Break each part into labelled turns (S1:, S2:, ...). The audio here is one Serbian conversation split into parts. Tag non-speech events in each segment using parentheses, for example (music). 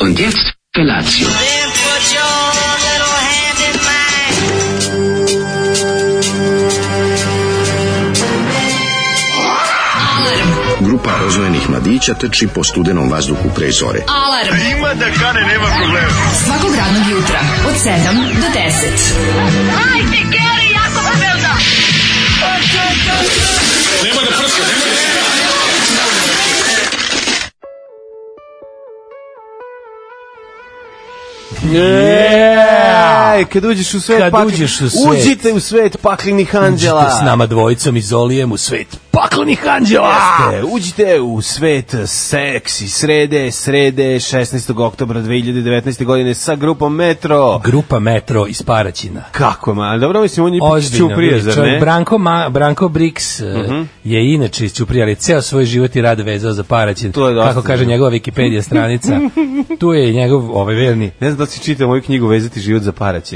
S1: Und jetzt Felatio.
S2: Then put your little hand in mine.
S3: Grupa rozvojenih mladića teči po studenom vazduhu pre zore.
S4: Alarm. Ima da kane, nema problema. Svakog radnog jutra, od 7 do 10.
S5: Yeah!
S6: Ej, kad uđeš u svet,
S5: E, Kad
S6: pakli-
S5: uđeš u svet.
S6: uđite u svet paklinih anđela.
S5: Uđite s nama dvojicom i Zolijem u svet paklenih anđela.
S6: Jeste, uđite u svet seksi srede, srede 16. oktobra 2019. godine sa grupom Metro.
S5: Grupa Metro iz Paraćina.
S6: Kako, ma, dobro, mislim, on je ipak
S5: Ozbiljno,
S6: čuprije,
S5: vidi,
S6: zar
S5: čovjek
S6: ne? Mhm.
S5: Branko, Ma, Branko Brix eh, je inače iz Ćuprije, ali ceo svoj život i rad vezao za Paraćin.
S6: To je dosta
S5: Kako kaže
S6: zanimljivo.
S5: njegova Wikipedia
S6: (laughs)
S5: stranica, tu je i njegov, ovaj verni,
S6: Ne znam da li si čitao moju knjigu Vezati život za Paraćin.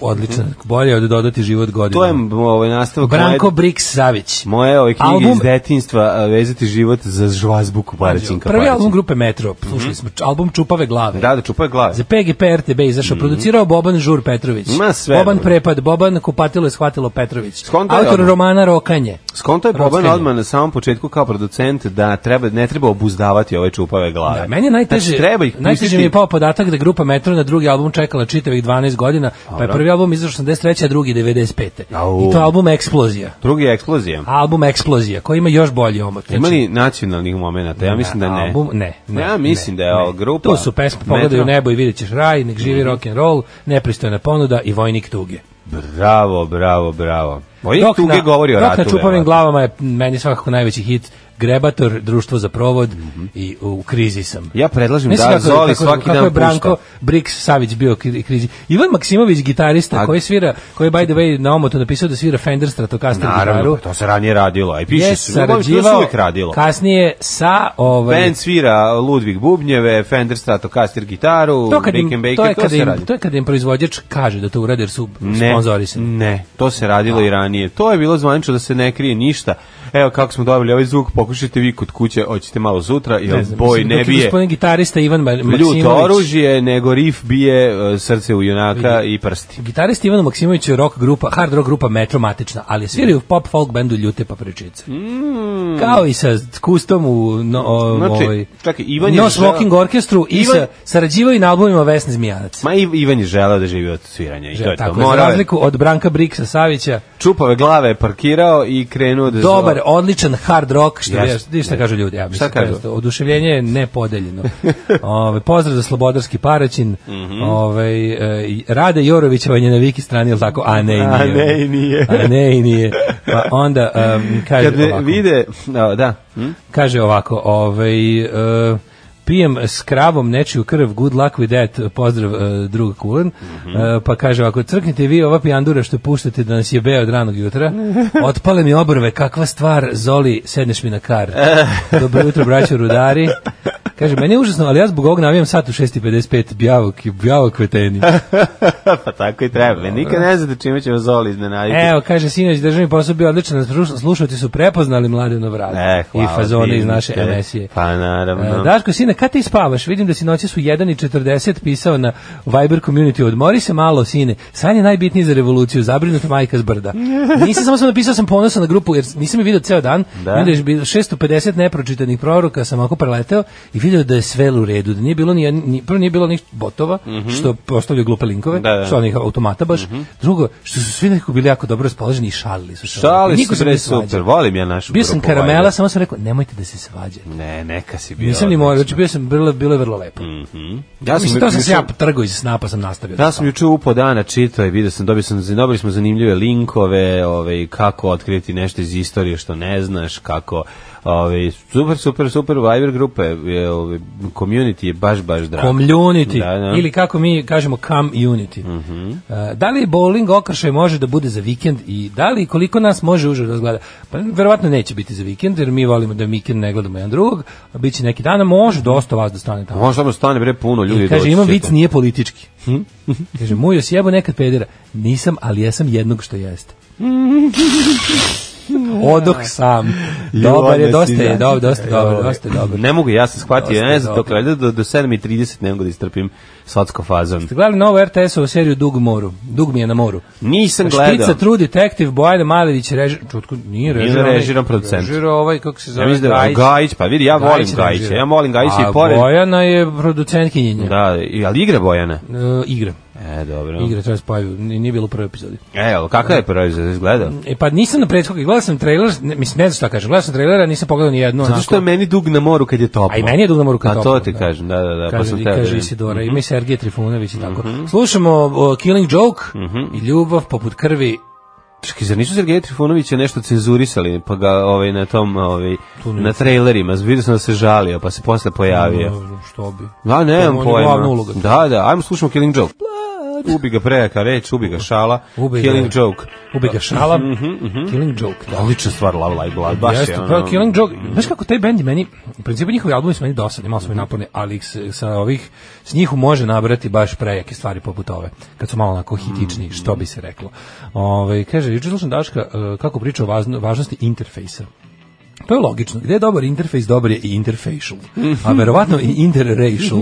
S5: odličan, bolje od dodati život
S6: To je
S5: godinu.
S6: m, ovaj nastavak
S5: Branko
S6: moje,
S5: Brix Savić.
S6: moje ove knjige
S5: Album-
S6: iz detinjstva a, Vezati život za žvazbuku Paraćinka.
S5: Prvi
S6: Paraćin. Mhm.
S5: album grupe Metro, slušali smo, č- album Čupave glave.
S6: Da, da čupaju glave.
S5: Za PGP RTB izašao, producirao Boban Žur Petrović.
S6: Mhm. Ma, sve
S5: Boban
S6: dobro.
S5: Prepad, Boban Kupatilo je shvatilo Petrović.
S6: Skonto je
S5: Autor
S6: odmah.
S5: romana Rokanje.
S6: Skonto je Boban
S5: Rockanje.
S6: odmah na samom početku kao producent da treba, ne treba obuzdavati ove čupave glave.
S5: Da, meni je najteže,
S6: Znači, treba ih
S5: najteže mi je
S6: pustiti-
S5: pao podatak da je grupa Metro na drugi album čekala čitavih 12 godina, pa je
S6: Dobro.
S5: prvi album izašao 83. a drugi 95.
S6: Au.
S5: I to je album Eksplozija.
S6: Drugi je eksplozija.
S5: Album Eksplozija, koji ima još bolji omot. Znači,
S6: Ima li nacionalnih momenata? Ja mislim da ne.
S5: Album, ne, ne.
S6: ja mislim
S5: ne,
S6: da je
S5: ne.
S6: ova grupa...
S5: To su pesme, pogledaj u
S6: Metro. Mhm.
S5: nebo i vidjet ćeš raj, nek živi rock and roll, nepristojna ponuda i vojnik tuge.
S6: Bravo, bravo, bravo. Moj dok tuge
S5: na-
S6: govori o
S5: dok
S6: ratu.
S5: na čupavim
S6: verovatno.
S5: glavama je meni svakako najveći hit Grebator, društvo za provod i u krizi sam.
S6: Ja predlažem
S5: Mislim
S6: Mhm. da
S5: kako-
S6: Zoli
S5: kako-
S6: svaki
S5: kako
S6: dan
S5: je Branko
S6: pušta.
S5: Brix Savić bio kri- krizi. Ivan Maksimović, gitarista
S6: A-
S5: koji svira, koji je by the way na omotu napisao da svira Fender Stratocaster
S6: Naravno,
S5: gitaru.
S6: pa to se ranije radilo. A i piše
S5: je
S6: se, uglavnom, to se
S5: sarađivao
S6: uvijek radilo.
S5: kasnije sa ovaj,
S6: Band svira Ludvig Bubnjeve, Fender Stratocaster gitaru,
S5: to kad im,
S6: Rickenbacker,
S5: to je
S6: to
S5: kad
S6: se
S5: im,
S6: radi.
S5: to je kad im proizvođač kaže da to urade jer su sponzorisani.
S6: Ne, to se radilo i ranije. To je bilo zvanično da se ne krije ništa. Evo kako smo dobili ovaj zvuk, pokušajte vi kod kuće, hoćete malo sutra, jer
S5: znam,
S6: boj
S5: mislim,
S6: ne
S5: dok je
S6: bije
S5: Gospodin gitarista Ivan Ma- Maksimović.
S6: ljuto oružje, nego rif bije e, srce u junaka i prsti.
S5: Gitarist Ivan Maksimović je rock grupa, hard rock grupa Metro matična, ali sviraju u pop folk bendu Ljute papričice. Kao i sa kustom u no, o,
S6: Mm. Znači,
S5: ovaj,
S6: čekaj, Ivan je
S5: No
S6: želeo-
S5: Smoking Orkestru i
S6: Ivan-
S5: sa, sarađivao i na albumima Vesne Zmijanac.
S6: Ma i Ivan je želeo da živi od sviranja i to je to.
S5: Tako, je, za
S6: Morao je.
S5: razliku od Branka Briksa Savića,
S6: Čupave glave je parkirao i krenuo da
S5: dobar,
S6: zove.
S5: odličan hard rock, što
S6: Jeste,
S5: yes, vidi šta kažu ljudi, ja mislim,
S6: Šta kažu?
S5: jeste, oduševljenje je
S6: (laughs)
S5: nepodeljeno. Ove, pozdrav za Slobodarski Paraćin,
S6: Mhm.
S5: Ove, e, i Rade Jorovićeva je na Viki strani, ili tako, a ne i nije.
S6: A ne i nije.
S5: A ne i nije. Pa onda um, kaže
S6: (laughs) Kad ne
S5: ovako.
S6: vide, a, da, hm?
S5: Kaže ovako, ovaj e, pijem s kravom nečiju krv, good luck with that, pozdrav e, drug Kulen,
S6: Mhm.
S5: E, pa kaže ovako, crknite vi ova pijandura što puštate da nas je od ranog
S6: (laughs)
S5: jutra, otpale mi obrve, kakva stvar, Zoli, sedneš mi na kar. Dobro jutro, braćo rudari. Kaže, meni je užasno, ali ja zbog ovog navijam sat u 6.55, bjavo, bjavo kveteni.
S6: pa tako i treba. Nikad ne znate čime će vas Zoli iznenaditi.
S5: Evo, kaže, sinoć državni posao bio odličan, sluš- slušalci su prepoznali mladenu vrata
S6: E, hvala
S5: i fazone
S6: ti,
S5: iz naše
S6: te.
S5: emisije.
S6: Pa, naravno.
S5: E, Daško, sine, kad ti spavaš? Vidim da si noći su 1.40 pisao na Viber community, odmori se malo, sine. San je najbitniji za revoluciju, zabrinuta majka s
S6: (laughs)
S5: brda. Nisam samo sam napisao, sam ponosan na grupu, jer nisam je vidio ceo dan.
S6: Da.
S5: I onda je bilo 650 nepročitanih proroka, sam ako preleteo i vidio da je sve u redu, da nije bilo ni, ni prvo nije bilo onih botova, što postavljaju glupe linkove,
S6: Mhm. Da, Mhm. da.
S5: što onih automata baš. Drugo, što su svi nekako bili jako dobro raspoloženi i šalili su se.
S6: Šali
S5: Niko
S6: se
S5: se
S6: bre
S5: nije svađao.
S6: super, volim ja našu
S5: Bio sam
S6: grupu,
S5: karamela,
S6: ajde.
S5: samo sam rekao, nemojte da se svađate.
S6: Ne, neka si bio.
S5: Nisam ni morao,
S6: odlična.
S5: znači bio sam bilo bilo je vrlo lepo.
S6: Mm. Ja sam,
S5: Mislim, to sam se ja
S6: juče-
S5: trgao iz sna pa sam nastavio.
S6: Ja sam juče u po dana čitao i vidio sam, dobio sam, dobili smo zanimljive linkove, ovaj, kako otkriti nešto iz istorije što ne znaš, kako, ovaj, super, super, super, Viber grupe, je, ovaj, community je baš, baš drago.
S5: Community,
S6: Da, da. Mhm.
S5: ili kako mi kažemo come unity. E, da li bowling okršaj može da bude za vikend i da li koliko nas može uže razgleda? Pa verovatno neće biti za vikend jer mi volimo da vikend ne gledamo jedan drugog, a bit će neki dana, može dosta vas da stane tamo.
S6: Možda mu stane bre puno ljudi.
S5: I kaže,
S6: doći
S5: imam
S6: će
S5: vic,
S6: to. Hm?
S5: nije politički. kaže, mujo sjebo nekad pedera. Nisam, ali jesam jednog što jeste. Odoh
S6: (laughs)
S5: sam. Dobar je, dosta je, dobar, dosta je, dobar, dosta je, dobar.
S6: Ne mogu, ja sam shvatio,
S5: Dosta je
S6: ne znam, dok
S5: dobro.
S6: valjda do, do 7.30 ne mogu da istrpim slatko fazon.
S5: Ste gledali novu RTS-ovu seriju Dug u moru? Dug mi je na moru.
S6: Nisam
S5: Špica,
S6: gledao.
S5: True Detective, Bojana Malević, režir... Čutko, nije režir.
S6: Nije
S5: onaj-
S6: režiran producent.
S5: Režirao ovaj, kako se
S6: Ja
S5: zove,
S6: mislim da je
S5: Gajić.
S6: Gajić, pa vidi, ja volim
S5: je
S6: Gajića.
S5: režirao.
S6: Ja volim Gajića
S5: A
S6: i pored.
S5: Bojana je producentkinjenja. Da.
S6: Da, i- ali igra Bojana.
S5: igra.
S6: E, dobro.
S5: Igra treba spavio, nije bilo u prvoj epizodi.
S6: E, ali kakva je prvi za izgleda?
S5: E pa nisam na prethodnog, gledao sam trailer, ne, mislim ne znam šta kažem, gledao sam trailer, a nisam pogledao ni jednu.
S6: Zato što je meni dug na moru kad je toplo.
S5: A i meni je dug na moru kad je
S6: A to
S5: toplo,
S6: ti
S5: da.
S6: kažem, da, da, da. pa
S5: Kaže,
S6: sam
S5: i
S6: teo da
S5: kaže
S6: vidim. Mhm.
S5: Isidora, ima i Sergej Trifunović i tako. Slušamo o, Killing Joke
S6: Mhm.
S5: i Ljubav poput krvi.
S6: Čekaj, zar nisu Sergeja Trifunovića nešto cenzurisali, pa ga ovaj, na tom, ovaj, na trailerima, vidio sam da se žalio, pa se posle pojavio.
S5: Ono, Što bi?
S6: Da,
S5: To je
S6: nemam
S5: on je
S6: pojma.
S5: glavna uloga.
S6: Da, da, ajmo slušamo Killing Joke. Ubi ga prejaka reč, ubi ga šala,
S5: Ubi ga.
S6: Killing Joke.
S5: Ubi ga šala.
S6: Mhm,
S5: Killing Joke, da.
S6: Odlična stvar, Love Live Blood, baš
S5: Jeste,
S6: je ono-
S5: pa Killing Joke, znaš kako taj bend je meni, u principu njihovi albumi su meni dosadni, malo su mi naporni, ali ih se- sa ovih, s njih može nabrati baš prejake stvari poput ove, kad su malo onako hitični, što bi se reklo. Ove, kaže, juče slušam Daška e, kako priča o važno- važnosti interfejsa. To je logično. Gde je dobar interfejs, dobar je i interfacial. A verovatno i interracial.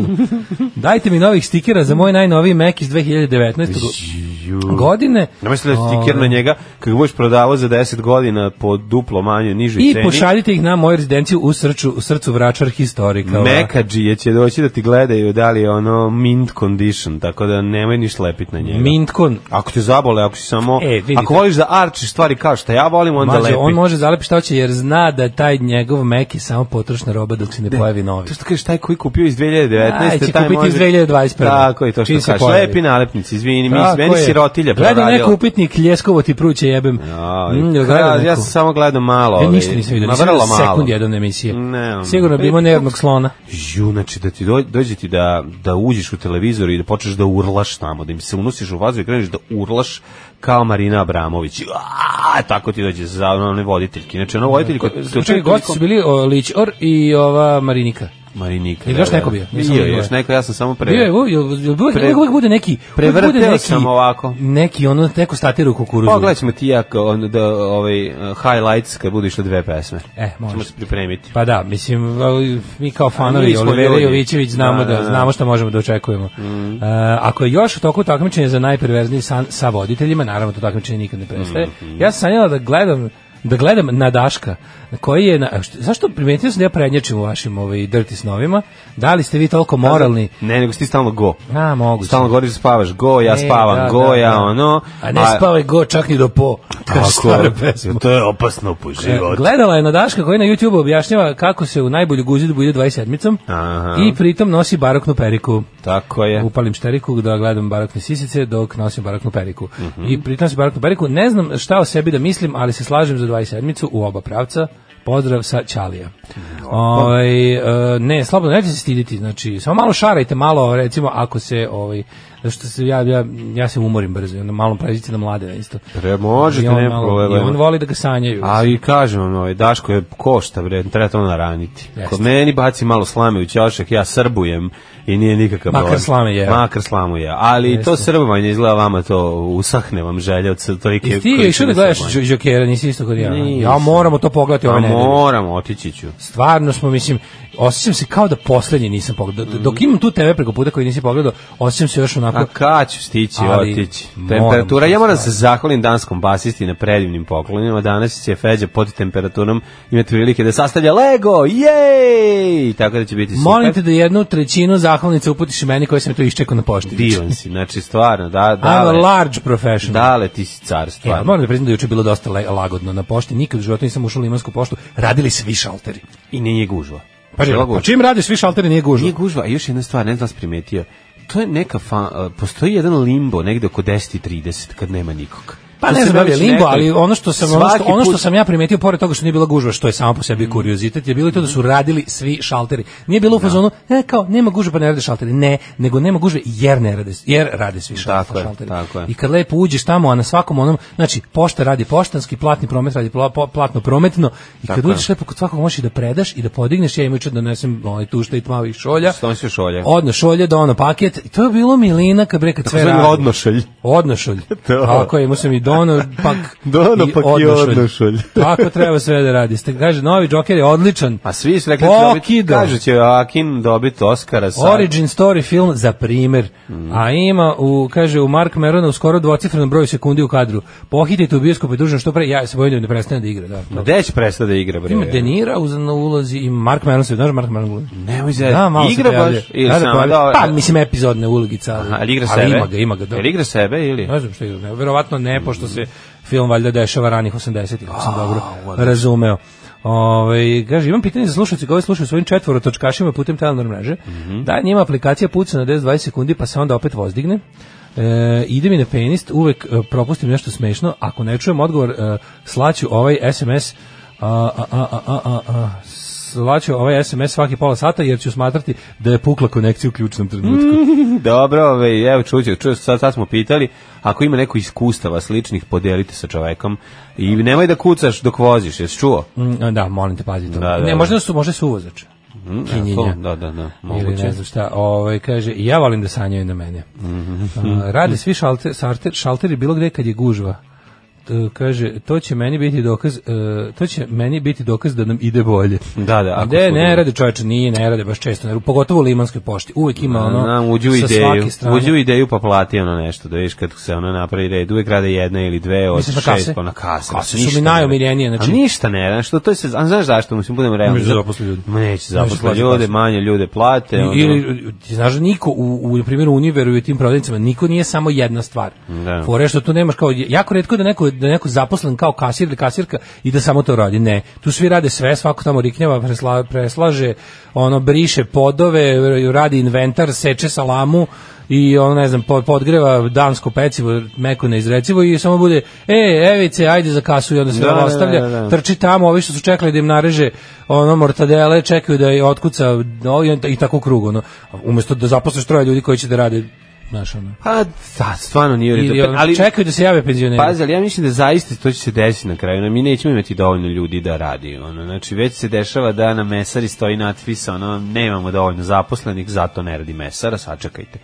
S5: Dajte mi novih stikera za moj najnoviji Mac iz 2019.
S6: ono.
S5: go- godine.
S6: Ja mislim da je stiker
S5: Ovaj.
S6: na njega, kad ga budeš prodavao za 10 godina po duplo manje, nižoj
S5: I
S6: ceni,
S5: pošaljite ih na moju rezidenciju u, srču, u srcu Vračar Historika.
S6: Mekadžije će doći da ti gledaju da li je ono mint condition, tako da nemoj ni šlepit na njega.
S5: Mintkon.
S6: Ako te zabole, ako si samo...
S5: E, vidite.
S6: ako voliš da arčiš stvari kao što ja volim, onda
S5: Mađo,
S6: lepi.
S5: on može zalepi šta hoće jer zna da taj njegov Mac je samo potrošna roba dok se ne pojavi novi.
S6: To što kažeš, taj koji kupio iz 2019.
S5: Aj, će
S6: taj
S5: kupiti iz 2021..
S6: Tako je, to što
S5: Čim se
S6: kažeš.
S5: pojavi.
S6: Lepi nalepnici, izvini, mi,
S5: Tako
S6: meni
S5: je.
S6: sirotilja
S5: Gledam
S6: proradila.
S5: neko upitnik, ljeskovo ti pruće jebem.
S6: Aj, pa
S5: Mm, jel
S6: ja,
S5: gledao
S6: ja
S5: neko?
S6: sam samo gledao malo.
S5: Ja
S6: ovaj,
S5: ništa nisam vidio,
S6: ma
S5: nisam
S6: vrlo
S5: vidio
S6: malo.
S5: sekund jedan emisije.
S6: Ne,
S5: Sigurno bi
S6: e,
S5: imao nervnog slona.
S6: Ju, znači da ti doj- dođe ti da, da uđeš u televizor i da počneš da urlaš tamo, da im se unosiš u vazu i kreneš da urlaš kao Marina Abramović. Aaaa, tako ti dođe za one voditeljke. Znači, ono voditelj... Ko,
S5: Čekaj, gosti su bili o, Lićor i ova Marinika.
S6: Marinika.
S5: Ili
S6: da,
S5: još
S6: da.
S5: neko bio? Nisam
S6: Bio je
S5: vidio.
S6: još neko, ja sam samo pre...
S5: Bio je, u- jel- jel- uvek-
S6: Pre-
S5: uvek- uvek bude neki... uvek
S6: Prevrteo
S5: bude neki-
S6: sam ovako.
S5: Neki, ono, neko statira u kukuruzu.
S6: Pogledaj Pa, ćemo ti ja kao on, da, ovaj, uh, highlights kad budu išle dve pesme.
S5: E, može.
S6: Ćemo se pripremiti.
S5: Pa da, mislim, ali mi kao
S6: Mi
S5: fanovi
S6: smo
S5: Olivera
S6: ljudi.
S5: Jovićević znamo
S6: Da,
S5: da,
S6: da, Mm. da.
S5: znamo šta možemo da očekujemo. E, ako je još u toku takmičenja za najperverzniji san sa voditeljima, naravno to takmičenje nikad ne prestaje.
S6: Mhm.
S5: Ja sam sanjala da gledam da gledam na Daška koji je na, a što- zašto primetio sam da ja prednjačim u vašim ovaj dirty snovima da li ste vi toliko moralni
S6: Ne, nego si ti stalno go.
S5: a moguće
S6: Stalno govoriš da spavaš go, ja
S5: E,
S6: spavam
S5: da,
S6: go,
S5: da,
S6: ja
S5: da.
S6: ono...
S5: a ne spavaj go čak ni do po kaže
S6: Tako,
S5: stara pesma
S6: To je opasno po
S5: E,
S6: život.
S5: Gledala je na Daška koji na YouTube objašnjava kako se u najbolju guzidbu ide 27-icom
S6: Aha.
S5: i pritom nosi baroknu periku.
S6: Tako je.
S5: Upalim šteriku da gledam barokne sisice dok nosim baroknu periku.
S6: Mhm.
S5: I pritom se baroknu periku. Ne znam šta o sebi da mislim, ali se slažem za 27-icu u oba pravca. Pozdrav sa Ćalija. Ovaj, e, ne, slobodno, nećete se stiditi. Znači, samo malo šarajte, malo, recimo, ako se... Ovaj, zašto se ja, ja, ja se umorim brzo, i onda malo pređite na mlade isto.
S6: Pre, možete,
S5: I on
S6: nema
S5: malo-
S6: problema.
S5: I on voli da ga sanjaju.
S6: ovaj, A i kažem vam, ovaj, Daško je košta, bre, treba to naraniti.
S5: Jeste.
S6: Kod meni baci malo slame u ćošak, ja srbujem i nije nikakav
S5: Makar
S6: problem.
S5: slame jeo.
S6: Makar slamu je. Ali
S5: Jeste.
S6: to srbovanje izgleda vama to usahne vam želje od s- tolike
S5: Jesi ti išao
S6: količine
S5: da gledaš
S6: srbovanja.
S5: Đ- Đokera, nisi isto kod ja.
S6: Nisam.
S5: Ja moramo to pogledati ove
S6: Pa
S5: nedelje.
S6: moram, otići ću.
S5: Stvarno smo, mislim, osjećam se kao da poslednji nisam pogledao. D- Dok imam tu tebe preko puta koji nisi pogledao, osjećam se još onako...
S6: A kad ću stići,
S5: Ali
S6: otići.
S5: moram
S6: Temperatura,
S5: to
S6: ja moram da se zahvalim danskom basisti na predivnim poklonima. Danas je Feđa pod temperaturom, imate prilike da sastavlja Lego, jej! Tako da će biti super.
S5: Molim te da jednu trećinu zahvalnice uputiš i meni koja sam to iščekao na pošti.
S6: Divan si, znači stvarno,
S5: (laughs)
S6: da,
S5: I'm a
S6: da,
S5: large professional.
S6: Dale, ti si car,
S5: E, ali
S6: stvarno.
S5: moram da priznam da je juče bilo dosta le- lagodno na pošti. Nikad u životu nisam ušao u limansku poštu. Radili svi šalteri.
S6: I nije gužva.
S5: Pa,
S6: Bila gužva.
S5: pa čim radiš svi šalteri nije gužva.
S6: Nije gužva, a još jedna stvar, ne znam da li si primetio, to je neka fa, e, postoji jedan limbo negde oko 10.30 kad nema nikog.
S5: Pa
S6: To
S5: ne
S6: sam
S5: znam da li
S6: ja
S5: je
S6: već
S5: limbo,
S6: rekao.
S5: ali ono što sam ono što,
S6: Svaki
S5: ono što
S6: put- Mm.
S5: sam ja primetio pored toga što nije bila gužva, što je samo po sebi kuriozitet, je bilo i to da su radili svi šalteri. Nije bilo u fazonu, e, kao nema gužve pa ne rade šalteri. Ne, nego nema gužve jer ne rade, jer rade svi šal-
S6: Tako je,
S5: šalteri.
S6: tako je.
S5: I kad lepo uđeš tamo, a na svakom onom, znači pošta radi poštanski, platni promet radi pla- po- platno prometno i kad
S6: Tako je.
S5: uđeš lepo kod svakog možeš i da predaš i da podigneš, ja imam juče da nesem onaj tušta i tmavih šolja.
S6: Što nosiš šolje?
S5: Odno šolje, dono paket. I to je bilo milina kad bre kad Ono sve
S6: Zvani
S5: radi.
S6: odnošelj.
S5: Odnošolj.
S6: (laughs) To.
S5: Tako je, imao sam i dono pak
S6: (laughs) Dono pak i
S5: odnošolj.
S6: odnošolj.
S5: (laughs) Tako treba sve da radi. Ste, kaže, novi Joker je odličan.
S6: A Pa svi su rekli da će dobiti,
S5: Pokidao.
S6: kažu će Akin dobiti Oscara sad.
S5: Origin story film za primer. A ima u kaže u Mark Merona u skoro dvocifrenom broju sekundi u kadru. Pohitite u bioskopu i družno što pre. Ja se bojim da ne prestane da igra, da. Pa
S6: Ma Gde će prestati da igra, bre?
S5: Ima Denira uz na ulozi i Mark Meron se, znaš Mark Meron ulozi?
S6: Nemoj zezati.
S5: Da, malo
S6: Igra
S5: se
S6: baš
S5: pojavljuje.
S6: ili
S5: da, da,
S6: samo,
S5: pojavljuje.
S6: dobro.
S5: Pa, mislim, epizodne ulogice, ali,
S6: Ali igra
S5: ali
S6: sebe?
S5: ima ga, ima ga. Da.
S6: Jel igra sebe ili?
S5: Ne znam što igra, ne, verovatno ne, pošto se film valjda dešava ranih 80-ih, ako sam dobro razumeo. Ove, kaže, imam pitanje za slušalce koji slušaju svojim četvorotočkašima putem Telenor mreže.
S6: Mhm.
S5: Da, njima aplikacija puca na 10-20 sekundi pa se onda opet vozdigne. E, ide mi na penist, uvek e, propustim nešto smešno. Ako ne čujem odgovor, e, slaću ovaj SMS a, a, a, a, a, a, a, slaću ovaj SMS svaki pola sata jer ću smatrati da je pukla konekcija u ključnom trenutku.
S6: Mhm. Dobro, ovaj, evo čuće, ču, sad, sad smo pitali, ako ima neko iskustava sličnih, podelite sa čovekom i nemoj da kucaš dok voziš, jesi čuo?
S5: Mm, da, molim te, pazi to.
S6: Da, da,
S5: ne,
S6: da.
S5: možda su, možda su uvozač. Mm,
S6: to, da, da, da,
S5: Ili
S6: moguće.
S5: ne znam šta, ovaj, kaže, i ja volim da sanjaju na mene.
S6: Mhm.
S5: A, rade svi šalter, sarter, šalteri bilo gde kad je gužva. T- kaže, to će meni biti dokaz, e, to će meni biti dokaz da nam ide bolje.
S6: Da, da, ako
S5: Gde
S6: smo
S5: ne
S6: dobro.
S5: rade čoveče, nije, ne rade baš često, ne, pogotovo u Limanskoj pošti. Uvek ima ono,
S6: Znam, uđu u
S5: sa
S6: ideju,
S5: svake strane.
S6: uđu u ideju pa plati ono nešto, da vidiš kad se ono napravi red, uvek rade jedna ili dve od
S5: Misliš na
S6: šest,
S5: kase?
S6: pa na kase.
S5: Kase su
S6: Ništa
S5: mi
S6: ne rade.
S5: najomiljenije, znači-
S6: A ništa ne, znaš, to, to je se, a znaš zašto, mislim, budemo realni.
S5: Neće da zaposle ljude.
S6: Ma neće
S5: Neće
S6: zaposle
S5: plaćati
S6: ljude,
S5: kase.
S6: manje ljude plate. ono.
S5: Ili, ti znaš da niko, u, u na primjer, u Univeru i u tim prodavnicama, niko nije samo jedna stvar.
S6: Da.
S5: Fore je što tu nemaš kao, jako redko da neko, da je neko zaposlen kao kasir ili kasirka i da samo to radi. Ne, tu svi rade sve, svako tamo riknjava, presla, preslaže, ono, briše podove, radi inventar, seče salamu, i on ne znam po- podgreva dansko pecivo meko neizrecivo i samo bude e evice ajde za kasu i onda se
S6: Da, da,
S5: da, ostavlja
S6: da, da.
S5: trči tamo, ovi što su čekali da im nareže ono mortadele, čekaju da je otkuca no, i, i tako u krug, ono. Umesto da zaposliš troje ljudi koji će da rade, znaš, ono.
S6: Pa, da, stvarno nije u redu. pa-
S5: Ili, ono,
S6: Ali,
S5: čekaju da se jave penzioneri.
S6: Pazi, ali ja mislim da zaista to će se desiti na kraju. No, mi nećemo imati dovoljno ljudi da radi. Ono. Znači, već se dešava da na mesari stoji natpis, ono, nemamo dovoljno zaposlenih, zato ne radi mesara, sačekajte.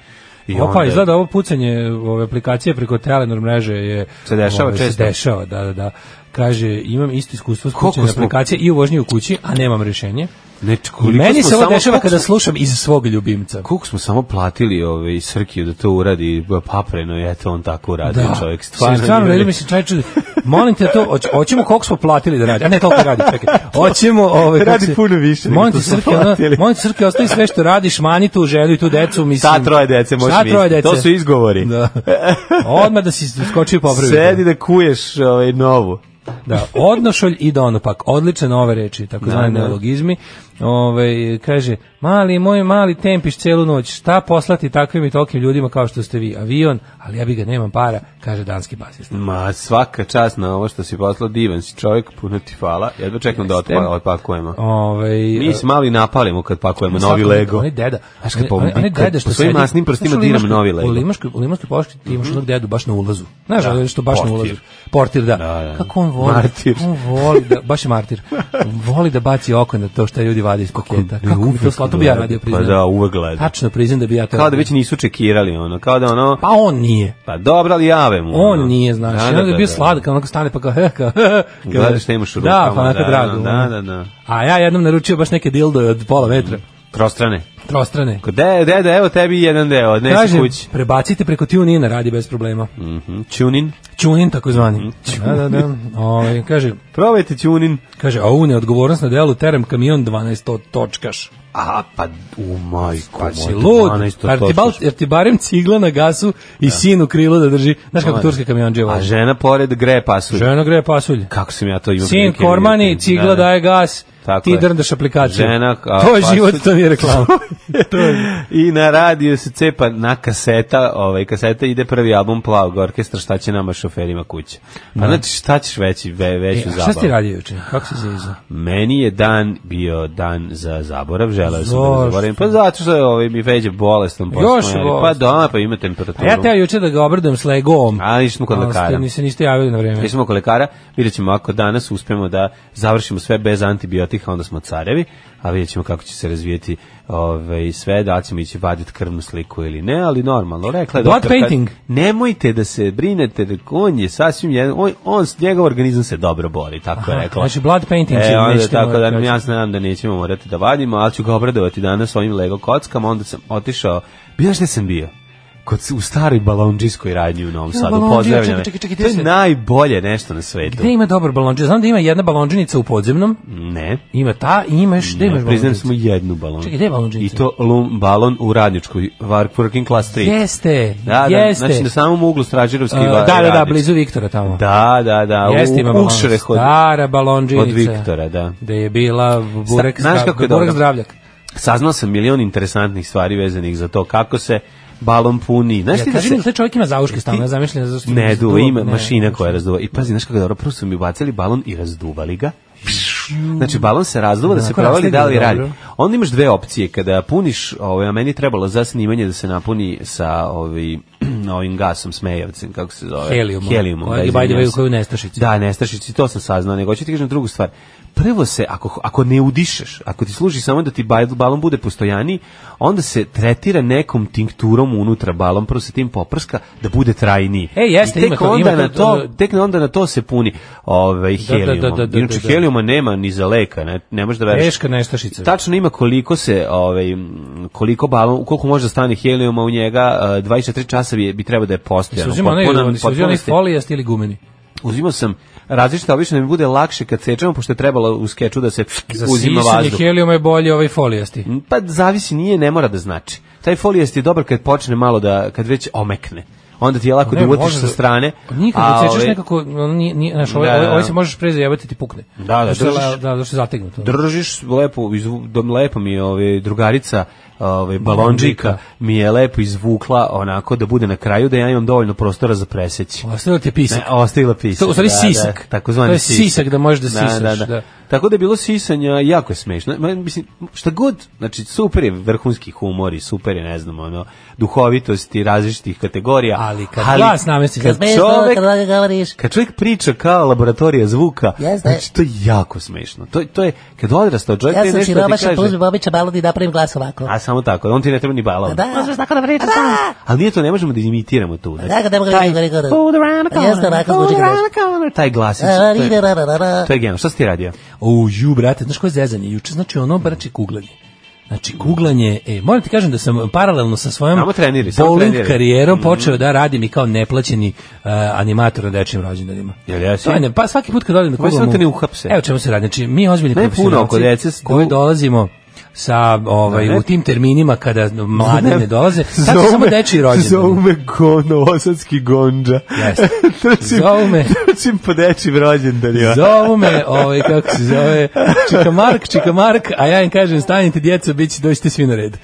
S6: I
S5: Opa, izgleda ovo pucanje ove aplikacije preko Telenor mreže je...
S6: Se dešava
S5: ove,
S6: često.
S5: Se dešava, da, da, da. Kaže, imam isto iskustvo s
S6: Koliko
S5: pucanjem
S6: smo-
S5: aplikacije i u vožnji u kući, a nemam rješenje.
S6: Znači,
S5: I
S6: koliko
S5: meni
S6: smo
S5: se ovo
S6: samo-
S5: dešava
S6: koliko
S5: kada
S6: smo-
S5: slušam iz svog ljubimca.
S6: Koliko smo samo platili ove, Srkiju da to uradi pa papreno i eto on tako uradi čovjek. Stvarno,
S5: Mislim, stvarno
S6: nije u
S5: redi
S6: redu.
S5: mi se čajče. Molim te to, hoć- hoćemo koliko smo platili da radi. A ne toliko radi,
S6: (laughs)
S5: čekaj. Hoćemo ovaj kako
S6: Radi
S5: se-
S6: puno više nego
S5: Molim te
S6: što smo
S5: srke, ono,
S6: platili.
S5: molim te srke, ostavi sve što radiš, mani tu želju i tu decu, mislim.
S6: Sad troje dece možeš
S5: Sad troje
S6: vidjeti. To
S5: dece.
S6: su izgovori.
S5: Da. Odmah da si skočio i popravio.
S6: Sedi da kuješ ovaj, novu.
S5: Da, odnošolj i donopak. Odlične nove reči, takozvani
S6: Da, da.
S5: neologizmi. Ove, kaže, mali moj, mali tempiš celu noć, šta poslati takvim i tolkim ljudima kao što ste vi? Avion, ali ja bi ga nemam para, kaže danski basista.
S6: Ma, svaka čast na ovo što si poslao, divan si čovjek, puno ti hvala. Jedva čekam da
S5: Jeste.
S6: otpa, otpakujemo.
S5: Ovaj
S6: Mi se mali napalimo kad pakujemo
S5: Svako-
S6: novi Lego.
S5: Onaj deda.
S6: Znaš kad
S5: onaj-
S6: pobiti,
S5: onaj deda što
S6: po svojim
S5: sedi-
S6: masnim prstima
S5: Znaš, u
S6: diram
S5: Limačkoj-
S6: ono novi Lego. Mhm.
S5: U limaškoj u limaškoj pošti ti imaš onog dedu baš na ulazu. Znaš,
S6: Da.
S5: da, što baš na
S6: Portir.
S5: ulazu. Portir, da.
S6: Da, da.
S5: Kako on voli.
S6: Martir.
S5: On voli da baš je martir. voli da baci oko na to što ljudi vade iz paketa. Kako, mi to slatko bi ja radio
S6: Pa
S5: priznam.
S6: da, uvek gleda.
S5: Tačno priznam da bi ja to.
S6: Kao da
S5: radio.
S6: već nisu čekirali, ono, kao da ono,
S5: Pa on nije.
S6: pa dobro, ali jave mu. ono.
S5: On nije, znaš.
S6: Da,
S5: Da,
S6: da,
S5: je
S6: da,
S5: bio
S6: da.
S5: sladak, onako stane pa kao... (laughs) kao
S6: Gledaš šta imaš u
S5: Da,
S6: rukama,
S5: pa onako
S6: da,
S5: drago.
S6: da,
S5: ono.
S6: da, da.
S5: A ja jednom naručio baš neke dildoje od pola metra.
S6: Prostrane.
S5: Trostrane.
S6: Ko, De, deda, evo tebi jedan deo, odnesi
S5: Kaže,
S6: kući.
S5: prebacite preko TuneIna, radi bez problema.
S6: Mhm, Ćunin.
S5: Tunin
S6: Mm,
S5: takozvani. Da, da, da. Ovaj, kaže,
S6: Probajte ćunin.
S5: kaže, a ovu neodgovornost na delu terem kamion 12 to- točkaš.
S6: A, pa, u majku.
S5: Pa si
S6: moju,
S5: lud,
S6: 12 to
S5: jer ti, bal,
S6: točno.
S5: jer ti barem cigla na gasu i sin u krilu da drži. Znaš kako turske kamionđe
S6: A
S5: vole?
S6: žena pored gre pasulj.
S5: Žena greje pasulj.
S6: Kako sam ja to imao?
S5: Sin
S6: prilike
S5: kormani,
S6: vidjeti.
S5: cigla
S6: Da, da.
S5: daje gas,
S6: Tako
S5: ti
S6: je.
S5: drndaš aplikaciju.
S6: Žena, a,
S5: to je
S6: pasulj.
S5: život, to nije
S6: (laughs)
S5: reklama. to je.
S6: I na radiju se cepa na kaseta, ovaj kaseta ide prvi album Plavog orkestra, šta će nama šoferima kuće. Pa znači šta ćeš veći ve,
S5: E,
S6: veću
S5: a
S6: zabavu?
S5: šta si radio juče? Kako si se izao?
S6: Meni je dan bio dan za zaborav, želeo sam da
S5: Zašto?
S6: zaboravim. Pa zato što je ovaj mi veđe bolestan posle.
S5: Još
S6: moje- Pa
S5: bolestan.
S6: da, pa ima temperaturu.
S5: A ja teo juče da ga obradujem s legom. Ono,
S6: A nismo kod
S5: Ali ste-
S6: lekara.
S5: niste- niste javili na vreme.
S6: Mi smo kod lekara, vidjet ćemo ako danas uspemo da završimo sve bez antibiotika, onda smo carevi, a vidjet ćemo kako će se razvijeti ove, sve, da li ćemo ići vaditi krvnu sliku ili ne, ali normalno, rekla je
S5: Blood
S6: doktorka,
S5: painting.
S6: nemojte da se brinete, da on je sasvim jedan, on, on, njegov organizam se dobro bori, tako je
S5: Aha,
S6: Pa rekla.
S5: znači blood painting
S6: E,
S5: ćemo,
S6: onda,
S5: nećete
S6: tako da
S5: morati
S6: ja znam da nećemo morati da vadimo, ali ću ga obradovati danas svojim Lego kockama, onda sam otišao, bio gde sam bio? Kod, u staroj balonđijskoj radnji u Novom Sadu,
S5: balondžija,
S6: pozdravljam.
S5: čekaj, čekaj, čekaj,
S6: to je
S5: gde se-
S6: najbolje nešto na svetu.
S5: Gde ima dobar balonđe? Znam da ima jedna balonđenica u podzemnom,
S6: Ne.
S5: ima ta i ima još, gde imaš
S6: Ne, priznajem
S5: balonđenicu?
S6: samo jednu balon.
S5: Čekaj, gde je balondžinica?
S6: I to lum, balon u radničkoj, var- working class 3.
S5: Jeste,
S6: Da, da,
S5: jeste.
S6: znači na samom uglu Stražirovski
S5: Uh,
S6: uh,
S5: da, da, da, blizu Viktora tamo.
S6: Da, da, da,
S5: Jeste ima
S6: u
S5: balon.
S6: ušreh od,
S5: Stara balonđinica.
S6: od Viktora, da.
S5: Gde je bila Burek,
S6: Sta- znaš
S5: Zdra-
S6: kako je
S5: Burek
S6: dobro?
S5: Zdravljak.
S6: Saznao sam milion interesantnih stvari vezanih za to kako se balon puni. Znaš
S5: Ja,
S6: ti da
S5: kaži
S6: se...
S5: mi, taj čovjek ima zauške stalno, ja zamišljam zašto...
S6: Ne, duva,
S5: duva,
S6: ima
S5: ne. znači.
S6: mašina koja razduva. I pazi, znaš kako je dobro, prvo su mi ubacili balon i razduvali ga. Znači, balon se razduva da, se
S5: Onako
S6: provali da li
S5: rastegli,
S6: radi.
S5: dobro.
S6: Onda imaš dve opcije. Kada puniš, ovaj, a meni je trebalo za snimanje da se napuni sa ovaj, (clears throat) ovim gasom smejavcem, kako se zove?
S5: Heliumom.
S6: Heliumom,
S5: Koji
S6: da,
S5: je, ono. by the
S6: izvinjavam
S5: way, u
S6: se.
S5: koju nestašici.
S6: Da, nestašici, to sam saznao, nego ću ti kažem drugu stvar. Prvo se, ako, ako ne udišeš, ako ti služi samo da ti baj- balon bude postojani, onda se tretira nekom tinkturom unutra balon, prvo se tim poprska da bude trajniji.
S5: E, jeste,
S6: I tek
S5: ima to, ima
S6: onda
S5: to,
S6: na to,
S5: to-
S6: tek onda na to se puni ovaj
S5: da, da,
S6: helijumom.
S5: da, da,
S6: Inače,
S5: da.
S6: helijuma nema ni za leka, ne, ne možeš da veruješ.
S5: Teška nestašica.
S6: Tačno ima koliko se ovaj m, koliko balon, koliko može da stane helijuma u njega, e, 24 časa bi, bi trebalo da je
S5: Se
S6: postojano.
S5: uzima onaj,
S6: Potpuno-
S5: se uzima onaj
S6: potpunosti-
S5: folijast ili gumeni.
S6: uzimao sam različite, a obično da mi bude lakše kad sečemo, pošto je trebalo u skeču da se
S5: Za
S6: uzima
S5: sisanje
S6: vazduh.
S5: helijuma je bolje ovaj folijasti.
S6: Pa zavisi, nije, ne mora da znači. Taj folijast je dobar kad počne malo da, kad već omekne. Onda ti je lako da
S5: Ne,
S6: uvotiš
S5: može
S6: sa
S5: da-
S6: strane.
S5: Pa Nikad
S6: a
S5: ne sečeš
S6: ovaj,
S5: nekako, ono, nije, nije, znaš, ovaj,
S6: Da,
S5: ovaj,
S6: da.
S5: ovaj se možeš pre zajebati ti pukne.
S6: Da, da,
S5: Zašto je
S6: držiš-
S5: la- da, zašto je zategnuto.
S6: Držiš lepo, izvu, dom- lepo mi je ove, drugarica ove, balonđika, mi je lepo izvukla onako da bude na kraju, da ja imam dovoljno prostora za preseć.
S5: Ostavio ti je
S6: Ne,
S5: pisak.
S6: ostavila pisak.
S5: To je u stvari sisak.
S6: Da, takozvani
S5: To je sisak da možeš da sisaš, da.
S6: Tako da je bilo sisanja, jako je smešno. Ma, Mislim, šta god, znači super je vrhunski humor i super je, ne znam, ono, duhovitosti različitih kategorija.
S5: Ali kad glas namesti, znači.
S6: kad
S5: kad smešno,
S6: čovek,
S1: kad ovdje govoriš,
S6: kad čovjek priča kao laboratorija zvuka,
S1: Jeste.
S6: znači to je jako smešno. To, to je, kad odrastao čovjek,
S1: ja
S6: je
S1: sam
S6: nešto da ti
S1: siromašan,
S6: kaže...
S1: pa uzmem običan balon i napravim glas ovako.
S6: A samo tako, on ti ne treba ni balon.
S1: Da, možeš tako da pričaš.
S6: Ali nije to, ne možemo da imitiramo tu. Znači,
S1: Da, kad ne mogu
S6: taj,
S1: gori, gori.
S6: Fold around the corner,
S1: Jeste, ovako
S6: fold
S1: zvuči kad
S6: around the corner. Taj glasić. to je- To je genijalno. Šta si ti radio?
S5: O, ju, brate, znaš koje zezanje? Juče, znači ono, znači kuglanje. Znači, kuglanje, e, moram ti kažem da sam paralelno sa svojom
S6: Samo treniri, samo Mhm.
S5: bowling
S6: treniri.
S5: karijerom počeo da radim i kao neplaćeni e, animator na dečijim rođendanima.
S6: Jel jesi?
S5: To je ne, pa svaki put kad odem da
S6: Koji
S5: kuglam...
S6: samo te
S5: u-
S6: ne uhapse.
S5: Evo čemu se radi, znači mi ozbiljni
S6: Ne, puno
S5: profesionalci
S6: oko dece s-
S5: koji dolazimo sa ovaj
S6: Ne.
S5: u tim terminima kada mlade
S6: Zove-
S5: ne dolaze, sad su samo
S6: zove-
S5: dečiji rođendani.
S6: Zove me go, novosadski gondža. (laughs)
S5: Jeste.
S6: Trčim-
S5: Zovu me-
S6: Trčim po dečim rođendanima.
S5: Zovu me, ovaj, kako se zove, Čikamark, Čikamark, a ja im kažem, stanite djeca, bit će, dođite svi na red.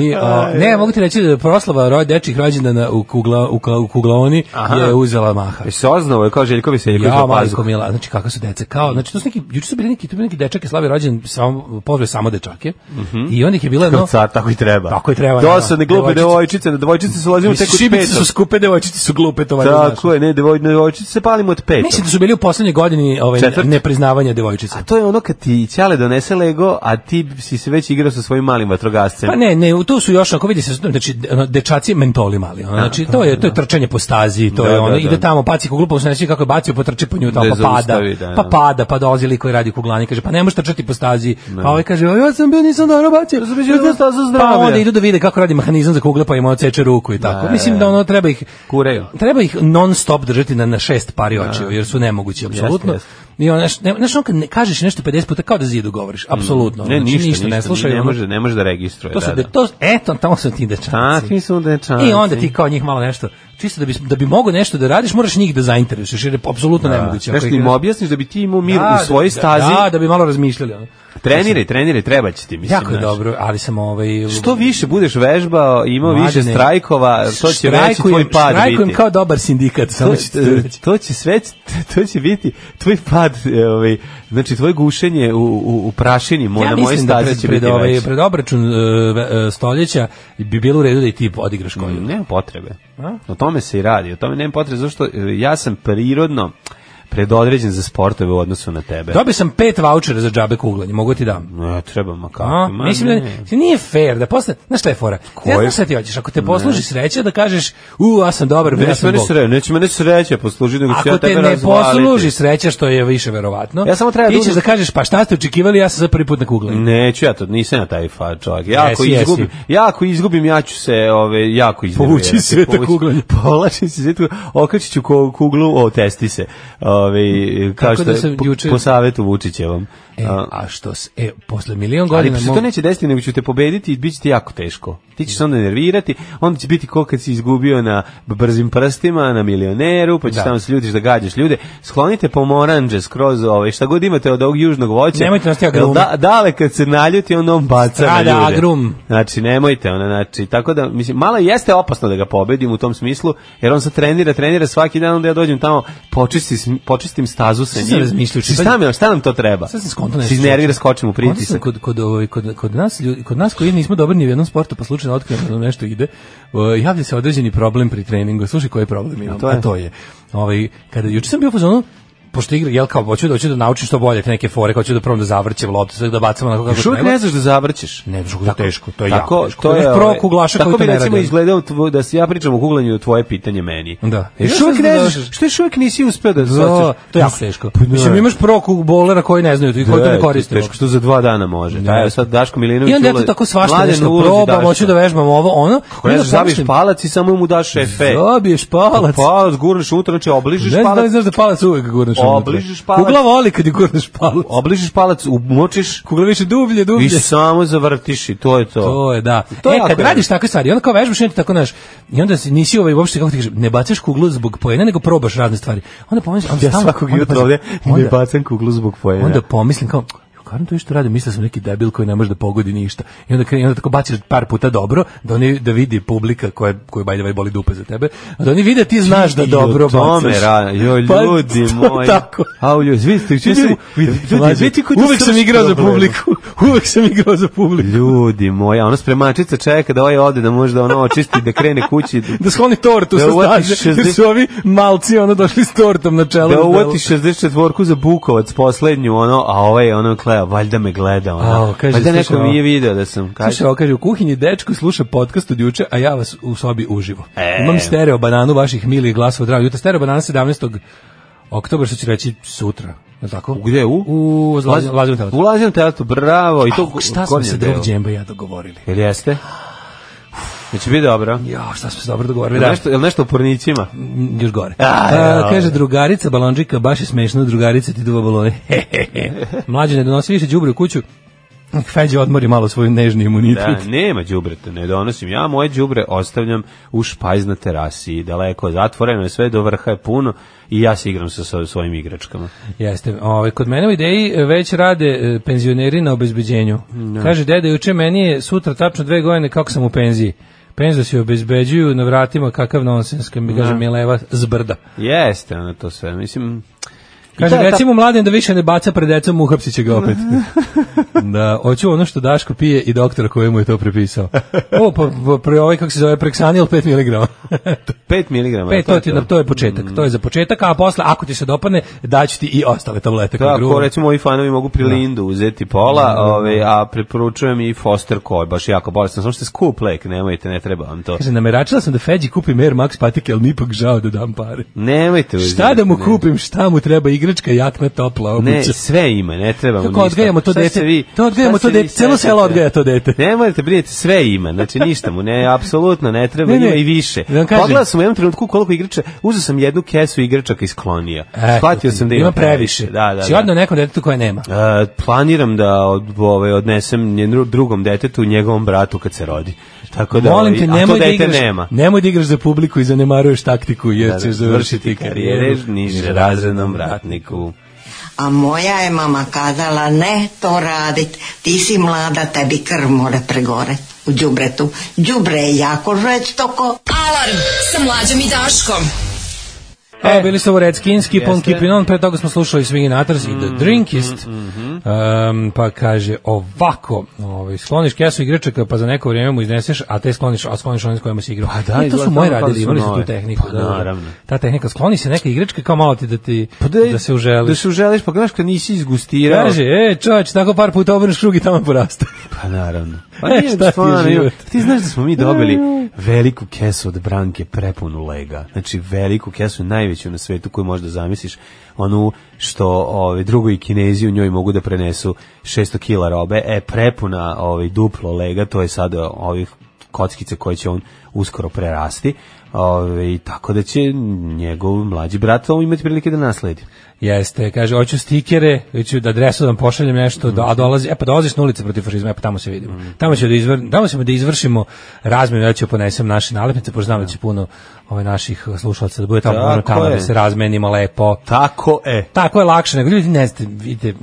S5: I, o, ne, mogu ti reći da je proslava ro, dečih rođendana u, kugla, u, kla- u kuglaoni
S6: Aha.
S5: je uzela maha.
S6: E, Se oznao je kao Željko Veseljeković
S5: Ja,
S6: na pazuhu.
S5: majko mila, znači kako su deca, kao, znači to su neki, juče su bili neki, tu bili neki dečake, slavi rođen, samo, pozve samo dečake,
S6: Mhm.
S5: i onda ih je bilo jedno,
S6: Car, tako i treba.
S5: Tako i treba,
S6: Dosadne
S5: da.
S6: glupe
S5: Devojčice.
S6: devojčice, na devojčice se ulazimo tek
S5: Mislim,
S6: od
S5: šibice su
S6: petom.
S5: skupe, devojčice su glupe, to valjda znaš.
S6: Tako je, ne, devoj, na devojčice se palimo od petom.
S5: Mislim da su bili u poslednjoj godini ovaj,
S6: Četvrt.
S5: nepriznavanja devojčica.
S6: A to je ono kad ti Ćale donese Lego, a ti si se već igrao sa svojim malim vatrogascem.
S5: Pa ne, ne, u- tu su još ako vidi se znači ono, dečaci mentoli mali. Ono, znači to je to je trčanje po stazi, to
S6: Da,
S5: je ono
S6: da, da.
S5: ide tamo paci kuglu pa se ne sjeća kako je bacio pa trči po nju tamo
S6: Da
S5: pa
S6: je
S5: pada.
S6: zaustavi, da, da.
S5: Pa pada, pa dolazi lik koji radi kuglani kaže pa ne možeš trčati po stazi. Pa ovaj kaže ja sam bio nisam dobro bacio.
S6: sam mislio da je staza zdravlja.
S5: Pa onda idu da vide kako radi mehanizam za kugle pa im odseče ruku i tako.
S6: Da,
S5: Mislim
S6: da,
S5: da ono treba ih
S6: Kureju.
S5: Treba ih non stop držati na na šest pari očiju jer su nemogući apsolutno.
S6: jeste.
S5: I ono, znaš, ne, znaš, ono kad ne kažeš nešto 50 puta kao da zidu govoriš, apsolutno.
S6: Mm. ne,
S5: Znači,
S6: ništa, ništa,
S5: ne slušaju.
S6: ne
S5: ono.
S6: može, ne može da registruje.
S5: To su
S6: da,
S5: de,
S6: da.
S5: to, eto, tamo su ti dečaci.
S6: Takvi su dečaci.
S5: I onda ti kao njih malo nešto, čisto da bi, da bi mogo nešto da radiš, moraš njih da zainteresuješ, jer je apsolutno nemoguće.
S6: Nešto
S5: Znači, Ako ih-
S6: Pa, im objasniš da bi ti imao mir
S5: Da,
S6: u svojoj stazi.
S5: Da, da bi malo razmišljali. Ono.
S6: Treniraj, treniraj, treba će ti, mislim.
S5: Jako je
S6: znaš.
S5: dobro, ali sam ovaj...
S6: Što više budeš vežbao, imao više
S5: Mladene,
S6: strajkova, to će veći
S5: štrajkujem-
S6: tvoj pad
S5: štrajkujem
S6: biti.
S5: kao dobar sindikat, samo
S6: To,
S5: ću ti to reći.
S6: to će sve, to će biti tvoj pad, e, ovaj, znači tvoje gušenje u, u, u prašini, mo-
S5: Ja
S6: na mojoj
S5: mislim da
S6: stazi
S5: pred,
S6: će
S5: pred,
S6: biti
S5: ovaj,
S6: veći.
S5: pred obračun e, ve- e, stoljeća bi bilo u redu da i ti odigraš
S6: Mm.
S5: koju.
S6: Nema potrebe. O tome se i radi, o tome nema potrebe, zašto e, ja sam prirodno predodređen za sportove u odnosu na tebe.
S5: Dobio sam pet vouchera za džabe kuglanje, mogu ti dam.
S6: Ne, treba makako.
S5: A,
S6: Pa, ma
S5: mislim da
S6: ne.
S5: mislim, nije fair da posle, znaš šta je fora? Ja
S6: Koje?
S5: znaš šta ti hoćeš, ako te posluži sreća da kažeš, u, ja sam dobar, ja
S6: Neće
S5: sam
S6: mene
S5: bog.
S6: sreće, neće mene sreće poslužiti, nego ću ja
S5: Ako
S6: tebe
S5: te ne
S6: razvaliti.
S5: posluži sreća, što je više verovatno,
S6: Ja samo treba da Mm.
S5: ti ćeš
S6: uzmem-
S5: da kažeš, pa šta ste očekivali, ja sam za prvi put na kuglanju.
S6: Neću ja to, nisam ja taj fa čovjek. Ja ako
S5: Jesi, jesi.
S6: izgubim, ja ako izgubim, ja ću se ove jako iznervirati.
S5: Povući iz sveta
S6: Povući- (laughs)
S5: kuglanja.
S6: Povlačim se iz sveta, okrećit ću ko- kuglu, o testi se. Ove kao
S5: Tako
S6: što
S5: da
S6: je
S5: sam
S6: po,
S5: juče-
S6: po savetu Vučićevom.
S5: E,
S6: A,
S5: a što se, e, posle milion
S6: Ali
S5: godina...
S6: se to
S5: mog-
S6: neće desiti, nego ću te pobediti i bit će ti jako teško. Ti ćeš se onda nervirati, onda će biti ko kad si izgubio na b- brzim prstima, na milioneru, pa ćeš
S5: Da.
S6: tamo se ljutiš da gađaš ljude. Sklonite pomoranđe skroz ovaj, šta god imate od ovog južnog voća.
S5: Nemojte nositi
S6: Jer
S5: agrume.
S6: Da, dale kad se naljuti, onda on baca
S5: Strada
S6: na ljude.
S5: agrum.
S6: Znači, nemojte, ona, znači, tako da, mislim, malo jeste opasno da ga pobedim u tom smislu, jer on se trenira, trenira svaki dan, onda ja dođem tamo, počistim, počistim stazu sa njim.
S5: Šta sam razmišljao, čitaj-
S6: Šta mi- šta nam to treba?
S5: Sad sam skonto nešto.
S6: Se iznervira, skočim u
S5: Skonto sam
S6: pritisak.
S5: Kod, kod, ovaj, kod, kod, nas, ljudi, kod nas koji nismo dobri ni u jednom sportu, pa slučajno otkrijemo da nam nešto ide, o, javlja se određeni problem pri treningu. Slušaj koji problem imam, a
S6: to
S5: to
S6: je?
S5: je. ovaj, kada juče sam bio u fazonu, pošto igra, jel kao, hoću da, hoću da naučim što bolje te neke fore, hoću da probam da zavrćem loptu, sve da bacam onako kako
S6: Još uvijek
S5: treba.
S6: ne znaš da zavrćeš.
S5: Ne, znaš kako je teško, to je
S6: tako,
S5: jako teško.
S6: To je,
S5: Imaš
S6: ovaj,
S5: pro kuglaša
S6: tako
S5: koji to
S6: bi
S5: ne
S6: recimo
S5: radi.
S6: izgledao tvo- da se ja pričam o kuglanju, tvoje pitanje meni.
S5: Da.
S6: E, Još
S5: Još
S6: uvijek
S5: ne
S6: ne
S5: znaš
S6: znaš, što još uvijek nisi uspeo da
S5: Da,
S6: zavrćeš.
S5: to je jako teško.
S6: Pa, da.
S5: Mislim, imaš pro kug- bolera koji ne znaju, to i koji to
S6: Da,
S5: ne koriste.
S6: Teško što za dva dana može. Da, evo sad Daško Milinović
S5: I onda ja to
S6: ulazi-
S5: tako svašta
S6: Mladen
S5: nešto
S6: ulazi
S5: probam,
S6: Daško.
S5: hoću da vežbam ovo, ono.
S6: Ako ne
S5: onda
S6: znaš, zabiš
S5: pomislim,
S6: palac i samo mu daš efe.
S5: Dobiješ palac.
S6: Palac, gurnaš unutra, znači obližiš
S5: Ne znam da li
S6: palac.
S5: znaš da palac uvek gurneš unutra.
S6: Obližiš palac.
S5: Kugla voli kad je gurneš palac.
S6: Obližiš palac, umočiš
S5: Kugla više dublje,
S6: i
S5: dublje.
S6: samo zavrtiš i to je to.
S5: To je, da.
S6: To je
S5: e,
S6: jako
S5: kad radiš takve stvari, onda kao vežbaš, i onda ti tako, znaš, i onda si, nisi ovaj, uopšte, kako ti kažem, ne bacaš kuglu zbog pojena, nego probaš razne stvari. Onda pomislim, onda
S6: Ja
S5: stalno-
S6: svakog
S5: onda
S6: jutra
S5: pazi,
S6: ovde ne
S5: onda-
S6: bacam kuglu zbog pojena.
S5: Onda pomislim kao, "Jo, Karim to što radi, mislio sam neki debil koji ne može da pogodi ništa. I onda, krene- i onda tako baciš par puta dobro, da oni da vidi publika koja koja by the way boli dupe za tebe, a da oni vide da ti znaš da
S6: I
S5: dobro
S6: o tome
S5: bacaš.
S6: ra- joj,
S5: (laughs) Pa,
S6: ljudi
S5: to
S6: moji.
S5: Tako.
S6: A u ljudi, vidite, čuo sam- vidi- vidi-
S5: Mlađe,
S6: vidi koji to
S5: uvek sam
S6: srž
S5: igrao za
S6: problema.
S5: publiku. (laughs) Uvek sam igrao za publiku.
S6: Ljudi moji, a ona spremačica čeka da ovaj ode, da možda ono očisti, da krene
S5: (laughs)
S6: kući,
S5: Da skloni tortu
S6: Da
S5: sa
S6: uhvati
S5: staže, jer
S6: 60
S5: su ovi malci ono došli s tortom na čelu.
S6: da uvati 64-ku za Bukovac poslednju, ono, a ovaj ono gleda, valjda me gleda, ono.
S5: Ao, kaže,
S6: valjda neko
S5: slušaj, ovo.
S6: nije video da sam, kaže,
S5: Slušaj, ovo kaže, u kuhinji dečko sluša podcast od juče, a ja vas u sobi uživo.
S6: E.
S5: Imam stereo bananu vaših milih glasova drago. Jutra stereo banana 17. oktobra, što ću reći sutra. Je li tako?
S6: gde u?
S5: ono- U Lazim, Lazim Teletopu.
S6: U Lazim Teletopu, bravo. I to
S5: Au, Šta smo
S6: gornjem
S5: se
S6: delu.
S5: drug džemba i ja dogovorili?
S6: Jel
S5: (sighs)
S6: jeste? Znači, biti dobro.
S5: Ja, šta smo se dobro dogovorili?
S6: Jel
S5: Da,
S6: nešto, jel nešto u pornicima?
S5: m, Mm, još gore.
S6: A,
S5: A,
S6: ja.
S5: kaže, drugarica balonđika, baš je smešno, drugarica ti duva balone. (laughs) Mlađe, ne donosi više đubre u kuću. Feđe odmori malo svoju nežni imunitet. (laughs)
S6: Da, nema đubreta, ne donosim. Ja moje đubre ostavljam u špajz na terasi, daleko, zatvoreno je sve, do vrha je puno i ja se igram sa so- svojim igračkama.
S5: Jeste. Ovaj kod mene u ideji e, već rade e, penzioneri na obezbeđenju. Kaže deda juče meni je sutra tačno dve godine kako sam u penziji. Penziju se obezbeđuju na vratima kakav nonsens, kad mi kaže Mileva zbrda.
S6: Jeste, ono to sve, mislim... i
S5: Kaže,
S6: ta- ta-
S5: recimo mladen da više ne baca pred decom, uhapsit će ga
S6: (laughs)
S5: opet. da, hoću ono što Daško pije i doktor koji mu je to prepisao. O, pa, pa pre ovaj, kako se zove, preksanil
S6: (laughs)
S5: 5 mg.
S6: 5 mg.
S5: Pet, to, ti, to je početak, to
S6: Mm.
S5: je za početak, a posle, ako ti se dopadne, daću ti i ostale tablete. koje
S6: Tako,
S5: gruva.
S6: recimo, ovi fanovi mogu prilindu uzeti pola, ove, a preporučujem i Foster Koj, baš jako bolestan, samo što je skup lek, nemojte, ne treba vam to.
S5: Kaže, nameračila sam da Feđi kupim Air Max patike, ali mi ipak žao da dam pare.
S6: Nemojte uzeti.
S5: Šta da mu
S6: ne.
S5: kupim, šta mu treba, igračka, jakna, topla obuća.
S6: Ne, sve ima, ne treba mu ništa.
S5: Kako odgajamo to
S6: Šta se
S5: dete?
S6: vi-
S5: to odgajamo
S6: šta
S5: to
S6: se vi
S5: dete, celo selo
S6: sećate?
S5: odgaja to dete.
S6: Ne morate brinete, sve ima, znači ništa mu ne, apsolutno ne treba,
S5: Ne, ne,
S6: ima i više.
S5: da vam kažem.
S6: Pogledao sam u jednom trenutku koliko igrača, uzeo sam jednu kesu igračaka i sklonio.
S5: Eto
S6: Shvatio
S5: ti,
S6: sam da ima,
S5: ima previše.
S6: Da, da,
S5: Si
S6: da.
S5: odno nekom detetu koje nema.
S6: E, planiram da od, ove, odnesem njenu drugom detetu, njegovom bratu kad se rodi. Tako da,
S5: Molim
S6: ovaj,
S5: te,
S6: a to
S5: nemoj da,
S6: dete
S5: igraš,
S6: nema.
S5: nemoj da igraš za publiku i zanemaruješ taktiku, jer ćeš završiti
S6: karijere
S5: karijeru
S6: niže razrednom ratniku.
S2: A moja je mama kazala ne to radit, ti si mlada, tebi krv more pregore u đubretu. Đubre je jako žestoko.
S4: Alarm sa mlađom i Daškom.
S5: E, bili su ovo Redskinski,
S6: Jeste. Mm,
S5: Pon Kipinon, pre toga smo slušali Swingin' Atters i The Drinkist. Em, pa kaže ovako, ovaj, skloniš kesu igračaka pa za neko vrijeme mu izneseš, a te skloniš, a skloniš one s kojima si igrao.
S6: Pa da,
S5: e, to
S6: izgleda
S5: su moji
S6: ono kao da
S5: radili,
S6: su
S5: imali su
S6: nove.
S5: tu tehniku.
S6: Pa naravno.
S5: Ta tehnika, skloni se neka igračka kao malo ti da ti da, se uželi.
S6: Pa Da se uželiš, pa gledaš kad nisi izgustirao.
S5: Kaže, e, čovječ, tako par puta obrneš krug i tamo poraste. (laughs)
S6: Pa naravno. Pa
S5: E,
S6: nije
S5: šta ti je
S6: stvarno,
S5: život?
S6: ima- Ti znaš da smo mi dobili veliku kesu od Branke prepunu lega. Znači veliku kesu, najveću na svetu koju možda zamisliš. Onu što ovaj, drugo i kinezi u njoj mogu da prenesu 600 kila robe. E, prepuna ovaj, duplo lega, to je sad ovih kockice koje će on uskoro prerasti. Ove, tako da će njegov mlađi brat ovo imati prilike da nasledi.
S5: Jeste, kaže, hoću stikere, hoću da adresu da vam pošaljem nešto, da, a
S6: Mhm.
S5: dolazi, e pa dolaziš na ulice protiv fašizma, e pa tamo se vidimo. Tamo, ćemo da izvr, tamo ćemo da izvršimo razmjenu, ja ću ponesem naše nalepnice, pošto znam da će puno ovaj, naših slušalaca da bude tamo,
S6: Tako
S5: moramo tamo
S6: je.
S5: da se razmenimo lepo.
S6: Tako, e.
S5: Tako je lakše, nego ljudi ne znate, vidite,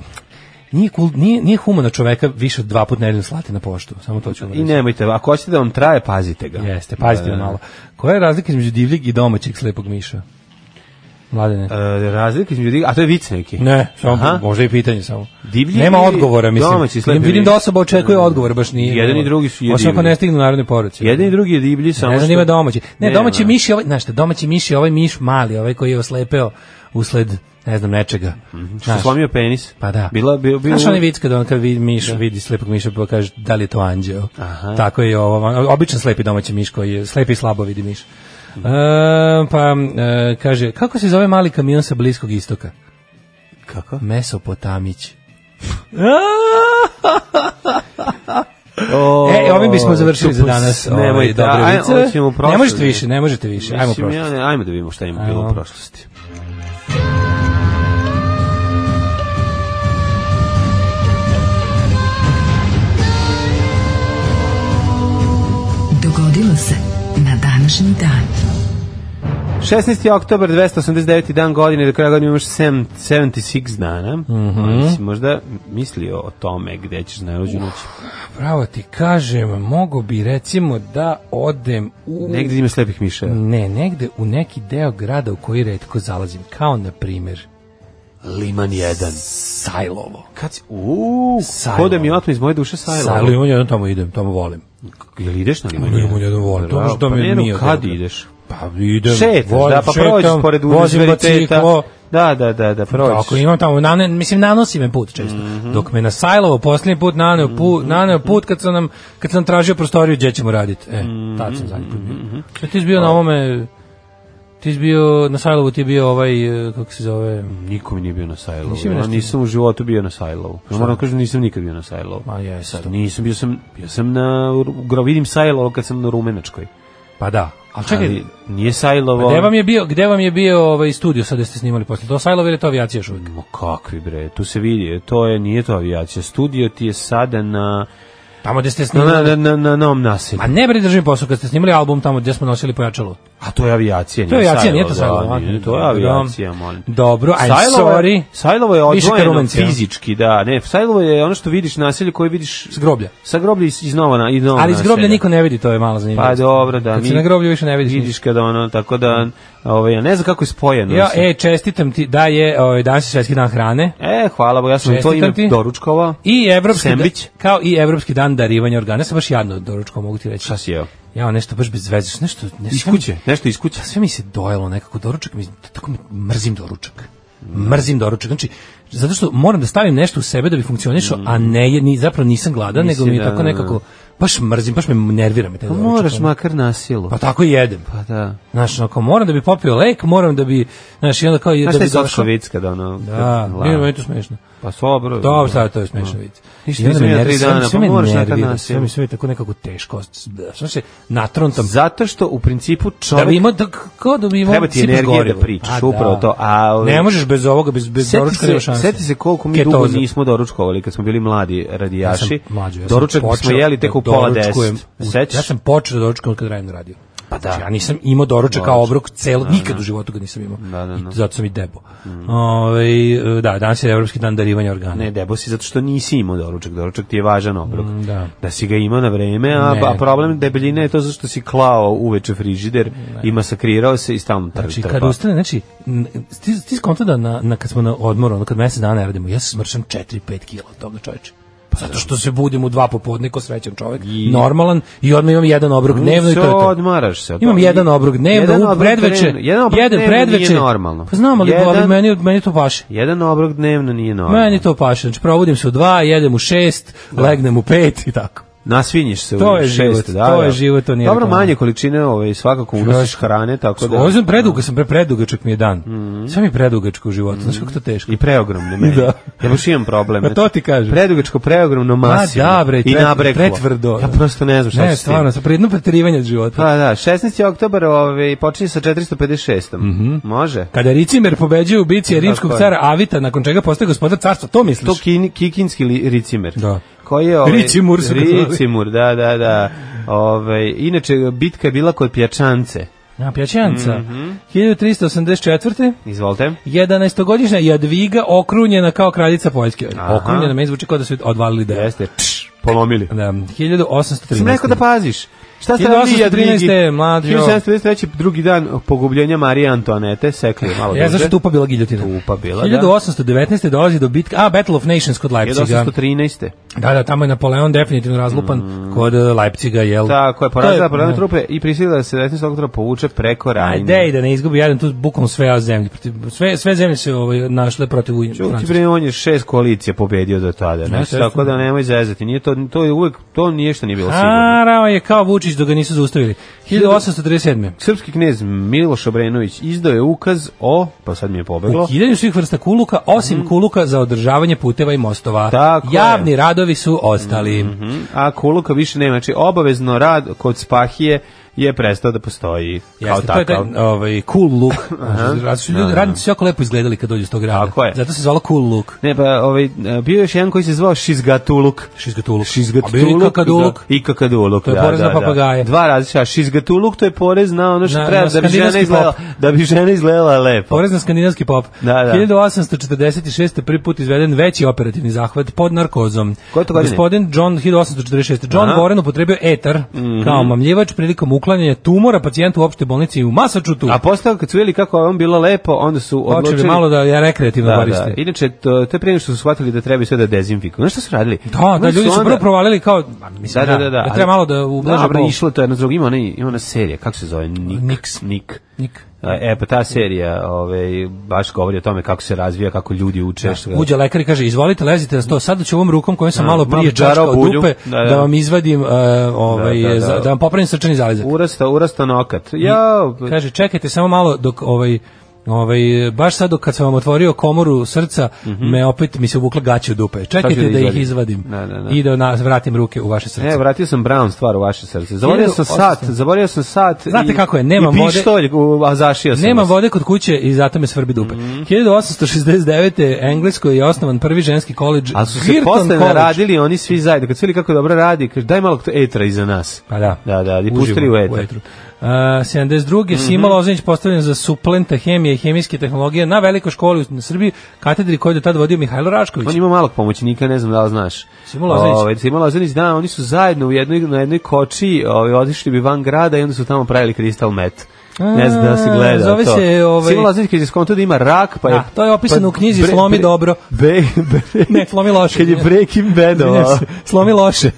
S5: nije, kul, nije, nije humano čoveka više od dva puta nedeljno slati na poštu, samo to ću vam
S6: I
S5: reći.
S6: nemojte, ako hoćete da vam traje, pazite ga.
S5: Jeste, pazite
S6: Da, da.
S5: malo. Koja je razlika između divljeg i domaćeg slepog miša? Mladene.
S6: E, razlika između divljeg, a to je vic neki.
S5: Ne, samo
S6: Aha.
S5: možda i pitanje samo.
S6: Divlji
S5: Nema
S6: ili
S5: odgovora, mislim.
S6: domaći slepi
S5: Vidim
S6: miš?
S5: da osoba očekuje odgovor, baš nije.
S6: Jedan i drugi su je
S5: Osim ako
S6: divlji.
S5: ne stignu narodne poruci.
S6: Jedan i drugi je divlji, samo
S5: ne
S6: što...
S5: zanima domaći. Ne,
S6: Nema.
S5: domaći miš je ovaj, znaš šta, domaći miš je ovaj miš mali, ovaj koji je oslepeo usled, ne znam, nečega.
S6: Mhm. Što
S5: Znaš,
S6: slomio penis.
S5: Pa da.
S6: Bila, bio, bio,
S5: Znaš onaj vic kada on kad vidi miš, vidi slepog miša pa kaže da li je to anđeo.
S6: Aha.
S5: Tako je i ovo. on- Običan slepi domaći miš koji je slepi i slabo vidi miš. E,
S6: Mhm.
S5: pa e, kaže, kako se zove mali kamion sa Bliskog istoka?
S6: Kako?
S5: Mesopotamić.
S6: O,
S5: (laughs) E, ovim bismo završili za
S6: tupus,
S5: danas. Ovaj,
S6: Nemoj, da,
S5: dobre
S6: ajmo,
S5: viceve.
S6: hoćemo u
S5: Ne možete
S6: prošlost.
S5: više, ne možete više. Ajmo
S6: Mislim,
S5: prošlost.
S6: ja ne- Ajmo da vidimo šta ima bilo
S5: Ajmo.
S6: u prošlosti.
S4: Dogodilo se na današnji dan.
S6: 16. oktober, 289. dan godine, do kraja godine imaš 7, 76 dana. Mm
S5: Mhm.
S6: -hmm. možda mislio o tome gde ćeš na rođu noć.
S5: Pravo ti kažem, mogu bi recimo da odem u...
S6: Negde ima slepih miša.
S5: Ne, negde u neki deo grada u koji redko zalazim. Kao, na primjer,
S6: Liman 1.
S5: Sajlovo.
S6: Kad si, uuu,
S5: Sajlo.
S6: ko da mi otme iz moje duše sajlo.
S5: Sajlovo, imam jedan tamo idem, tamo volim.
S6: Jel ideš na liman
S5: Idem u jedan volim. To baš
S6: pa
S5: da mi
S6: ne,
S5: je
S6: no,
S5: mio.
S6: kad
S5: dobro.
S6: ideš?
S5: Pa idem,
S6: Šetaš,
S5: volim,
S6: da, pa
S5: šetam,
S6: prođeš pored
S5: vozim
S6: univerziteta.
S5: biciklo.
S6: Da, da, da, da, prođeš.
S5: Tako, imam tamo, nane, mislim, nanosi me put često.
S6: Mhm.
S5: Dok me na Sajlovo posljednji put naneo put, naneo put kad sam, nam, kad sam tražio prostoriju gdje ćemo raditi. E,
S6: Mhm.
S5: tad sam zadnji put bio. Što ti si bio na ovome, ti si bio, na Sajlovu ti je bio ovaj, e, kako se zove,
S6: Nikom nije bio na Sajlovu.
S5: Nisi bio na
S6: Ja
S5: Sajlovu?
S6: nisam u životu bio na Sajlovu. Ja moram da kažem nisam nikad bio na Sajlovu.
S5: Ma, jesam.
S6: Nisam, bio sam, bio sam na, u Ru- vidim Sajlovo kad sam na Rumenačkoj.
S5: pa da. Ali čekaj,
S6: Ali nije Sajlovo.
S5: gde vam je bio, gde vam je bio ovaj studio sad gde ste snimali posle? To Sajlovo ili to avijacija još uvijek?
S6: Ma kakvi bre, tu se vidi, e, to je, nije to avijacija. Studio ti je sada na,
S5: Tamo gde ste
S6: na,
S5: snimali...
S6: na, na, na, na novom naselju.
S5: Ma ne bre držim posao kad ste snimali album tamo gdje smo nosili pojačalo.
S6: A to je avijacija,
S5: To je avijacija, nije to
S6: Sajlovo,
S5: Sajlovo,
S6: da,
S5: a,
S6: nije, To je
S5: dobro.
S6: avijacija, molim. te.
S5: Dobro, I'm
S6: Sajlovo je-
S5: sorry.
S6: Sajlovo je
S5: Više ka
S6: odvojeno
S5: Rumenci, a?
S6: fizički, da. Ne, Sajlovo je ono što vidiš naselje koje vidiš
S5: S groblja.
S6: sa groblja iz, iz nova, Ono na, iz nova
S5: Ali iz groblja
S6: naselja.
S5: niko ne vidi, to je malo zanimljivo.
S6: Pa dobro, da.
S5: Kad
S6: mi-
S5: si na groblju više ne vidiš
S6: Vidiš
S5: ništa.
S6: kada ono, tako da, ovaj, ja ne znam kako je spojeno.
S5: Ja,
S6: Mislim.
S5: e, čestitam ti da je ovaj, danas je svetski dan hrane
S6: E, hvala, bo ja sam to
S5: Čestitam
S6: ime
S5: ti.
S6: doručkovao.
S5: i evropski dan,
S6: Sendvič.
S5: kao i evropski dan darivanja organa. Ja sam baš jadno doručko mogu ti reći.
S6: Šta si jeo?
S5: Ja, ono nešto baš bez veze, nešto ne
S6: Iz
S5: sve mi-
S6: kuće, nešto iz kuće.
S5: Sve mi se dojelo nekako doručak, mi, tako mi mrzim doručak. Mrzim doručak. Znači, zato što moram da stavim nešto u sebe da bi funkcionišao, a ne je, ni, zapravo nisam gladan,
S6: Nisi,
S5: nego mi je
S6: Mm. da,
S5: tako
S6: da, da.
S5: nekako baš mrzim, baš me nervira me taj
S6: Pa
S5: doručak.
S6: moraš
S5: ono.
S6: makar na silu.
S5: Pa tako i jedem.
S6: Pa da.
S5: Znaš, onako, moram da bi popio lek, moram da bi, znaš, i onda kao...
S6: Znaš
S5: da
S6: šta je
S5: bi došao-
S6: Sotkovic kada ono...
S5: Da,
S6: kad-
S5: nije meni to smešno.
S6: Pa sobro.
S5: Dobro, sad to je smešno vidjeti.
S6: Ništa
S5: I onda
S6: nisam
S5: me
S6: ja
S5: nervira,
S6: tri
S5: sve mi-
S6: dana,
S5: sve
S6: pa
S5: me
S6: moraš nekad
S5: nervira,
S6: nasilno.
S5: sve mi sve mi tako nekako teško. Znaš se, natrontam.
S6: Zato što u principu
S5: Da
S6: čovjek...
S5: bi imao, da, kao da bi imao
S6: Treba ti
S5: cipac
S6: energije
S5: gorivo.
S6: da pričaš,
S5: A, da.
S6: upravo to, a, ovaj-
S5: ne možeš bez ovoga, bez, bez
S6: Sjeti
S5: doručka nema
S6: se,
S5: šanse.
S6: sjeti se koliko mi
S5: Ketoza.
S6: dugo nismo doručkovali kad smo bili mladi
S5: Ja sam
S6: radijaši.
S5: mlađo, ja sam
S6: Doručak smo
S5: počeo
S6: jeli tek
S5: da
S6: u pola
S5: doručkujem
S6: deset.
S5: u-
S6: Sećaš?
S5: Ja sam počeo da doručkujem kad radim na radiju.
S6: Pa da.
S5: Znači, Ja nisam imao doručak kao
S6: Doručak.
S5: obrok celo, nikad u životu ga nisam imao.
S6: Da, da, da.
S5: I zato sam i debo. Ovaj, e, da, danas je Evropski dan darivanja organa.
S6: Ne, debo si zato što nisi imao doručak. Doručak ti je važan obrok.
S5: Mm, da.
S6: da si ga imao na vreme, a,
S5: Ne.
S6: a problem debeljine je to zato što si klao uveče frižider i masakrirao se i stalno tr,
S5: Znači,
S6: trpa.
S5: kad ustane, znači, n- ti, ti skonta da na, na, kad smo na odmoru, ono kad mesec dana ne radimo, ja se smršam 4-5 kila od toga čoveče. Zato što se budim u dva popodne ko srećan čovek,
S6: Pa I-
S5: normalan, i odmah imam jedan obrok dnevno i to je
S6: Sve
S5: to.
S6: odmaraš se. od
S5: Imam
S6: toga.
S5: jedan obrok
S6: Jedan
S5: dnevno, u
S6: obrok
S5: predveče,
S6: dnevno- jedan obrok
S5: jedan
S6: dnevno
S5: predveče.
S6: nije normalno.
S5: Pa znam, ali,
S6: Jedan-
S5: ali meni, meni to paše.
S6: Jedan obrok dnevno nije normalno.
S5: Meni to paše, znači probudim se u dva, jedem u šest, legnem u pet i tako.
S6: Nasvinjiš se
S5: To
S6: u
S5: je
S6: šest,
S5: život,
S6: da,
S5: to je
S6: da.
S5: život, to nije
S6: Dobro,
S5: reklama.
S6: manje količine ovaj, svakako unosiš hrane, tako Pa da... Mhm.
S5: Ovo sam preduga, sam pre predugačak mi je dan. Sve mi je predugačak u životu, znaš kako to teško.
S6: I preogromne meni.
S5: Da.
S6: Ja baš imam problem.
S5: Pa to ti kažem.
S6: Predugačko, preogromno, masivno.
S5: da, bre, i
S6: I
S5: pre-
S6: nabreklo.
S5: pretvrdo.
S6: Ja prosto ne znam šta
S5: Ne,
S6: ću s tim.
S5: stvarno, sa predno preterivanje od života.
S6: Pa da, 16. oktobar ovaj, počinje sa 456.
S5: Mhm.
S6: Može?
S5: Kada Ricimer pobeđuje u bici rimskog
S6: Tako pa je.
S5: cara Avita, nakon čega postaje gospodar carstva, to misliš?
S6: To kini, kikinski li, ricimer.
S5: Da.
S6: Koji je ovaj,
S5: Ricimur su ga zvali.
S6: Ricimur, da, da, da. Ovaj, inače, bitka je bila kod Pjačance.
S5: Ja, Pjaćanca.
S6: Mhm.
S5: 1384.
S6: Izvolite.
S5: 11-godišnja Jadviga okrunjena kao kraljica Poljske.
S6: Aha.
S5: Okrunjena, meni zvuči kao da su odvalili da.
S6: Jeste, pš, polomili.
S5: Da, 1813.
S6: Sam rekao da pa- paziš. Šta ste radili
S5: 1813
S6: Jadvigi?
S5: mlađo.
S6: 1753. drugi dan pogubljenja Marije Antoanete, sekli je malo
S5: Ja, zašto tupa bila giljotina?
S6: Tupa bila, da.
S5: 1819. dolazi do bitke, a, Battle of Nations kod Leipziga.
S6: 1813.
S5: Da, da, tamo je Napoleon definitivno razlupan kod eh, Leipziga, jel?
S6: Mm. Tako je,
S5: To
S6: porazila
S5: je-
S6: probleme trupe i prisilila da se 19. oktobra povuče preko Rajne.
S5: Ajde i da ne izgubi jedan tu bukvalno sve a zemlje protiv sve sve zemlje se ovaj našle protiv Ujedinjenih
S6: Čuti
S5: Francuske.
S6: bre, on je šest koalicija pobedio do tada, znači,
S5: sredstvo.
S6: tako da nemoj zezati. Nije to, to je uvek, to nije što nije bilo sigurno.
S5: Harao je kao Vučić dok ga nisu zaustavili. 1837.
S6: Srpski knez Miloš Obrenović izdao je ukaz o, pa sad mi je pobeglo,
S5: Ukidanje svih vrsta kuluka, osim kuluka za održavanje puteva i mostova.
S6: Mm. Tako je.
S5: Javni radovi su ostali.
S6: Mhm, a kuluka više nema, znači obavezno rad kod Spahije je prestao da postoji kao
S5: Jeste, to je taj
S6: takav.
S5: ovaj, cool look.
S6: (laughs)
S5: Zato su
S6: Da,
S5: ljudi,
S6: da.
S5: radnici su jako lepo izgledali kad dođu iz tog grada.
S6: Tako je.
S5: Zato se zvalo cool look.
S6: Ne, pa ovaj, bio je još jedan koji se zvao Šizgatuluk.
S5: Šizgatuluk. A bio je i
S6: Šizgatuluk.
S5: kakaduluk.
S6: Da, I kakaduluk,
S5: To je
S6: da,
S5: porez
S6: da,
S5: na papagaje.
S6: Da. Dva različita. Šizgatuluk to je porez na ono što
S5: Na-
S6: treba
S5: na
S6: da bi žena
S5: skandinavski
S6: izgledala,
S5: pop.
S6: da bi žena izgledala lepo.
S5: Porez na skandinavski pop.
S6: Da, da.
S5: 1846. prvi put izveden veći operativni zahvat pod narkozom.
S6: Koje to godine?
S5: Gospodin John 1846. John
S6: Aha. Mhm.
S5: Warren upotrebio etar kao mamljivač prilikom uklanjanja tumora pacijentu u opštoj bolnici u Masačutu.
S6: A posle kad su vidjeli kako je on bilo lepo, onda su
S5: Počeli
S6: odlučili
S5: malo da ja rekreativno
S6: Da, da.
S5: koriste.
S6: Inače, to, to je prije nego što su shvatili da treba sve da dezinfikuju. Znaš šta su radili?
S5: Da, da,
S6: Oni
S5: ljudi su
S6: onda-
S5: prvo provalili kao, ma, mislim,
S6: Da, da, da, da.
S5: treba malo da ublaže
S6: Dobro,
S5: bol.
S6: išlo to jedno s drugim, ima ona, ima ona serija, kako se zove? Nik.
S5: Nix.
S6: Nik.
S5: Nik.
S6: E, pa ta serija ovaj, baš govori o tome kako se razvija, kako ljudi uče. što ga-
S5: Uđe lekar i kaže, izvolite, lezite na sto, sada ću ovom rukom kojom sam
S6: Da,
S5: malo
S6: malo
S5: prije
S6: džarao
S5: čačkao
S6: bulju.
S5: dupe,
S6: Da, da.
S5: da vam izvadim, e, ovaj,
S6: Da, da, da.
S5: za- da vam popravim srčani zalizak.
S6: Urasta, urasta nokat. Ja,
S5: Kaže, čekajte samo malo dok ovaj Ovaj baš sad dok kad sam vam otvorio komoru srca, me opet mi se uvukla gaća u dupe.
S6: Mhm. Sad ću
S5: Čekajte da
S6: da
S5: ih
S6: izvadim.
S5: izvadim
S6: Da, da, da.
S5: i da na, vratim ruke u vaše srce.
S6: E, vratio sam Brown stvar u vaše srce. Zaboravio sam
S5: 1800.
S6: sat, zaboravio sam sat.
S5: Znate
S6: i-
S5: kako je, nema
S6: i
S5: vode.
S6: pištolj, u- a zašio sam.
S5: Nema
S6: vas.
S5: vode kod kuće i zato me svrbi dupe.
S6: Mhm.
S5: 1869. Engleskoj je osnovan prvi ženski koleđ
S6: Ali su se
S5: Girton
S6: posle
S5: College.
S6: naradili oni svi zajedno. Kad su vidjeli kako dobro radi, kaže daj malo etra iza nas.
S5: Pa da.
S6: Da, da, i
S5: Uživo,
S6: pustili u Mhm. etar.
S5: Uh, 72. Sima Lozanić postavljen za suplenta hemije i hemijske tehnologije na velikoj školi u Srbiji, katedri koju je do tada vodio Mihajlo Rašković.
S6: On ima malog pomoćnika, ne znam da li znaš.
S5: Simo Lozanić.
S6: Ovaj, Simo Lozanić, da, oni su zajedno u jednoj, na jednoj koči ovaj, otišli bi van grada i onda su tamo pravili kristal met. Ne znam da li si gledao
S5: Zove
S6: to.
S5: se, ovaj-
S6: Simo Lozanić kad je skonto da ima rak, pa je...
S5: Da, to je opisano u knjizi Slomi dobro.
S6: Be, be,
S5: Ne, slomi loše.
S6: Kad je Breaking Badova.
S5: Izvinjavam se, Slomi loše.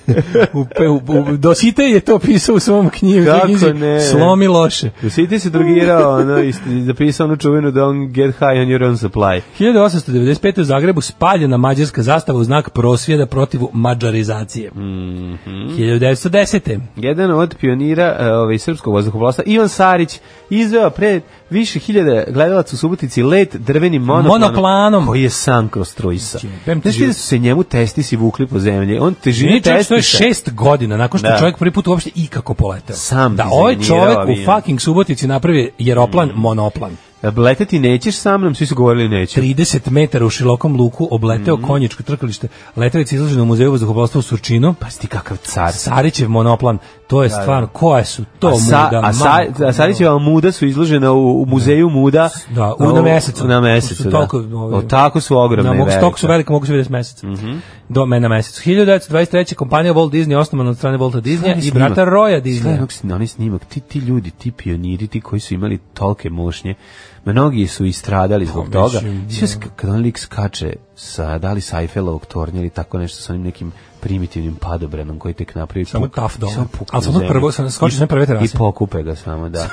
S5: U, pe- u, u, Dosite je to pisao u svom knjigu.
S6: Kako
S5: knjizi,
S6: ne?
S5: Slomi loše.
S6: Svi ti se drogirao, ono, i zapisao onu čuvenu Don't get high on your own supply.
S5: 1895. u Zagrebu spaljena mađarska zastava u znak prosvjeda protiv mađarizacije.
S6: Mhm.
S5: 1910.
S6: Jedan od pionira e, ovaj, srpskog vazduhoplovstva, Ivan Sarić, izveo pred više hiljada gledalaca u Subotici let drvenim monoplanom,
S5: Monoplanom.
S6: koji je sam kroz trojsa.
S5: Jebem ti
S6: Znaš ti da
S5: život.
S6: su se njemu testisi vukli po zemlji? On težine
S5: Nije čovjek što je
S6: testisa.
S5: šest godina nakon što je
S6: Da.
S5: čovjek prvi put uopšte ikako poletao.
S6: Sam
S5: da ovaj
S6: dizajnirao
S5: čovjek u
S6: avion.
S5: fucking Subotici napravi jeroplan
S6: Mm.
S5: monoplan.
S6: Leteti E, nećeš sa mnom, svi su govorili neću.
S5: 30 metara u širokom luku obleteo
S6: Mm.
S5: konjičko trkalište. Letelica izložena u muzeju vazduhoplovstva u Surčinu. Pa,
S6: Pa si ti kakav car.
S5: Sarićev monoplan To je stvarno, koje su to
S6: a, sa,
S5: muda?
S6: a, sa,
S5: majko
S6: a Sadićeva muda su izložena u, u muzeju muda
S5: Da, u, na mesecu.
S6: Na mesecu,
S5: su
S6: da.
S5: toliko, ovaj,
S6: o, tako su ogromne.
S5: Na
S6: i
S5: mogu,
S6: velike.
S5: toliko su velike, mogu se vidjeti s meseca.
S6: Mhm.
S5: Do me na mesecu. 1923. kompanija Walt Disney osnovana od strane Walta
S6: Gledaj
S5: Disneya i
S6: snimak.
S5: brata Roya
S6: Gledaj
S5: Disneya.
S6: onog sn- onaj snimak, ti, ti ljudi, ti pioniri, ti koji su imali tolke mošnje, mnogi su istradali zbog
S5: Pa,
S6: toga.
S5: mislim,
S6: Svi sk- kad on lik skače sa, da li sa Eiffelovog tornja ili tako nešto sa onim nekim primitivnim padobrenom koji tek napravi
S5: Samo
S6: puk.
S5: tough
S6: i
S5: dole.
S6: samo pukne
S5: Ali
S6: na
S5: samo
S6: zemlju.
S5: prvo- sam- skoči
S6: I-
S5: sa prve terase.
S6: I pokupe ga
S5: (laughs)
S6: samo, da.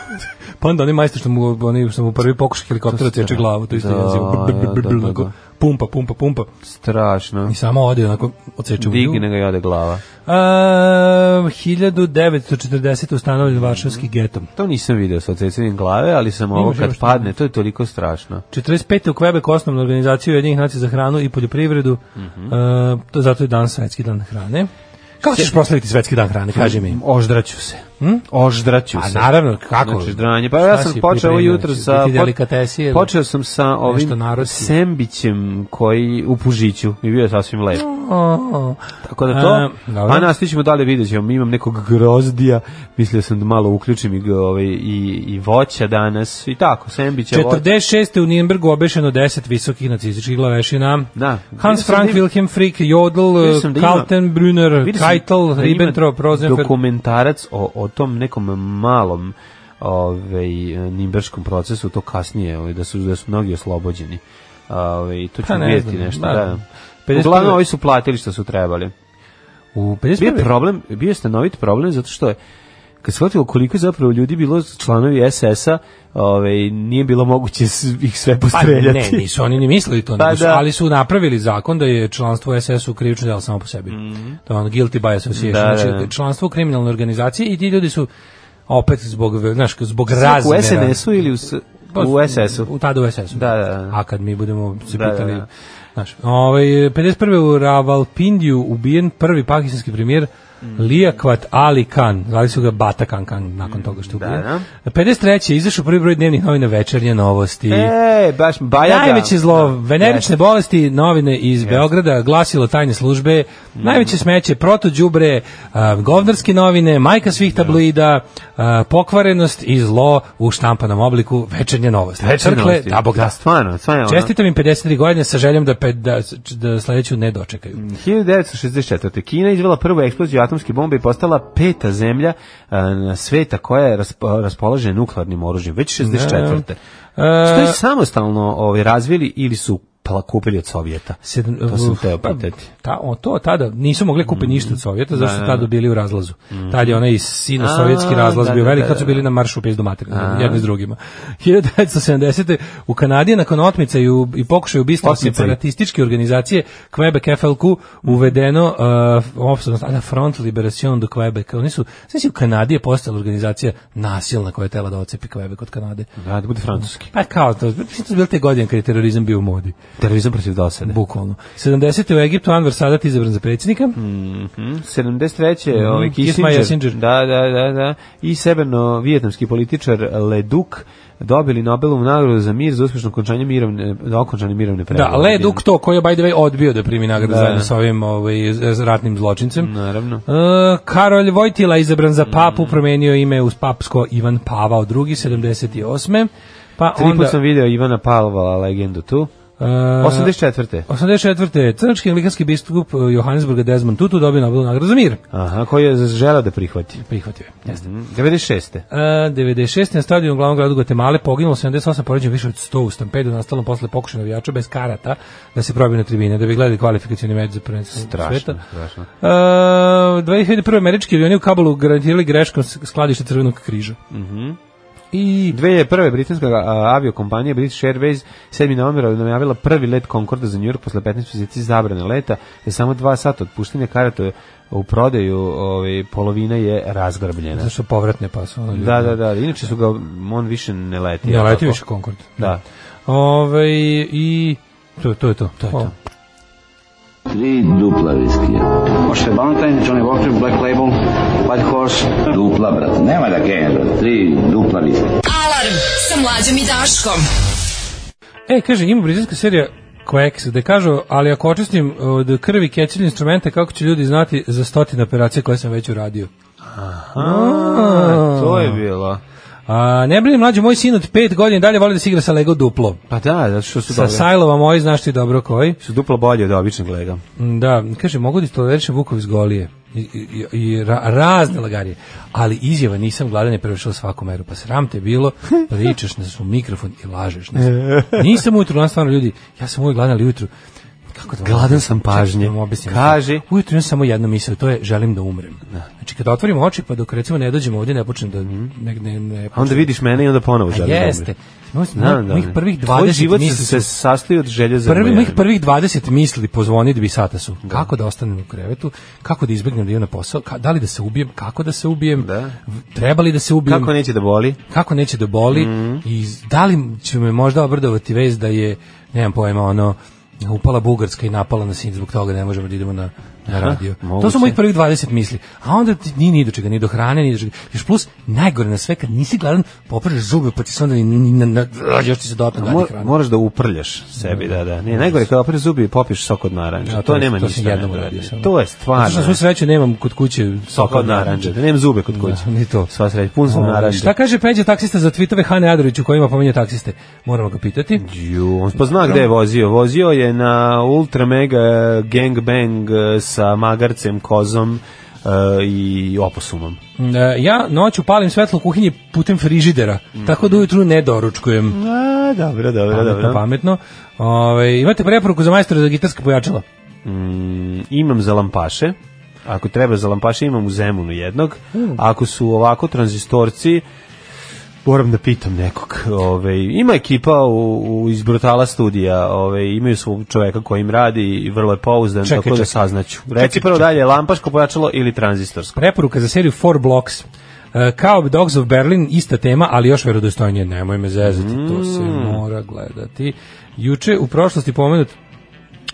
S5: Pa onda oni majstor što mu, oni što mu prvi pokušaj helikoptera
S6: To
S5: ceče
S6: strašno.
S5: glavu, to isto je
S6: Da,
S5: naziv. Br- br- br-
S6: da,
S5: br-
S6: da,
S5: onako,
S6: da.
S5: Pumpa, pumpa, pumpa.
S6: Strašno.
S5: I samo ode, onako, odseče u nju.
S6: Digne ga i ode glava.
S5: A, 1940.
S6: Mhm.
S5: ustanovljen Varšavski geto.
S6: To nisam video sa odsjecanjem glave, ali sam ovo
S5: Imaš,
S6: kad
S5: imaš.
S6: padne, to je toliko strašno.
S5: 45. u Quebec osnovnu organizaciju Ujedinjenih nacija za hranu i poljoprivredu.
S6: Mhm.
S5: E, to zato je danas svetski dan hrane. Kako ćeš proslaviti svetski dan hrane, kaži mi?
S6: Oždraću se. Hm? Oždraću
S5: A
S6: se.
S5: naravno, kako?
S6: Znači, dranje. Pa ja
S5: Šta
S6: sam
S5: si
S6: počeo ovo
S5: pripremio?
S6: jutro
S5: Će
S6: sa...
S5: biti
S6: po-
S5: delikatesije ili
S6: Počeo sam sa ovim
S5: narodski?
S6: sembićem koji u Pužiću i bio je sasvim lep.
S5: O,
S6: Tako da to,
S5: E, dobro.
S6: a nastavit ćemo dalje, vidjet ćemo, imam nekog grozdija, mislio sam da malo uključim i, ga, ovaj, i, i voća danas, i tako, sembića, voća.
S5: 46. u Nijembergu obešeno 10 visokih nacističkih glavešina.
S6: Da. Vidio
S5: Hans
S6: sam
S5: Frank
S6: da ima-
S5: Wilhelm Frick, Jodl,
S6: Vidio sam da ima-
S5: Kaltenbrunner,
S6: Vidio sam
S5: Keitel,
S6: da ima
S5: Ribbentrop, Rosenfeld.
S6: Dokumentarac o, o tom nekom malom ovaj nimberškom procesu to kasnije ovaj, da su da su mnogi oslobođeni. Ovaj to
S5: Pa
S6: ću
S5: ne
S6: vidjeti
S5: znam,
S6: nešto,
S5: da.
S6: da.
S5: 51.
S6: Uglavnom ovi su platili što su trebali.
S5: U
S6: Bio je
S5: 51.
S6: problem, bio je stanovit problem zato što je kad se shvatilo koliko je zapravo ljudi bilo članovi SS-a, ovaj, nije bilo moguće s- ih sve
S5: Pa
S6: postreljati.
S5: ne, nisu oni ni mislili to,
S6: Pa
S5: nego su-
S6: da.
S5: ali su napravili zakon da je članstvo u SS-u krivično delo samo po sebi. To je ono guilty by association,
S6: Mhm. Da,
S5: znači
S6: da, da.
S5: članstvo u kriminalnoj organizaciji i ti ljudi su opet zbog, znaš, zbog
S6: Sad
S5: razmera.
S6: u SNS-u ili u, s-
S5: Pa,
S6: u SS-u?
S5: U tada u SS-u.
S6: Da, da, da.
S5: A kad mi budemo se
S6: Da, da,
S5: pitali...
S6: da.
S5: Znaš, ovaj, 51. u Ravalpindiju ubijen prvi pakistanski premijer
S6: Mm.
S5: Lijakvat Ali Khan. Zvali su ga Bata Khan Khan nakon toga što je ubijen.
S6: Mm, da.
S5: 53. izašao prvi broj dnevnih novina večernje novosti.
S6: E, baš bajaga.
S5: Najveće zlo, venerične bolesti, novine iz Beograda, glasilo tajne službe,
S6: Mhm.
S5: najveće smeće, protođubre, a, govnarske novine, majka svih tabloida, a, pokvarenost i zlo u štampanom obliku, večernje novosti.
S6: Večernje
S5: Crkle,
S6: novosti.
S5: da, Bog da.
S6: Da, stvarno, stvarno, ono.
S5: Čestitam im 53 godine sa željom da, pe- da, da sledeću ne
S6: Mhm.
S5: dočekaju.
S6: 1964. Kina izvela prvu eksploziju atomske bombe i postala peta zemlja e, na sveta koja je rasp- raspolaže nuklearnim oružjem. Već 64. Što je samostalno ovaj, razvili ili su pla- kupili od Sovjeta?
S5: Sedam-
S6: to sam
S5: uf,
S6: teo
S5: pa,
S6: pitati.
S5: Ta, o, to tada nisu mogli kupiti
S6: Mm.
S5: ništa od Sovjeta, zašto su tada bili u razlazu. Tad je onaj sino-sovjetski
S6: A,
S5: razlaz
S6: da,
S5: bio
S6: da,
S5: velik,
S6: da,
S5: tad su
S6: da.
S5: bili na maršu u pizdu materinu, jedni s drugima. (laughs) 1970. u Kanadi nakon otmica i, u, i pokušaju ubistva
S6: Otmica i- Mm.
S5: separatističke organizacije Quebec FLQ uvedeno uh, opsadno tada Front Liberation do Quebec. Oni su, sve si u Kanadi je postala organizacija nasilna koja je tela da ocepi Quebec od Kanade.
S6: Da, da bude francuski.
S5: Pa kao to, mislim to su bile te godine kad je terorizam bio u modi.
S6: Terorizam protiv dosade.
S5: Bukvalno. 70. u Egiptu Anwar Sadat izabran za predsjednika.
S6: Mhm, 73. Mm, ovaj
S5: Mhm. Kiss
S6: Kissinger,
S5: my Kissinger.
S6: Da, da, da, da. I severno-vijetnamski političar Le Duc dobili Nobelovu nagradu za mir za uspješno okončanje mirovne, okončanje mirovne pregovore.
S5: Da, Led Duk to koji je by the way odbio da primi nagradu
S6: Da.
S5: zajedno sa ovim ovaj, z- ratnim zločincem.
S6: Naravno.
S5: E, Karolj Vojtila izabran za
S6: Mm.
S5: papu, promenio ime uz papsko Ivan Pavao II, 78. Pa
S6: Tri
S5: onda...
S6: put sam video Ivana Palvala legendu tu.
S5: e,
S6: 84.
S5: 84. Crnački anglikanski biskup e, Johannesburga Desmond Tutu dobio Nobelovu nagradu za mir.
S6: Aha, koji je želeo da prihvati.
S5: Prihvatio je.
S6: Jeste. 96.
S5: E, 96. na stadionu u glavnom gradu Guatemala poginulo 78 poređenja više od 100 u stampedu nastalom posle pokušaja navijača bez karata da se probiju na tribine, da bi gledali kvalifikacijni meč za prvenstvo
S6: Strašno,
S5: sveta.
S6: strašno.
S5: E, 2001. američki avioni u Kabulu garantirali greškom s- skladište Crvenog križa.
S6: Mhm.
S5: I
S6: 2001. britanska a, aviokompanija British Airways 7. novembra najavila prvi let Concorda za New York posle 15 mjeseci zabrane leta, je samo 2 sata otpuštenja karata u prodaju, ovaj polovina je razgrabljena.
S5: zašto povratne pa su ono ljudi.
S6: Da, da, da. Inače su ga on više ne leti.
S5: Ne
S6: jel
S5: leti
S6: tako?
S5: više Concorde.
S6: Da.
S5: Ove, i to, to je to. to, je to.
S7: Tri dupla viskija. Možete Valentine, Ono Johnny Walker, Black Label, White Horse. Dupla, brate, nema da kenja, brate. Tri dupla viskija.
S4: Alarm sa mlađom i Daškom.
S5: E, kaže, ima britanska serija Quacks, da kažu, ali ako e, očistim od krvi kecilj instrumente, kako će ljudi znati za stotine operacija koje sam već uradio? A,
S6: to je bilo.
S5: A, ne brini mlađe, moj sin od pet godina dalje voli da se igra sa Lego duplo.
S6: Pa da, zato što su
S5: Sa
S6: dobre.
S5: sajlova moji, znaš ti dobro koji.
S6: Su duplo bolje od običnog lega.
S5: Mm, Da, kaže, mogu da istoleriše Vukov iz Golije. I, i, i ra, razne lagarije. Ali izjava nisam gladan je prevršila svaku meru. Pa sram te
S6: (laughs)
S5: bilo, pričaš nas u mikrofon i lažeš nas. Nisam ujutru, nas stvarno ljudi, ja sam uvijek gladan, ali ujutru Kako da vam
S6: Gladan sam
S5: objasnim?
S6: pažnje.
S5: Čekaj, da vam objasnim. Znači,
S6: Kaži.
S5: Ujutru imam samo jednu misao, to je želim da umrem. Znači, kada otvorim oči, pa dok recimo ne dođemo ovdje, ne počnem da... Ne, ne, ne
S6: A onda vidiš mene i onda ponovo
S5: A
S6: želiš da
S5: jeste.
S6: umreš.
S5: Moj,
S6: Znam, da.
S5: mojih prvih
S6: Tvoj
S5: 20
S6: život
S5: misli
S6: se
S5: su
S6: sastoji od želje za
S5: Prvi,
S6: moje.
S5: mojih prvih 20 misli pozvoni da bi sata su. Kako da ostanem u krevetu, kako da izbegnem da idem na posao, ka, da li da se ubijem, kako da se ubijem,
S6: Da.
S5: v- treba li da se ubijem,
S6: Kako neće Mhm. da boli?
S5: kako neće da boli i da li će me možda obradovati vez da je, nemam pojma, ono, upala Bugarska i napala nas i zbog toga ne možemo da idemo na, na radio. to
S6: moguće.
S5: su mojih prvih 20 misli. A onda ti ni, ni do čega, ni do hrane, ni do čega. Još plus, najgore na sve, kad nisi gladan, popražeš zube, pa ti se onda ni, ni, na- na- još ti se dodatno
S6: A
S5: gadi
S6: Mor,
S5: hrana.
S6: moraš da uprljaš sebi, da, da. Ne, najgore je kada opriš zubi i popiš sok od naranđa.
S5: Ja,
S6: to,
S5: to- to
S6: nema
S5: sam
S6: ništa.
S5: jednom
S6: ne,
S5: uradio samo.
S6: To je
S5: Zato što na
S6: stvarno.
S5: svu sreću nemam kod kuće
S6: Sok od naranđa. Da nemam zube kod kuće.
S5: Da, ni to.
S6: Sva sreć, pun sam naranđa.
S5: Šta kaže Peđa taksista za tweetove Hane Adrović u kojima pominje taksiste? Moramo ga pitati.
S6: Ju, on pa zna gde je vozio. Vozio je na ultra mega gangbang eh, sa magarcem, kozom eh, i opusumom.
S5: E, Ja noću palim svetlo u kuhinji putem frižidera, tako da ujutru ne doručkujem.
S6: A, dobro, dobro,
S5: Pametno, pametno. Ove, imate preporuku za majstora za gitarska pojačala?
S6: Mm, imam za lampaše. Ako treba za lampaše, imam u Zemunu jednog.
S5: Hmm.
S6: Ako su ovako tranzistorci, moram da pitam nekog. Ove, ima ekipa u, u, iz Brutala studija, ove, imaju svog čoveka koji im radi i vrlo je pouzdan,
S5: Čekaj,
S6: tako da
S5: čekaj.
S6: saznaću. Reci prvo dalje, lampaško pojačalo ili tranzistorsko?
S5: Preporuka za seriju Four Blocks. E, Kao Dogs of Berlin, ista tema, ali još verodostojnije, nemoj me zezati, to se mora gledati. Juče u prošlosti pomenut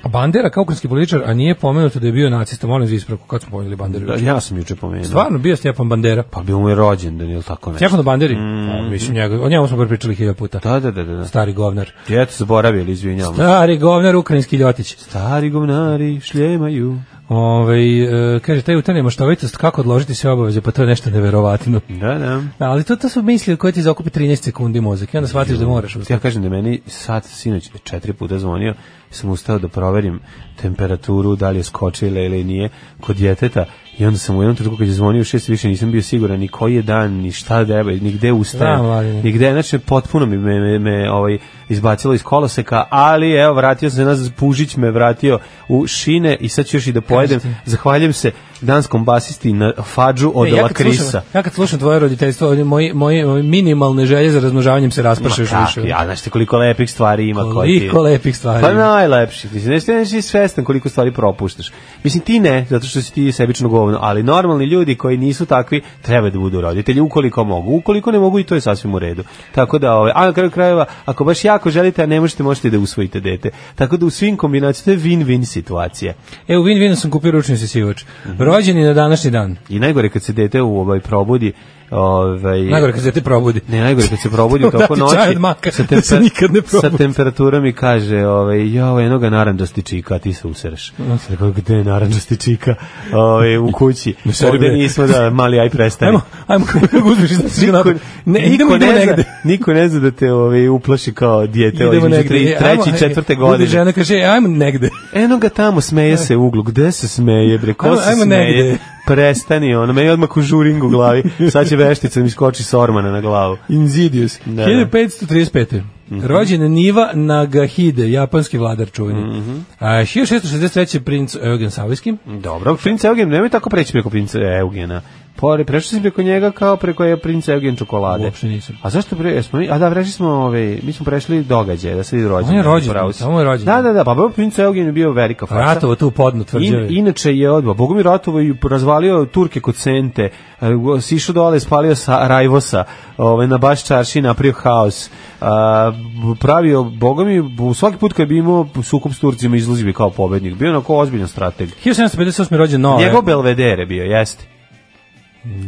S5: Bandera kao ukrajinski političar, a nije pomenuto da je bio nacista, molim za ispravku, kad smo pomenuli Bandera
S6: Da,
S5: juče?
S6: ja sam juče pomenuo.
S5: Stvarno bio Stjepan Bandera.
S6: Pa bio mu je rođendan ili tako nešto.
S5: Stjepan Banderi? Pa, mislim, njega, o njemu smo prepričali hiljada puta.
S6: Da, da, da, da. da.
S5: Stari govnar.
S6: Djeto zaboravili, izvinjavam. se.
S5: Stari govnar, ukrajinski ljotić.
S6: Stari govnari šljemaju.
S5: Ove, e, kaže, taj utarnja maštovitost, kako odložiti sve obaveze, pa to je nešto neverovatno.
S6: Da, da.
S5: Da, ali to, to su misli koje ti zakupi 13 sekundi mozak i onda shvatiš da moraš
S6: Ja
S5: ustati.
S6: kažem da je meni sat sinoć četiri puta zvonio, sam ustao da proverim temperaturu, da li je skočila ili nije, kod djeteta. I onda sam u jednom trenutku kad je zvonio u šest više nisam bio siguran ni koji je dan, ni šta treba, ni gde ustajem,
S5: Znam, ali-
S6: ni gde. Znači, potpuno mi me, me, me, ovaj, izbacilo iz koloseka, ali evo, vratio sam se nas, Pužić me vratio u šine i sad ću još i da pojedem. Zahvaljujem se danskom basisti na fađu od
S5: Ne, E, ja, kad
S6: Lakrisa.
S5: slušam, ja kad slušam tvoje roditeljstvo, ovdje moji, moji, moji minimalne želje za razmnožavanjem se
S6: Ma
S5: raspršaju još
S6: kak,
S5: više.
S6: Ja, znaš ti koliko lepih stvari ima koji ti...
S5: Koliko lepih stvari.
S6: Pa najlepši, ti si znaš, ti nisi svestan koliko stvari propuštaš. Mislim, ti ne, zato što si ti sebično govno, ali normalni ljudi koji nisu takvi treba da budu roditelji, ukoliko mogu. Ukoliko ne mogu i to je sasvim u redu. Tako da, ovaj, a na kraju krajeva, ako baš jako želite, a ne možete, možete da usvojite dete. Tako da u svim kombinacijama to je win-win situacija.
S5: E, u Win-Winu sam kupio ručni sisivač. Rođeni na današnji dan.
S6: I najgore kad se dete u ovaj probudi, ovaj,
S5: Najgore kad se te probudi.
S6: Ne, najgore kad se probudi
S5: (laughs)
S6: u
S5: Dati
S6: toku noći.
S5: čaj od maka, (laughs) da se nikad ne
S6: sa
S5: probudi.
S6: temperaturom i kaže, ovaj, ja, ovaj, enoga naranđasti čika, a ti se usereš. Sad rekao, gde je naranđasti čika? Ovaj,
S5: (laughs)
S6: u kući.
S5: seri
S6: Ovde
S5: me.
S6: nismo da, mali, aj prestani.
S5: Ajmo,
S6: (laughs)
S5: ajmo, uzmiš iz nas napad. Ne, idemo, idemo
S6: ne
S5: negde.
S6: Zna, (laughs) niko ne zna da te ovaj, uplaši kao dijete
S5: Idemo
S6: između
S5: negde. E,
S6: tri,
S5: Ajmo,
S6: treći,
S5: ajde.
S6: četvrte
S5: Bude
S6: godine.
S5: žena kaže, "E, ajmo negde.
S6: Eno ga tamo, smeje se u uglu. Gde se smeje, bre? Ko
S5: Ajmo-
S6: se
S5: ajmo
S6: smeje?
S5: negde.
S6: Prestani, ono, meni odmah u žuring u glavi. Sad će veštica da mi skoči s ormana na
S5: (laughs)
S6: glavu.
S5: Insidious.
S6: Da. Mhm.
S5: 1535. Rođen je Niva Nagahide, japanski vladar čuveni.
S6: Mhm.
S5: A, 1663. princ Eugen Savojski.
S6: Dobro, princ Eugen, nemoj tako preći preko princa Eugena. Pore, prešao si preko njega kao preko je princ Eugen čokolade.
S5: Uopšte nisam.
S6: A zašto pre, jesmo mi, a da, prešli smo, ovaj, mi smo prešli događaje, da se vidi rođendan.
S5: On je rođendan,
S6: upravo si.
S5: samo je rođendan.
S6: Da, da, da, pa bio princ Eugen je bio velika faca.
S5: Ratovo tu podno tvrđave.
S6: In, inače je odba. Bogomir Ratovo je razvalio Turke kod Sente, e, go- sišao dole, spalio sa Rajvosa, ovaj, na baš čarši napravio haos. A, b- pravio, Bogomir, bu- svaki put kad bi imao sukob s Turcima, izlazi bi kao pobednik. Bio je onako ozbiljan strateg.
S5: Ovaj. 1758. rođen Noa.
S6: Njegov Belvedere bio, jeste.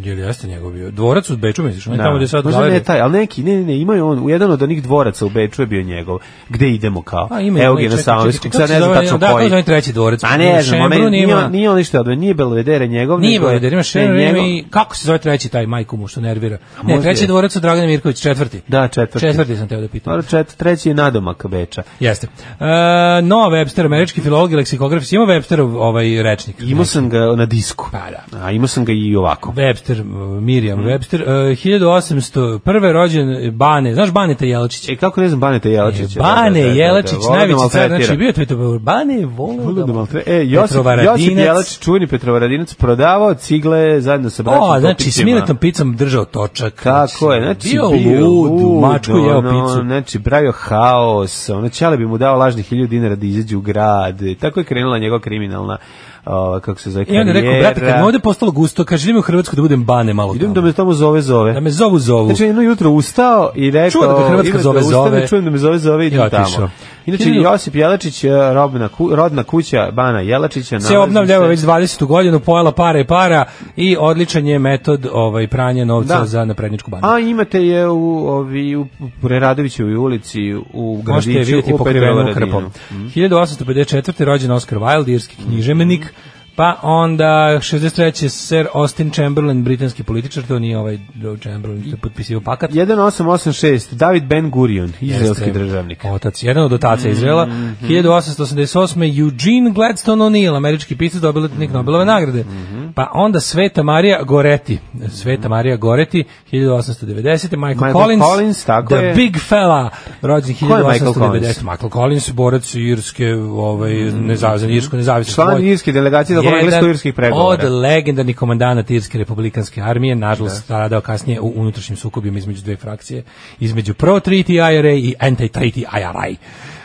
S5: Jer jeste njegov bio. Dvorac u Beču, misliš? Ne,
S6: Da.
S5: E, tamo gde je sad
S6: Možda ne
S5: galerija.
S6: taj, ali neki, ne, ne, ne, imaju on, u jedan od onih dvoraca u Beču je bio njegov. Gde idemo kao?
S5: A, ima,
S6: Evo
S5: ima,
S6: ga na
S5: čekaj,
S6: Samoviskog,
S5: čekaj,
S6: sad
S5: kako se
S6: ne znam
S5: zove,
S6: tačno
S5: da, kako
S6: koji.
S5: se zove treći dvorac?
S6: A ne znam, onaj,
S5: Šembrun
S6: nije,
S5: ima-
S6: nije on ništa odve, nije Belvedere njegov.
S5: Nije
S6: nego je-
S5: Belvedere, ima Šener,
S6: ne,
S5: ima
S6: njegov-
S5: i kako se zove treći taj majku mu što nervira? Ne,
S6: možda
S5: treći
S6: je.
S5: dvorac u Dragana Mirković, četvrti.
S6: Da, četvrti.
S5: Četvrti sam teo da pitam.
S6: Dobro, čet, treći je nadomak Beča.
S5: Jeste. E, no, Webster, američki filolog i leksikograf, ima Websterov ovaj rečnik.
S6: Imao sam ga na disku.
S5: Pa da.
S6: A imao sam ga i ovako.
S5: Webster, e, Miriam
S6: Mhm.
S5: Webster, e, 1801. rođen Bane, znaš Bane ta Jelčić?
S6: E, kako ne znam Baneta Jelačića?
S5: Bane
S6: Da, da, da, da,
S5: Jelačić,
S6: voleo da
S5: najveći car,
S6: maltretira.
S5: znači bio je Twitter, Bane volio
S6: Voleo
S5: da
S6: da
S5: maltretira.
S6: maltre- E, Josip, Josip
S5: Petrovaradinac.
S6: Jelačić, čuveni Petrovaradinac, prodavao cigle zajedno sa braćom
S5: O, znači, s
S6: Popićima.
S5: Miletom picom držao točak.
S6: Tako je, znači
S5: bio, lud, mačku jeo
S6: ono,
S5: picu.
S6: Znači, pravio haos, ono, Ćale bi mu dao lažnih hiljadu dinara da izađe u grad, i tako je krenula njegova kriminalna, ova, kako se zove,
S5: I onda je rekao, brate, kad mi
S6: karijera.
S5: ovde postalo gusto, kaže, idem u Hrvatsku da budem Bane malo tamo.
S6: Idem da me tamo zove, zove.
S5: Da me zovu, zovu.
S6: Znači, jedno jutro ustao i rekao...
S5: Čuo da ga Hrvatska
S6: idem
S5: zove,
S6: ustanem,
S5: zove.
S6: Čujem da me zove, zove, idem
S5: I otišao.
S6: tamo. Inače,
S5: Hiljadu-
S6: Josip Jelačić, eh, robna, ku- rodna kuća Bana Jelačića.
S5: se obnavljava već 20. godinu, pojela pare i para i odličan je metod ovaj, pranja novca
S6: Da.
S5: za napredničku banku.
S6: A imate je u, ovi, u Preradovićevoj ulici, u
S5: Možete je
S6: Gradiću,
S5: vidjeti
S6: u
S5: pokrivenu krpom.
S6: Petrovaradinu.
S5: 1854. rođen Oscar Wilde, irski književnik. Pa onda 63. Sir Austin Chamberlain, britanski političar, to nije ovaj Joe Chamberlain što je potpisio pakat.
S6: 1886, David Ben Gurion, izraelski
S5: Jeste
S6: državnik.
S5: Otac, jedan od otaca Izraela.
S6: Mhm.
S5: 1888. Eugene Gladstone O'Neill, američki pisac, dobitnik Nobelove nagrade.
S6: Mhm.
S5: Pa onda Sveta Marija Goreti. Sveta Marija Goreti, 1890. Michael,
S6: Michael
S5: Collins,
S6: Collins, tako
S5: The
S6: je.
S5: Big Fella, rođen
S6: Ko je Michael
S5: 1890. Michael Collins, borac irske, ovaj, nezavisno, irsko nezavisno.
S6: Mhm. Član irske delegacije tokom englesko-irskih pregovora.
S5: Od legendarnih komandanata irske republikanske armije, nažalost stradao kasnije u unutrašnjim sukobima između dve frakcije, između pro-treaty IRA i anti-treaty IRA.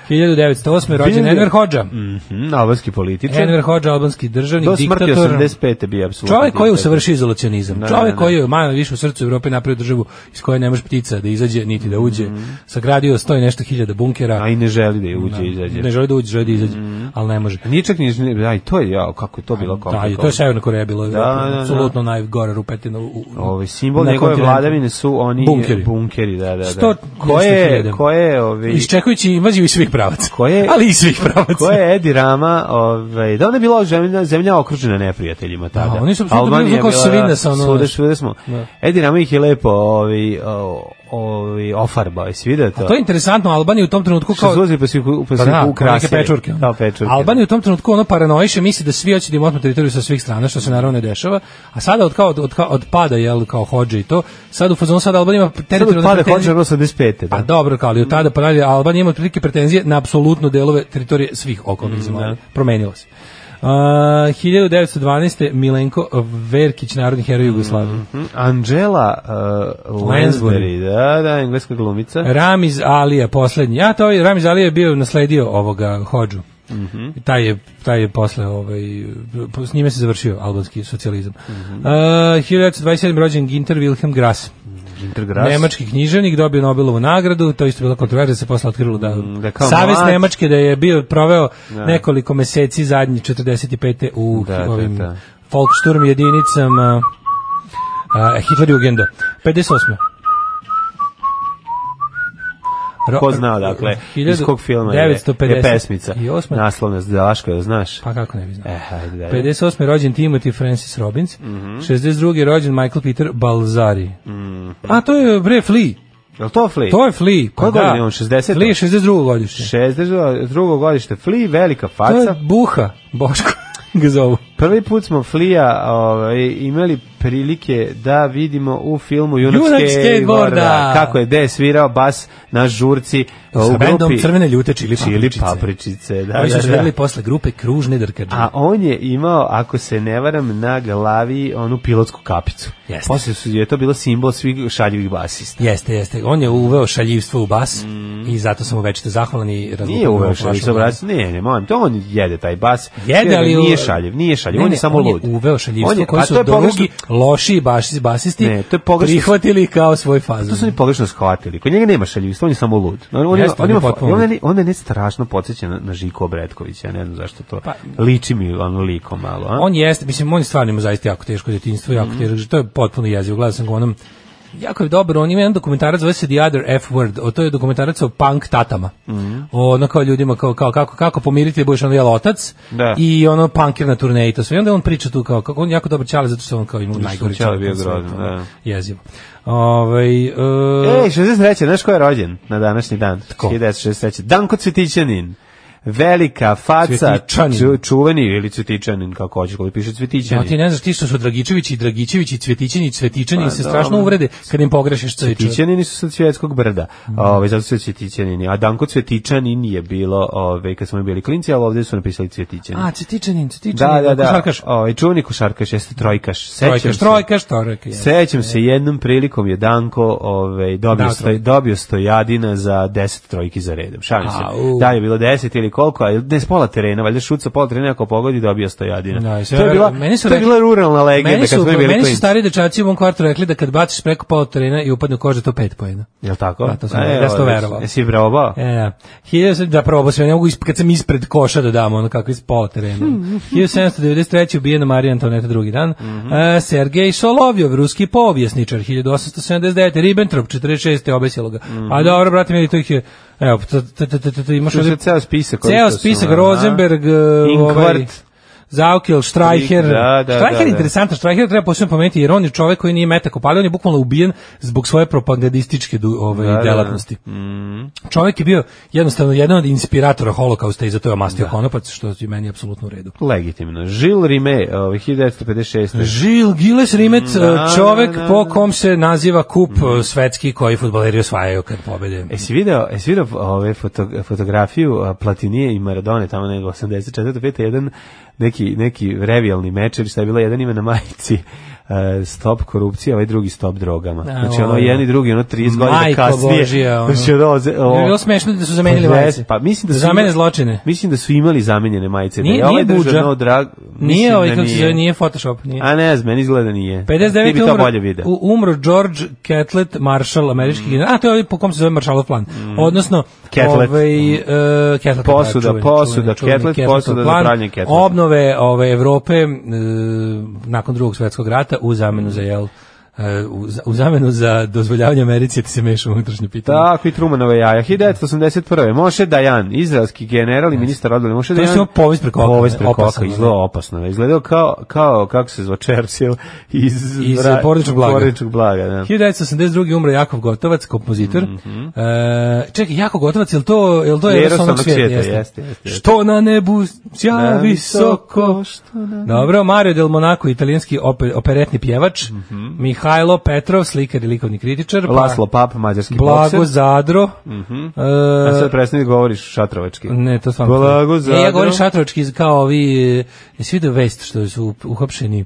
S5: 1908. rođen
S6: Bilje-
S5: Enver Hoxha.
S6: Mhm, albanski političar.
S5: Enver Hoxha, albanski državni
S6: Do smrti
S5: diktator.
S6: 85. bio apsolutno.
S5: Čovjek koji je
S6: diktator.
S5: usavršio izolacionizam.
S6: Da, da,
S5: čovjek
S6: da.
S5: koji je malo više u srcu Evrope napravio državu iz koje ne može ptica da izađe niti da uđe. Sagradio sto i nešto hiljada bunkera.
S6: Mhm. A i ne želi da je uđe i izađe. Mhm.
S5: Ne želi da uđe, želi da izađe, ali ne može.
S6: Nije čak ni, ni- aj, to je jao, kako je to bilo
S5: Da, i
S6: komplikovano.
S5: to je Severna Koreja bilo
S6: Da, da, da.
S5: apsolutno najgore rupetina u, u
S6: Ovi Ovaj, simbol
S5: na
S6: njegove
S5: kontinentu.
S6: vladavine su oni eh,
S5: Bunkeri.
S6: bunkeri da, da, da.
S5: Sto-
S6: koje,
S5: 200.000.
S6: koje, ovi,
S5: Iščekujući invaziju iz svih pravaca.
S6: Koje-
S5: Ali i svih pravaca.
S6: (laughs) Ko je Edi Rama, ovaj, da ona je bila zemlja, zemlja okružena neprijateljima tada.
S5: Da, oni su apsolutno bili kao svinja sa ono-
S6: Svuda, svuda smo.
S5: Da.
S6: Edi Rama ih je lepo ovi, o- ovi, ofarbao, jesi vidio to?
S5: To je interesantno, Albanija u tom trenutku
S6: Što
S5: kao...
S6: su uzeli pa su ih u- pa su
S5: Pa
S6: ih
S5: da,
S6: ukrasili.
S5: neke pečurke. ono.
S6: Da, pečurke.
S5: Albanija u tom trenutku ono paranoiše, misli da svi hoće da im otmu teritoriju sa svih strana, što se naravno ne dešava. A sada od, kao, od, od, od pada, jel, kao hođe i to, sad u fazonu sada Albanija ima
S6: Sad
S5: teritorijalne
S6: pada
S5: pretenzije-
S6: hođe 85.
S5: Pa
S6: Da.
S5: dobro, kao ali od tada pa dalje Albanija ima otprilike pretenzije na apsolutno delove teritorije svih okolnih zemalja. Promenilo se. Uh, 1912. Milenko Verkić, narodni heroj Jugoslavije.
S6: Mhm. Mm, Angela uh, Lansbury,
S5: Lansbury. E,
S6: da, da, engleska glumica.
S5: Ramiz Alija, poslednji. Ja, to je, Ramiz Alija je bio nasledio ovoga hođu. I taj je, taj je posle, ovaj, po- s njime se završio albanski socijalizam. Uh, 1927. rođen Ginter Wilhelm Grass.
S6: Intergras.
S5: Nemački književnik dobio Nobelovu nagradu, to je isto bila kontroverza, se posle otkrilo da,
S6: Mm, da
S5: da
S6: kao
S5: Savez
S6: mlad.
S5: Nemačke da je bio proveo nekoliko meseci zadnjih 45. u
S6: Da, da,
S5: ovim
S6: da.
S5: Volkssturm jedinicama a, Hitlerjugenda. 58. Ro,
S6: Ko zna, dakle, iz kog filma je, je pesmica.
S5: I osma,
S6: Naslovna Daško, jel znaš?
S5: pa kako ne bi znao.
S6: E, Mhm. hajde, da, da.
S5: 58. rođen Timothy Francis Robbins, 62. rođen Michael Peter Balzari.
S6: Mhm.
S5: A to je bre Flea.
S6: Jel to Flea?
S5: To je Flea. pa
S6: Koje godine je on, 60?
S5: Flea je 62. godišnje.
S6: 62. ono, godište Flea, velika
S5: To
S6: faca.
S5: je Buha, (laughs) Boško ga zovu.
S6: Prvi put smo Flea ovaj, imali prilike da vidimo u filmu Junak,
S5: Junak
S6: skateboarda.
S5: skateboarda.
S6: Kako je, gde je svirao bas na žurci uh, u
S5: Sa
S6: grupi
S5: bendom Crvene ljute Čili
S6: Čili
S5: papričice.
S6: Papričice. Da,
S5: Oni su
S6: da, da.
S5: svirali posle grupe Kružne drkađe.
S6: A on je imao, ako se ne varam, na glavi onu pilotsku kapicu.
S5: Jeste.
S6: Poslije su, je to bilo simbol svih šaljivih basista.
S5: Jeste, jeste. On je uveo šaljivstvo u bas i zato sam mu večito zahvalan i razlukujem
S6: Mm. Nije
S5: ovu
S6: uveo
S5: flašu.
S6: šaljiv sa bracu, ne, ne, molim, to on jede taj bas.
S5: Jede, ali u-
S6: Nije šaljiv, nije šaljivo, on je samo
S5: on je
S6: lud.
S5: uveo
S6: On
S5: šaljivstvo
S6: je-
S5: koji
S6: a
S5: su
S6: to je pogrešno-
S5: drugi loši baš, basisti
S6: Ne, to je pogrešno-
S5: prihvatili kao svoj
S6: To su
S5: fazon.
S6: oni pogrešno shvatili. Kod njega nema šaljivstva, on je samo lud. On, on,
S5: Jeste,
S6: on,
S5: on je
S6: ima, fa-
S5: potpuno
S6: i on,
S5: lud.
S6: je, on je ne strašno podsjeća na, na Žiku Obretkovića, ja ne znam zašto to.
S5: Pa-
S6: Liči mi ono liko malo. A? Mhm.
S5: On jeste, mislim, on je stvarno ima zaista jako teško djetinjstvo, jako teško, to je potpuno jezivo, gledao sam ga u onom, jako je dobro, on ima jedan dokumentarac, zove se The Other F Word, o, to je dokumentarac o punk tatama,
S6: Mhm.
S5: o, ono kao ljudima, kao, kao kako, kako pomiriti, da budeš ono jel otac,
S6: Da.
S5: i ono punkir na turneji, i to sve, i onda on priča tu kao, kako on je jako dobar čale, zato što on kao ima najgori
S6: ćale
S5: čale,
S6: bio
S5: na svetu,
S6: grozan,
S5: ono,
S6: da.
S5: jezivo. Ovaj, e,
S6: Ej, 63. Znaš ko je rođen na današnji dan? Ko? 1963. Danko Cvetićanin. Velika faca,
S5: Cvjetićanin.
S6: ču, čuveni ili Cvetićanin, kako hoćeš, koji piše
S5: Ja,
S6: Cvetićanin.
S5: ti ne znaš ti što su Dragičevići i Dragičevići i Cvetićini i Cvetićini
S6: Pa,
S5: se
S6: da,
S5: strašno
S6: ono,
S5: uvrede kad im pogrešiš cvetiće.
S6: Cvetićanini su sa Cvjetskog brda,
S5: Mhm.
S6: ovaj, zato su Cvetićanini. A Danko Cvetićanin je bilo, ovaj, kad smo bili klinci, ali ovdje su napisali Cvetićanin.
S5: A, Cvetićanin,
S6: Da,
S5: Cvetićanin,
S6: da, da.
S5: košarkaš.
S6: Ovaj, čuveni košarkaš, jeste trojkaš. Sećam
S5: Trojkaš,
S6: se.
S5: trojkaš, trojkaš.
S6: Sećam se jednom prilikom je Danko ovaj dobio
S5: Dao
S6: stoj,
S5: trojku.
S6: dobio stojadina za 10 trojki za redom. Šalim se.
S5: Au.
S6: Da li je bilo 10 ili koliko, a ne s pola terena, valjda šuca pola terena ako pogodi dobio stojadina.
S5: Da, i
S6: to
S5: sve-
S6: je bila
S5: meni su
S6: to je
S5: rekli-
S6: bila ruralna legenda
S5: Meni
S6: kad
S5: su,
S6: smo mi bili
S5: meni su
S6: klinci.
S5: stari dečaci u mom kvartu rekli da kad baciš preko pola terena i upadne u kožu, to pet pojena.
S6: Jel tako?
S5: Da, to sam-
S6: E,
S5: ja sam
S6: odlično.
S5: to verovao.
S6: Jesi probao?
S5: E, da. 1700 da probao sve, ne mogu isp- kad sam ispred koša da dam, ono kako iz pola terena.
S6: (laughs)
S5: 1793. ubijena Marija Antoneta drugi dan.
S6: Mhm.
S5: E, Sergej Solovjov, ruski povjesničar, 1879. Ribbentrop, 46. obesilo ga.
S6: Mhm.
S5: A dobro, brate, mili, to ih je, evo, t- t- t- t- t- imaš
S6: Što je
S5: ovdje
S6: ceo spisak? ovih
S5: ceo
S6: što su,
S5: spisak,
S6: aha.
S5: Rosenberg, e, ovaj,
S6: Inkvart.
S5: Zaukel, Streicher.
S6: Da, da,
S5: Streicher
S6: da,
S5: je
S6: da.
S5: interesantan, Streicher treba posebno pomenuti jer on je čovjek koji nije metak opalio, on je bukvalno ubijen zbog svoje propagandističke du- ovaj,
S6: Da, da, da.
S5: delatnosti.
S6: Mm,
S5: Čovjek je bio jednostavno jedan od inspiratora holokausta i zato je omastio konopac, što je meni apsolutno u redu.
S6: Legitimno. Žil Rime, ovaj, 1956.
S5: Žil Giles Rimet, eh,
S6: Da,
S5: čovjek
S6: da, Mm. da.
S5: po kom se naziva kup eh, svetski koji futboleri osvajaju kad pobede.
S6: Jesi video, jesi video ove foto, fotografiju a, Platinije i Maradone tamo nego 84. 5. jedan neki, neki revijalni meč ili šta je bilo, jedan ima na majici e, stop korupcija, ovaj drugi stop drogama. znači ono
S5: ovo.
S6: jedan i drugi, ono 30 godina
S5: Majko
S6: kasnije.
S5: Božja, ono.
S6: (laughs) Znači ono, oze-
S5: Je
S6: o-
S5: bilo smešno da su zamenili
S6: Pa jes,
S5: majice.
S6: Pa mislim da
S5: Da
S6: su
S5: zamene
S6: imali-
S5: zločine.
S6: Mislim da su imali zamenjene majice. da
S5: Nije-
S6: je ovaj
S5: nije
S6: držao
S5: Budža.
S6: no drag, mislim
S5: Nije ovaj,
S6: da
S5: kako se zove, nije Photoshop, nije.
S6: A ne znam, meni izgleda nije. Ti
S5: 59.
S6: bi to bolje Mm. video.
S5: u- umro George Catlett Marshall, američki general. A, to je ovaj po kom se zove Marshallov plan. Odnosno,
S6: Catlett.
S5: ovaj, e, Catlett,
S6: Mm. Posuda,
S5: čuveni,
S6: posuda,
S5: čuveni, čuveni
S6: Catlett,
S5: Catlett
S6: posuda za
S5: plan.
S6: pravljenje Catletta.
S5: Obnove ove, Evrope e, nakon drugog svjetskog rata u zamenu za jel e, u, za- u zamenu za dozvoljavanje Americi da se meša u unutrašnje pitanje.
S6: Tako i Trumanova jaja. 1981. Moše Dajan, izraelski general i ministar odbrane Moše
S5: To je
S6: Dajan.
S5: samo povest preko oka,
S6: Povest preko
S5: opasno,
S6: oka,
S5: ne?
S6: izgledao opasno. Izgledao kao, kao kako se zva Churchill iz,
S5: Iz
S6: Ra-
S5: porodičnog blaga.
S6: Porodičnog blaga, da.
S5: 1982. umre Jakov Gotovac, kompozitor.
S6: Mhm.
S5: E, čekaj, Jakov Gotovac, je li to, je li to
S6: Eros
S5: Eros
S6: onog
S5: onog svijeta?
S6: svijeta,
S5: Jeste.
S6: jeste, jeste, jeste.
S5: Što na nebu sja
S6: Na visoko,
S5: visoko.
S6: što na-
S5: Dobro, Mario Del Monaco, italijanski ope- operetni pjevač.
S6: Mhm.
S5: Mihajlo Petrov, slikar i likovni kritičar. pa
S6: Laslo Pap, mađarski
S5: Blago
S6: bokser.
S5: Zadro. E,
S6: Mhm. A sad prestani da govoriš šatrovački.
S5: ne, to stvarno.
S6: Blago
S5: E,
S6: Zadro.
S5: ja govorim šatrovački kao ovi, e, jesi vidio vest što su uhapšeni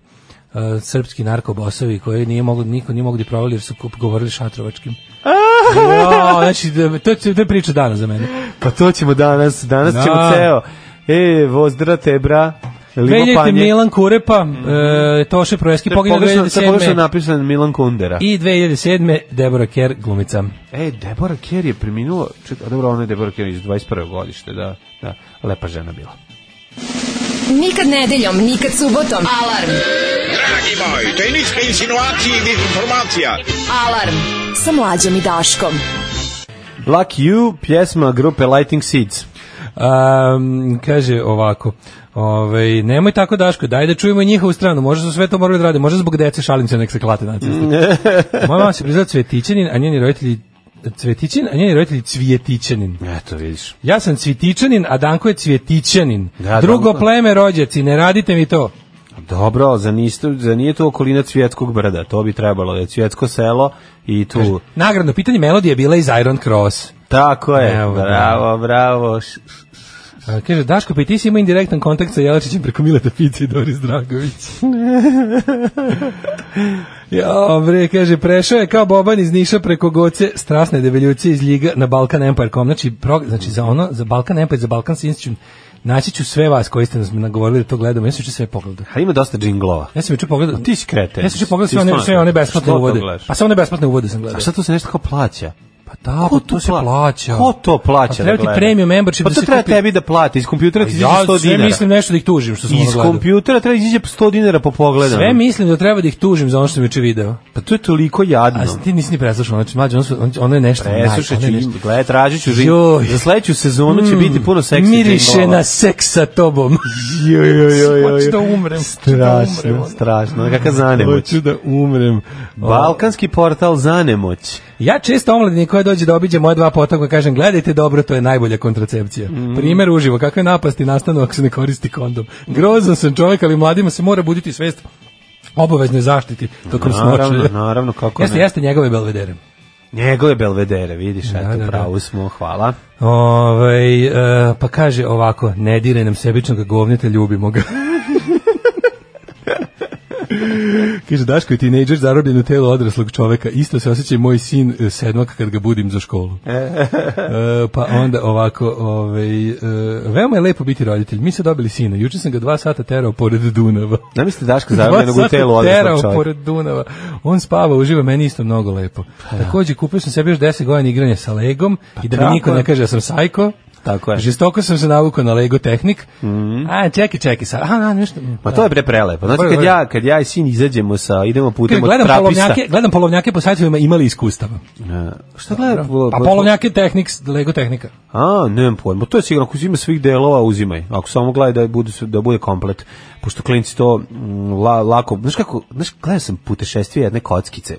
S5: e, srpski narkobosovi koji nije mogli, niko nije mogli da provali jer su kup govorili
S6: (laughs)
S5: šatrovačkim. Jo, znači, da- to, će- to je priča dana za mene.
S6: Pa to ćemo danas, danas
S5: Da.
S6: ćemo ceo. E, vozdra te, bra. Limo
S5: Veljete
S6: panje.
S5: Milan Kurepa, e, Toše Projeski,
S6: To je
S5: poginuo
S6: pogrešno- to je pogrešno
S5: 2007.
S6: napisan Milan Kundera.
S5: I 2007. Deborah Kerr, glumica.
S6: E, Deborah Kerr je preminula, čekaj, a dobro, ona je Deborah Kerr iz 21. godište, da, da, lepa žena bila.
S4: Nikad nedeljom, nikad subotom. Alarm,
S8: Dragi moj, to je ništa insinuacije i informacija.
S4: alarm. Sa mlađom i Daškom.
S6: Black You, pjesma grupe Lighting Seeds.
S5: Um, kaže ovako, ovaj, nemoj tako Daško, daj da čujemo i njihovu stranu, možda su sve to morali da rade, možda zbog dece šalim se nek se klate na
S6: (laughs)
S5: cesti. Moja mama se prizvala Cvjetićanin, a njeni roditelji Cvjetićanin, a njeni roditelji Cvjetićanin.
S6: Eto, vidiš.
S5: Ja sam Cvjetićanin, a Danko je Cvjetićanin.
S6: Da,
S5: Drugo
S6: Danko.
S5: pleme rođaci, ne radite mi to.
S6: Dobro, ali za, niste, za nije to okolina Cvjetskog brda, to bi trebalo, je Cvjetsko selo i tu.
S5: Nagradno pitanje melodije je bila iz Iron Cross.
S6: Tako je,
S5: Evo, da.
S6: bravo, bravo. Š- š-
S5: A, kaže, Daško, pa i ti si imao indirektan kontakt sa Jelačićem preko Mileta Pice i Doris
S6: (laughs)
S5: Dragović. ja, bre, kaže, prešao je kao Boban iz Niša preko Goce, strasne develjucije iz Ljiga na Balkan Empire.com. Znači, pro, znači za ono, za Balkan Empire, za Balkan Sinstiću, naći ću sve vas koji ste nas nagovorili da to gledamo. Ja sam juče sve pogledao.
S6: A ima dosta džinglova.
S5: Ja sam juče pogledao.
S6: Ti si kreten.
S5: Ja sam juče pogledao
S6: Ti
S5: sve one,
S6: stvarno.
S5: sve one besplatne
S6: Što to
S5: uvode.
S6: gledaš?
S5: Pa sve one besplatne uvode sam gledao.
S6: A šta to se nešto kao plaća?
S5: Pa da,
S6: Ko
S5: pa to se
S6: pla-
S5: plaća.
S6: Ko to plaća?
S5: Pa treba
S6: da
S5: ti
S6: gleda?
S5: premium membership
S6: pa
S5: da
S6: to
S5: se
S6: treba
S5: kupi. Pa
S6: tebi da plati. Iz kompjutera ti izađe
S5: Ja
S6: 100
S5: sve
S6: dinara.
S5: mislim nešto da ih tužim što sam ono
S6: Iz
S5: gledao.
S6: kompjutera treba izađe 100 dinara po pogledu.
S5: Sve mislim da treba da ih tužim za ono što sam juče video.
S6: Pa to je toliko jadno.
S5: A ti nisi ni preslušao, znači mlađe, ono, su- on- ono je nešto.
S6: Presušat
S5: ono
S6: ću
S5: je
S6: im,
S5: nešto.
S6: gledaj, tražit ću žin.
S5: Joj. Mm,
S6: Za sledeću sezonu će biti puno seksi
S5: Miriše na seks sa tobom.
S6: Joj, joj, joj, joj.
S5: Hoću da umrem, hoću da umrem,
S6: Strašno,
S5: ono.
S6: strašno. Kaka zanemoć.
S5: da umrem.
S6: Balkanski portal zanemoć.
S5: Ja često omladini koja dođe da obiđe moje dva potoka kažem gledajte dobro, to je najbolja kontracepcija.
S6: Mm.
S5: Primer uživo, kakve napasti nastanu ako se ne koristi kondom. Grozan sam čovjek, ali mladima se mora buditi svest obaveznoj zaštiti tokom
S6: Naravno,
S5: snoće.
S6: naravno, kako
S5: Jeste,
S6: ne.
S5: jeste njegove belvedere.
S6: Njegove belvedere, vidiš,
S5: Da, da,
S6: eto,
S5: da.
S6: pravu smo, hvala.
S5: Ovaj e, pa kaže ovako, ne dire nam sebičnog govnjeta, ljubimo ga. (laughs) kaže, Daško je tinejdžer zarobljen u telu odraslog čoveka. Isto se osjeća i moj sin e, sedmak kad ga budim za školu. E, pa onda ovako, ovaj, e, veoma je lepo biti roditelj. Mi se dobili sina. Juče sam ga dva sata terao pored Dunava.
S6: Zamislite Daška
S5: Dva
S6: zarobljenog u
S5: sata
S6: telu odraslog
S5: terao
S6: čovjeka.
S5: pored Dunava. On spava, uživa, meni isto mnogo lepo. Takođe, kupio sam sebi još 10 godina igranja sa Legom i da mi
S6: Pa tako
S5: niko
S6: je.
S5: ne kaže da sam sajko.
S6: Tako je. Mhm.
S5: Žestoko sam se navukao na Lego tehnik. A, čekaj, čekaj, sad. A, a, nešto.
S6: Ma to je bre prelepo. Znači
S5: Dobro,
S6: kad
S5: dobro.
S6: ja, kad ja i sin izađemo sa idemo
S5: Kaže,
S6: putem od
S5: gledam
S6: trapista.
S5: polovnjake, gledam polovnjake po sajtovima imali iskustava.
S6: E, Šta gleda?
S5: Pa polovnjake tehnik, Lego tehnika.
S6: A, nemam pojma. To je sigurno ako uzima svih delova, uzimaj. Ako samo gledaj da bude sve- da bude komplet. Pošto klinci to mm, la, lako, znaš kako, znaš, gledao sam putešestvije jedne kockice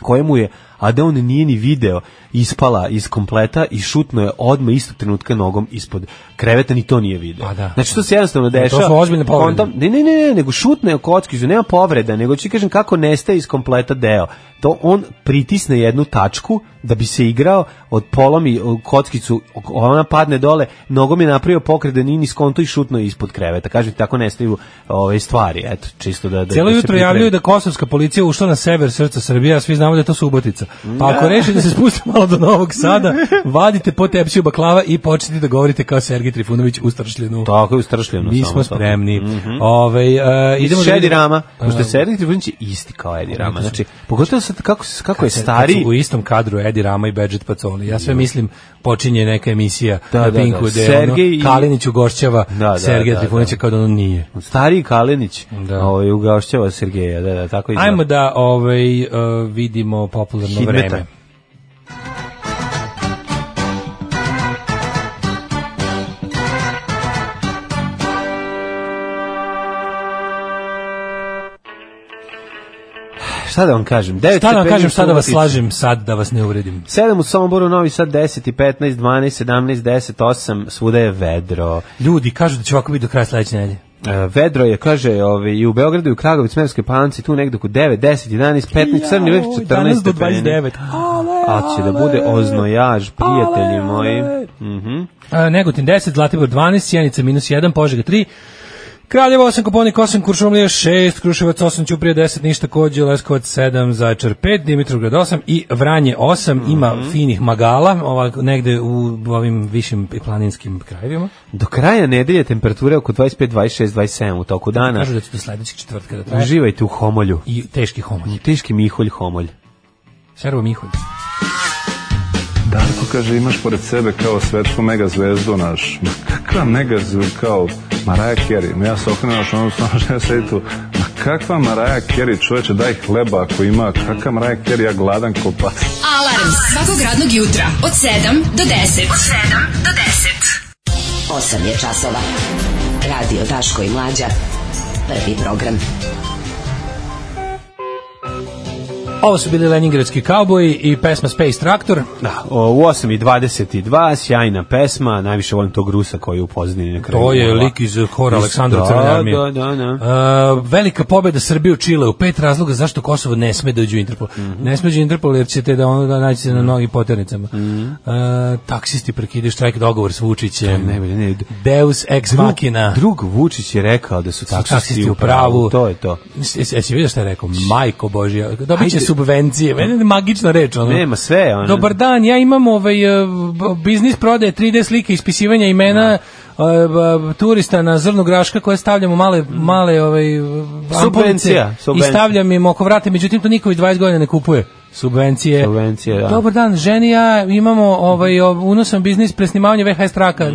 S6: koje mu je, a da on nije ni video, ispala iz kompleta i šutno je odma istog trenutka nogom ispod kreveta, ni to nije video.
S5: Pa da.
S6: Znači to se jednostavno dešava.
S5: su ozbiljne povrede.
S6: Kontam- Ne, ne, ne, ne, nego šutne je kockicu, nema povreda, nego ti kažem kako nestaje iz kompleta deo. To on pritisne jednu tačku da bi se igrao, od polomi kockicu, ona padne dole, nogom je napravio pokret da nije ni skonto i šutno je ispod kreveta. Kažem ti, tako nestaju ove stvari, eto, čisto da... da
S5: Cijelo
S6: da se
S5: jutro
S6: pripremi.
S5: javljaju da kosovska policija ušla na sever srca Srbije, a svi znamo da je to Subotica. Pa ako rešite da se spustite malo do Novog Sada, vadite po tepsiju baklava i počnite da govorite kao Sergij Trifunović u Stršljenu.
S6: Tako je ustrašljeno.
S5: Mi
S6: samo
S5: smo
S6: to.
S5: spremni. Ovaj e, idemo
S6: Idemo
S5: da
S6: Šedi
S5: vidimo-
S6: Mhm. Rama, pošto je
S5: E,
S6: Sergej Trifunović je isti kao Edi Rama. Znači, pogotovo sad kako, se- kako je
S5: kad su
S6: stari...
S5: u istom kadru Edi Rama i Bedžet Pacoli. Ja sve mislim počinje neka emisija
S6: Da,
S5: na
S6: da, da.
S5: Pinku gde
S6: Sergej
S5: ono,
S6: i-
S5: Kalinić ugošćava
S6: Da, da,
S5: Sergeja
S6: da,
S5: Trifunića kao da ono nije.
S6: Stariji Kalenić,
S5: Da.
S6: ovaj, ugašćava Sergeja, da, da, tako i
S5: Ajmo da ovaj, e, vidimo popularno
S6: Hidmeta.
S5: vreme.
S6: Šta da vam kažem? 9
S5: Šta da vam
S6: stepeni
S5: kažem,
S6: u
S5: šta da vas
S6: Subotici.
S5: slažem sad, da vas ne uvredim.
S6: 7 u Somboru, Novi Sad 10 i 15, 12, 17, 10, 8, svuda je vedro.
S5: Ljudi, kažu da će ovako biti do kraja sledeće nedelje.
S6: E, vedro je, kaže, ove, i u Beogradu, i u Kragovicu, Smerskoj palanci, tu negde oko 9, 10, 11, 15, crni vrh, 14
S5: Danas do
S6: stepeni.
S5: 29. Ale,
S6: A će da bude oznojaž, prijatelji moji. Mhm.
S5: A, Negotin 10, Zlatibor 12, Sjenica minus 1, Požega 3, Kraljevo 8, Koponik 8, Kuršumlija 6, Kruševac 8, Ćuprije 10, Ništa kođe, Leskovac 7, Zaječar 5, Dimitrovgrad 8 i Vranje 8, ima finih magala, ovako, negde u ovim višim i planinskim krajevima.
S6: Do kraja nedelje temperature oko 25, 26, 27 u toku dana.
S5: Kažu da će do sledećeg četvrtka da traje.
S6: Uživajte u homolju.
S5: I teški homolj.
S6: Teški mihulj homolj.
S5: Servo Miholj.
S9: Darko kaže imaš pored sebe kao svetsku megazvezdu naš. Ma kakva megazvezdu kao Maraja Kerry? Ma ja se okrenem naš ono stvarno žena sedi tu. Ma kakva Maraja Kerry čoveče daj hleba ako ima. Kakva Maraja Kerry ja gladan ko pas.
S4: Alarm svakog radnog jutra od 7 do 10. Od 7 do 10.
S2: 8 je časova. Radio Daško i Mlađa. Prvi program.
S5: Ovo su bili Leningradski kauboji i pesma Space Traktor.
S6: Da, o, u 8.22, sjajna pesma, najviše volim tog Rusa koji je u pozadini na kraju.
S5: To je
S6: gola.
S5: lik iz hora
S6: Iz-
S5: Aleksandra
S6: da,
S5: Crvene armije.
S6: Da, da, da.
S5: E, velika pobeda Srbije u Čile u pet razloga zašto Kosovo ne sme dođe u Interpol. Ne sme dođe u Interpol jer ćete da ono da naći se na mnogim poternicama. E, taksisti prekidaju štrajk dogovor s Vučićem.
S6: najbolje, ne.
S5: Deus ex machina.
S6: Drug Vučić je rekao da su taksisti,
S5: taksisti u pravu.
S6: To je to.
S5: Jesi jesi vidio šta je rekao? Majko Božja, dobit će
S6: Ajde.
S5: subvencije. Meni je magična reč. Ono.
S6: Nema sve, ono.
S5: Dobar dan, ja imam ovaj e, b- biznis prodaje 3D slike ispisivanja imena e, b- turista na zrnu graška koje stavljam u male, male ovaj, ampulice
S6: Mm. Subvencija,
S5: i
S6: subvencija.
S5: stavljam im oko vrata, međutim to niko već 20 godina ne kupuje. Subvencije.
S6: Subvencije, da. Mhm.
S5: Dobar dan, ženi ja imamo ovaj, ov- unosan biznis presnimavanja VHS traka.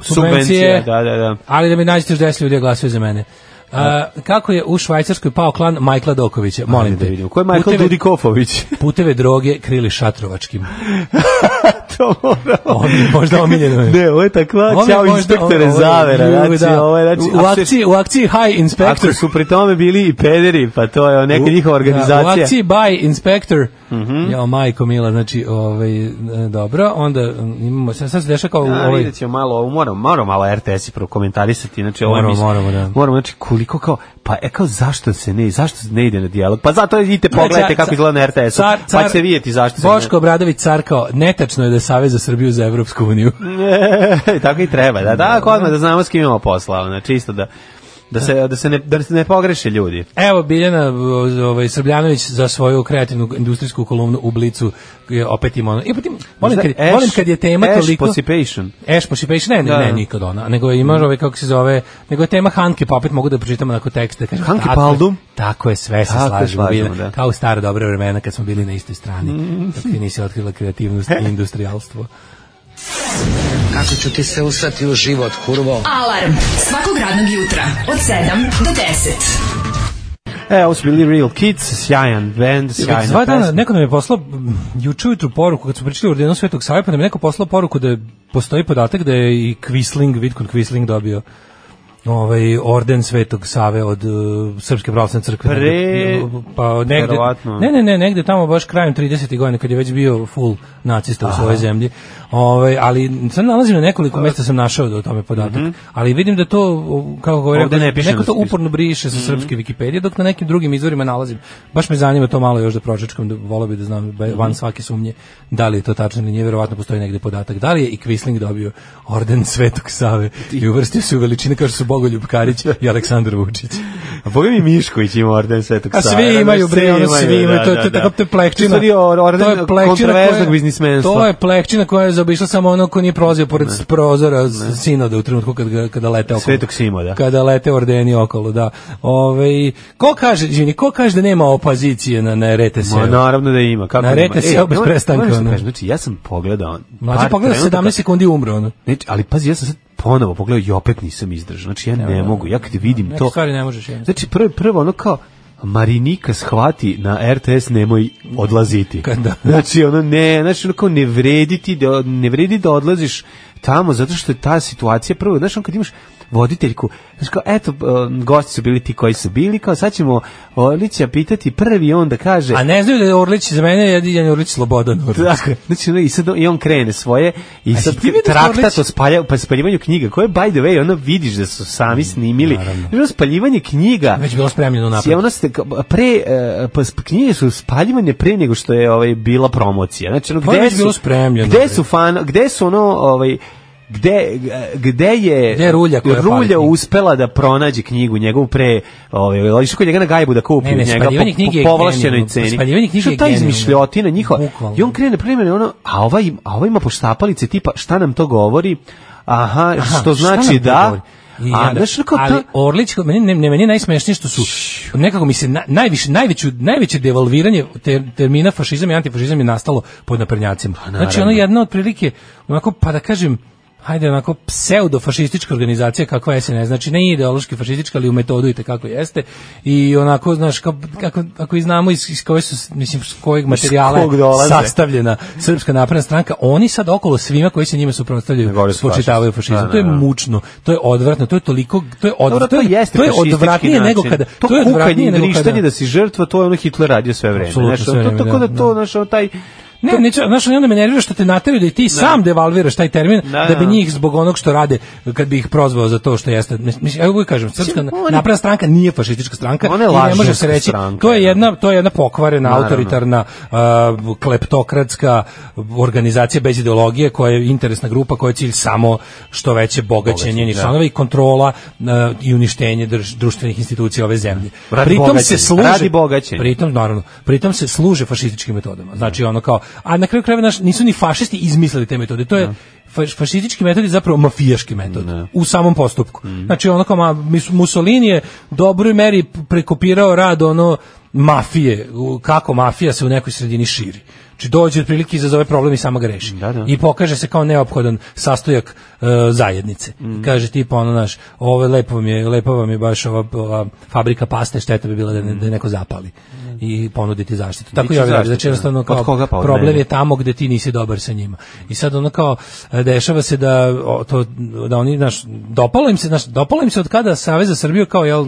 S6: Subvencije, da, da, da.
S5: Ali da mi nađete još 10 ljudi da glasaju za mene. A, kako je u Švajcarskoj pao klan Majkla Dokovića? Molim
S6: Ajde da
S5: te.
S6: vidimo. Ko je Michael
S5: Puteve-
S6: Dudikofović? (laughs)
S5: Puteve droge krili šatrovačkim.
S6: to moramo.
S5: Omi- možda omiljeno je.
S6: Ne, ovo je takva,
S5: Ovo je
S6: ćao
S5: možda- ovo-
S6: inspektore
S5: ovo-
S6: zavera.
S5: Ju,
S6: Znači,
S5: da.
S6: ovo je, znači,
S5: ovaj, u, u
S6: ako se-
S5: akciji, u akciji High Inspector.
S6: Ako su pri tome bili i pederi, pa to je neka
S5: U- Da,
S6: njihova
S5: u
S6: organizacija.
S5: akciji By Inspector. Jao, majko mila, znači, ovaj, e, dobro, onda mm, imamo, sad, sad se dešava kao u
S6: A,
S5: ovaj,
S6: vidjet ćemo malo, ovo, moramo, moramo malo RTS i prokomentarisati, znači ovo
S5: Moramo,
S6: mislim,
S5: moramo, da.
S6: moramo, znači koliko kao, pa e kao zašto se ne, zašto se ne ide na dijalog, pa zato idite pogledajte
S5: Car-
S6: kako izgleda na RTS, -u,
S5: car-
S6: pa
S5: car-
S6: ćete vidjeti zašto se
S5: Boško Obradović carkao, netačno je da je Savez za Srbiju za Evropsku uniju.
S6: ne, tako (laughs) i treba, da, da, ako odmah da znamo s kim imamo posla, znači isto da, da se, da se ne, da se ne pogreše ljudi.
S5: Evo Biljana ovaj, Srbljanović za svoju kreativnu industrijsku kolumnu u Blicu je opet ima ono. I potim, volim, kad,
S6: Ash-
S5: volim kad je tema
S6: Ash
S5: toliko...
S6: Participation.
S5: Ash Participation, ne, ne,
S6: Da.
S5: ne, nikad ona, nego imaš ovaj, kako se zove, nego je tema Hanke, pa opet mogu da pročitam onako tekste. Kažem,
S6: Hanke
S5: tako je,
S6: Paldum?
S5: Tako je, sve se
S6: Tako je,
S5: slažemo,
S6: slažemo,
S5: Biljana,
S6: da.
S5: kao u stara dobra vremena kad smo bili na istoj strani,
S6: (laughs)
S5: dok ti nisi otkrila kreativnost i industrijalstvo.
S10: Kako ću ti se usrati u život, kurvo?
S4: Alarm svakog radnog jutra od 7 do 10.
S6: E, ovo su bili Real Kids, sjajan band, sjajna
S5: Već dva dana
S6: pesma.
S5: neko nam je poslao mm, juče ujutru poruku kad smo pričali o ordenu Svetog Save, pa nam je neko poslao poruku da je, postoji podatak da je i Quisling, Vidkun Quisling dobio ovaj orden Svetog Save od uh, Srpske pravoslavne crkve.
S6: Pre-
S5: pa negde,
S6: verovatno.
S5: ne, ne, ne, negde tamo baš krajem 30. godina kad je već bio full nacista u svojoj zemlji. Ovaj, ali sad nalazim na
S6: Pa-
S5: nekoliko mesta sam našao da o tome podatak.
S6: Mhm.
S5: Ali vidim da to, o, kako govorim,
S6: Ovde ne piše
S5: neko
S6: na
S5: to
S6: spisku.
S5: uporno briše
S6: Mhm.
S5: sa srpske Wikipedije, dok na nekim drugim izvorima nalazim. Baš me zanima to malo još da pročačkam, da volao bih da znam be-
S6: Mhm.
S5: van svake sumnje da li je to tačno ili nije, verovatno postoji negde podatak. Da li je i Kvisling dobio orden Svetog Save i uvrstio se u veličine kao što su Bogoljub Karić i Aleksandar
S6: (laughs)
S5: Vučić.
S6: A boga Pa mi Mišković ima orden Svetog
S5: A
S6: Save.
S5: svi imaju bre, ono svi imaju, to, to, je tako to je plehčina.
S6: To je orden
S5: To je plehčina
S6: kontraverznog
S5: koja-
S6: biznismenstva.
S5: To je plehčina koja je zaobišla samo ono ko nije prolazio pored prozora s- sinoda u trenutku kad ga- kada lete okolo.
S6: Svetog Simo, da.
S5: Kada lete ordeni okolo, da. Ovaj ko kaže, izvini, ko kaže da nema opozicije na na RTS?
S6: Ma naravno da ima. Kako
S5: Na
S6: nema?
S5: rete se
S6: E,
S5: bez
S6: moram-
S5: prestanka,
S6: moram nešto
S5: ono.
S6: kažem, Znači, ja sam pogledao...
S5: Mlađe
S6: par
S5: pogleda
S6: trenutaka-
S5: 17 sekundi i umre ono.
S6: Znači, ali pazi, ja sam sad ponovo pogledao i opet nisam izdržao. Znači, ja ne mogu. Ja kad vidim
S5: Neke
S6: to...
S5: stvari ne možeš jednostavno.
S6: Znači, prvo, prvo ono kao... Marinika shvati na RTS nemoj odlaziti.
S5: Kad (laughs) da.
S6: Znači ono ne, znači ono kao ne vredi ti da ne vredi da odlaziš tamo zato što je ta situacija prvo, znači on kad imaš voditeljku, znači kao eto um, gosti su bili ti koji su bili, kao sad ćemo Orlića pitati prvi i onda kaže
S5: A ne znaju da je Orlić za mene jedan je Orlić Slobodan. Orlić.
S6: Tako, je. znači ono, i sad i on krene svoje i sad
S5: si ti vidio
S6: traktat
S5: Orlić?
S6: o spalja, pa spaljivanju knjiga koje by the way ono vidiš da su
S5: Mm,
S6: sami snimili Znaš, ono spaljivanje knjiga
S5: Već bilo spremljeno
S6: je
S5: napad.
S6: ono ste ka- pre e, pa sp- knjige su spaljivane pre nego što je ovaj bila promocija znači ono
S5: Pa
S6: gde
S5: već
S6: su
S5: bilo spremljeno,
S6: gde
S5: bre.
S6: su fan gde su ono ovaj gde eh, gde je
S5: Gde je rulja koja pali
S6: rulja
S5: knjigu?
S6: uspela da pronađe knjigu njegovu pre ovaj ali što njega na gajbu da kupi
S5: Ne, ne,
S6: njega
S5: spaljivanje
S6: po-
S5: knjige je
S6: po povlašćenoj
S5: genijalno.
S6: ceni
S5: Spaljivanje knjige
S6: Što
S5: je
S6: ta
S5: genijalno.
S6: izmišljotina njihova
S5: Bukvalno.
S6: i on krene primjer ono a ovaj a ovaj ima poštapalice tipa šta nam to govori aha,
S5: Aha, šta
S6: što znači
S5: nam to
S6: da
S5: govori? I
S6: a
S5: onda-
S6: znaš ono kao
S5: ali
S6: ta-
S5: Orlić, meni, ne, ne, meni je najsmešnije što su, nekako mi se na, najviše, najveću, najveće devalviranje te, termina fašizam i antifašizam je nastalo pod naprnjacima. Znači ono jedno otprilike, onako, pa da kažem, hajde onako pseudofašistička organizacija kakva je ne znači ne ideološki fašistička, ali u metodu i kako jeste. I onako, znaš, kao, kako, ako i znamo iz, iz koje su, mislim, s kojeg materijala
S6: kog
S5: je
S6: dolaze.
S5: sastavljena Srpska napredna stranka, oni sad okolo svima koji se njima
S6: Ne govore
S5: suprotstavljaju
S6: su
S5: spočitavaju
S6: fašisti.
S5: fašizam.
S6: Da, da,
S5: To je
S6: da.
S5: mučno, to je odvratno, to je toliko, to je
S6: Dobro,
S5: odvratno,
S6: to
S5: Pa
S6: jeste
S5: to je
S6: fašistički
S5: odvratnije
S6: način.
S5: nego kada,
S6: to,
S5: to je odvratnije
S6: kukanje i
S5: nego kada.
S6: vrištanje da si žrtva, to je ono Hitler radio sve vreme.
S5: Apsolutno
S6: Znaš,
S5: sve
S6: to-
S5: vreme,
S6: tako da,
S5: da,
S6: to, znaš, ono, taj,
S5: Ne, neću, znaš, i onda me nervira što te nateraju da i ti sam devalviraš taj termin,
S6: Da,
S5: da,
S6: da.
S5: bi njih zbog onog što rade, kad bi ih prozvao za to što jeste. Mislim, ja uvijek kažem, srpska napredna stranka nije fašistička stranka
S6: Ona je
S5: i ne može
S6: lažnjevska
S5: se reći.
S6: stranka,
S5: to je
S6: da.
S5: jedna, to je jedna pokvarena,
S6: Naravno.
S5: autoritarna, a, kleptokratska organizacija bez ideologije koja je interesna grupa koja je cilj samo što veće bogaćenje njenih
S6: da.
S5: članova i kontrola a, i uništenje drž- društvenih institucija ove zemlje.
S6: Radi bogaćenja, radi bogaćenja.
S5: Pritom naravno, pritom se služe fašističkim metodama. Znači ono kao, a na kraju krajeva naš nisu ni fašisti izmislili te metode. To je faš- fašistički metod je zapravo mafijaški metod u samom postupku.
S6: Mhm.
S5: Znači ono kao ma, mis- Mussolini je dobroj meri p- prekopirao rad ono mafije, u- kako mafija se u nekoj sredini širi. Znači dođe otprilike izazove problem i sama ga reši.
S6: Da, da.
S5: I pokaže se kao neophodan sastojak e, zajednice.
S6: Mhm.
S5: Kaže tipa ono naš, ovo je lepo vam je, lepo vam je baš ova, ova fabrika paste, šteta bi bila da, ne, da
S6: Mhm.
S5: je neko zapali i ponuditi zaštitu. Tako
S6: Biće
S5: i ovi rade.
S6: zaštita.
S5: Znači jednostavno kao
S6: Od koga pa od
S5: problem
S6: mene?
S5: je tamo gde ti nisi dobar sa njima. I sad ono kao e, dešava se da o, to da oni naš dopalo im se naš dopalo im se od kada Savez za Srbiju kao jel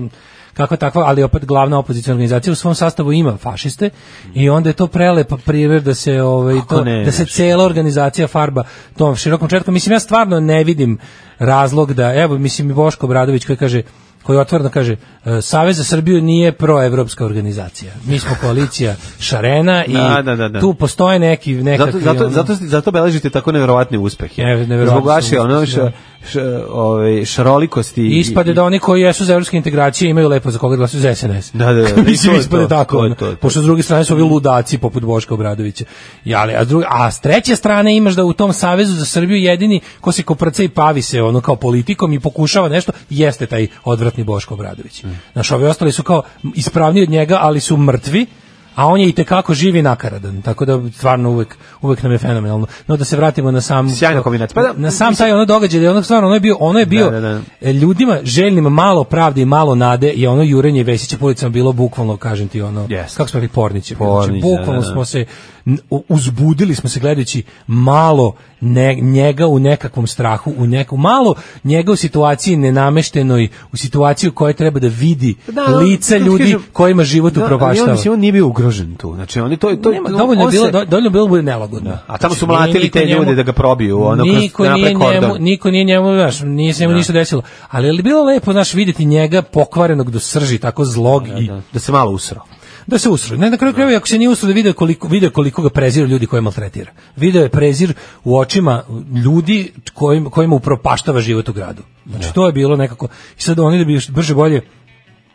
S5: kakva takva, ali opet glavna opoziciona organizacija u svom sastavu ima fašiste i onda je to prelepa primjer da se ovaj
S6: Kako
S5: to,
S6: ne,
S5: da se
S6: znaš.
S5: cela organizacija farba tom širokom četkom. Mislim, ja stvarno ne vidim razlog da, evo, mislim i Boško Bradović koji kaže, koji otvoreno kaže, e, Savez za Srbiju nije proevropska organizacija. Mi smo koalicija Šarena i
S6: Da, da, da, da.
S5: tu postoje neki no? nekakvi...
S6: zato, zato,
S5: ono-
S6: zato, zato beležite tako neverovatne uspehe.
S5: Ne- neverovatni
S6: Zbog vaše
S5: su
S6: ono,
S5: uspesi,
S6: ša,
S5: da.
S6: ša, ovaj, šarolikosti. i-
S5: I ispade da oni koji jesu za evropske integracije imaju lepo za koga glasuju za SNS.
S6: Da, da, da, i to
S5: (laughs) Mislim,
S6: je
S5: ispade
S6: to,
S5: tako.
S6: to je
S5: ono.
S6: to, to je
S5: Pošto s druge strane su ovi ludaci poput Boška Obradovića. I, ali, a, s druge, a s treće strane imaš da u tom Savezu za Srbiju jedini ko se koprca i pavi se ono kao politikom i pokušava nešto, jeste taj odvratni Boško
S6: Mm.
S5: Obradović. Znaš, ovi ostali su kao ispravni od njega, ali su mrtvi a on je i tekako živi i nakaradan, tako da stvarno uvek, uvek nam je fenomenalno. No da se vratimo na sam...
S6: Sjajna kombinacija. Pa da,
S5: na sam taj ono događaj, da je ono stvarno, ono je bio, ono je bio
S6: Da, da, da.
S5: E, ljudima željnim malo pravde i malo nade je ono jurenje Vesića po ulicama bilo bukvalno kažem ti ono
S6: Jeste.
S5: kako smo rekli porniće znači,
S6: Pornić,
S5: bukvalno
S6: da, da.
S5: smo se n- u- uzbudili smo se gledajući malo ne- njega u nekakvom strahu u neku malo njega u situaciji nenameštenoj u situaciji u kojoj treba da vidi
S6: Da, ali,
S5: lica
S6: kako ti
S5: ljudi
S6: kažem,
S5: kojima život
S6: da, ali on,
S5: upropaštava
S6: mislim, on nije bio ugrožen tu. Znači, oni to, to,
S5: Nema,
S6: on
S5: dovoljno je
S6: se-
S5: bilo, do- dovoljno je bilo da bude nelagodno.
S6: A tamo su
S5: Znači, nije
S6: mlatili
S5: niko
S6: te ljude da ga probiju, ono, kroz-
S5: niko
S6: napre
S5: nije
S6: kordon.
S5: njemu, niko nije njemu, znaš, nije se njemu ništa desilo. Ali je li bilo lepo, znaš, vidjeti njega pokvarenog do srži, tako zlog i
S6: da se malo usrao.
S5: da se usru. Ne, na kraju krajeva, ako se nije usru, da video je koliko, video je koliko ga preziru ljudi koje maltretira. Video je prezir u očima ljudi kojim, kojima upropaštava život u gradu. Znači, to je bilo nekako... I sad oni da bi još brže bolje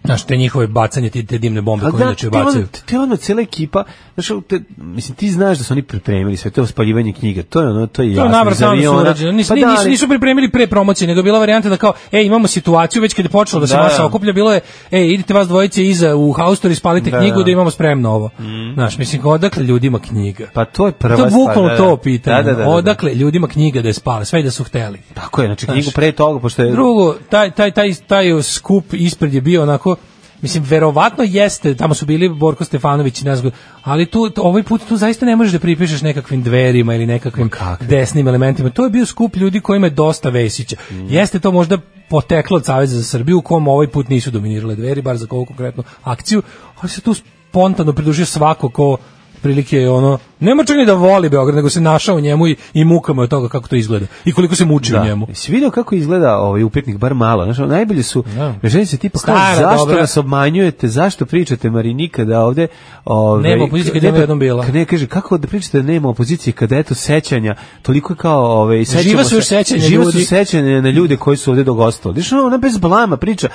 S5: Znaš, te njihove bacanje, te, te dimne bombe
S6: A
S5: koje
S6: da,
S5: inače
S6: ti
S5: bacaju.
S6: ono, ti ono, cijela ekipa, znaš, ono, te, mislim, ti znaš da su oni pripremili sve to spaljivanje knjiga, to je ono, to je
S5: To
S6: jasno.
S5: je
S6: iz
S5: navrat na nos
S6: aviona.
S5: urađeno. Nis-
S6: Pa
S5: ni-
S6: da,
S5: nisu,
S6: ali-
S5: nisu pripremili pre promocije, nego je bila varijanta da kao, e, imamo situaciju, već kad je počelo da se
S6: Da, da.
S5: masa okuplja, bilo je, e, idite vas dvojice iza u haustor i spalite
S6: Da,
S5: knjigu
S6: da.
S5: da imamo spremno ovo. Znaš, mislim, odakle ljudima knjiga?
S6: Pa to je prva
S5: to je bukvalno
S6: stvar, da,
S5: to
S6: da.
S5: pitanje. ono,
S6: Da, da, da, da.
S5: Odakle ljudima knjiga da je spale, sve i da su hteli.
S6: Tako je, znači, knjigu
S5: Znaš.
S6: pre toga, pošto je...
S5: Drugo, taj, taj, taj, taj skup ispred je bio onako, mislim, verovatno jeste, tamo su bili Borko Stefanović i ne znam, ali tu, tu- ovaj put tu zaista ne možeš da pripišeš nekakvim dverima ili nekakvim desnim elementima. To je bio skup ljudi kojima je dosta Vesića. Jeste to možda poteklo od Saveza za Srbiju, u kom ovaj put nisu dominirale dveri, bar za kovu konkretnu akciju, ali se tu spontano pridružio svako ko prilike ono, nema čak ni da voli Beograd, nego se našao u njemu i, i mukama od toga kako to izgleda i koliko se muči u njemu.
S6: Jesi video kako izgleda ovaj upitnik bar malo, znači najbolje su
S5: Da.
S6: rešenje se tipa kao
S5: Stara,
S6: zašto
S5: dobra.
S6: nas obmanjujete, zašto pričate Marinika da ovde ovaj
S5: Nema opozicije kad
S6: k-
S5: nema jednom bila.
S6: k- Ne kaže kako da pričate da nema opozicije kada eto sećanja, toliko je kao ovaj sećamo
S5: Živa su
S6: se-
S5: još sećanja
S6: živa
S5: ljudi.
S6: su sećanja na ljude koji su ovde dogostali. Znaš, ono, ona bez blama priča.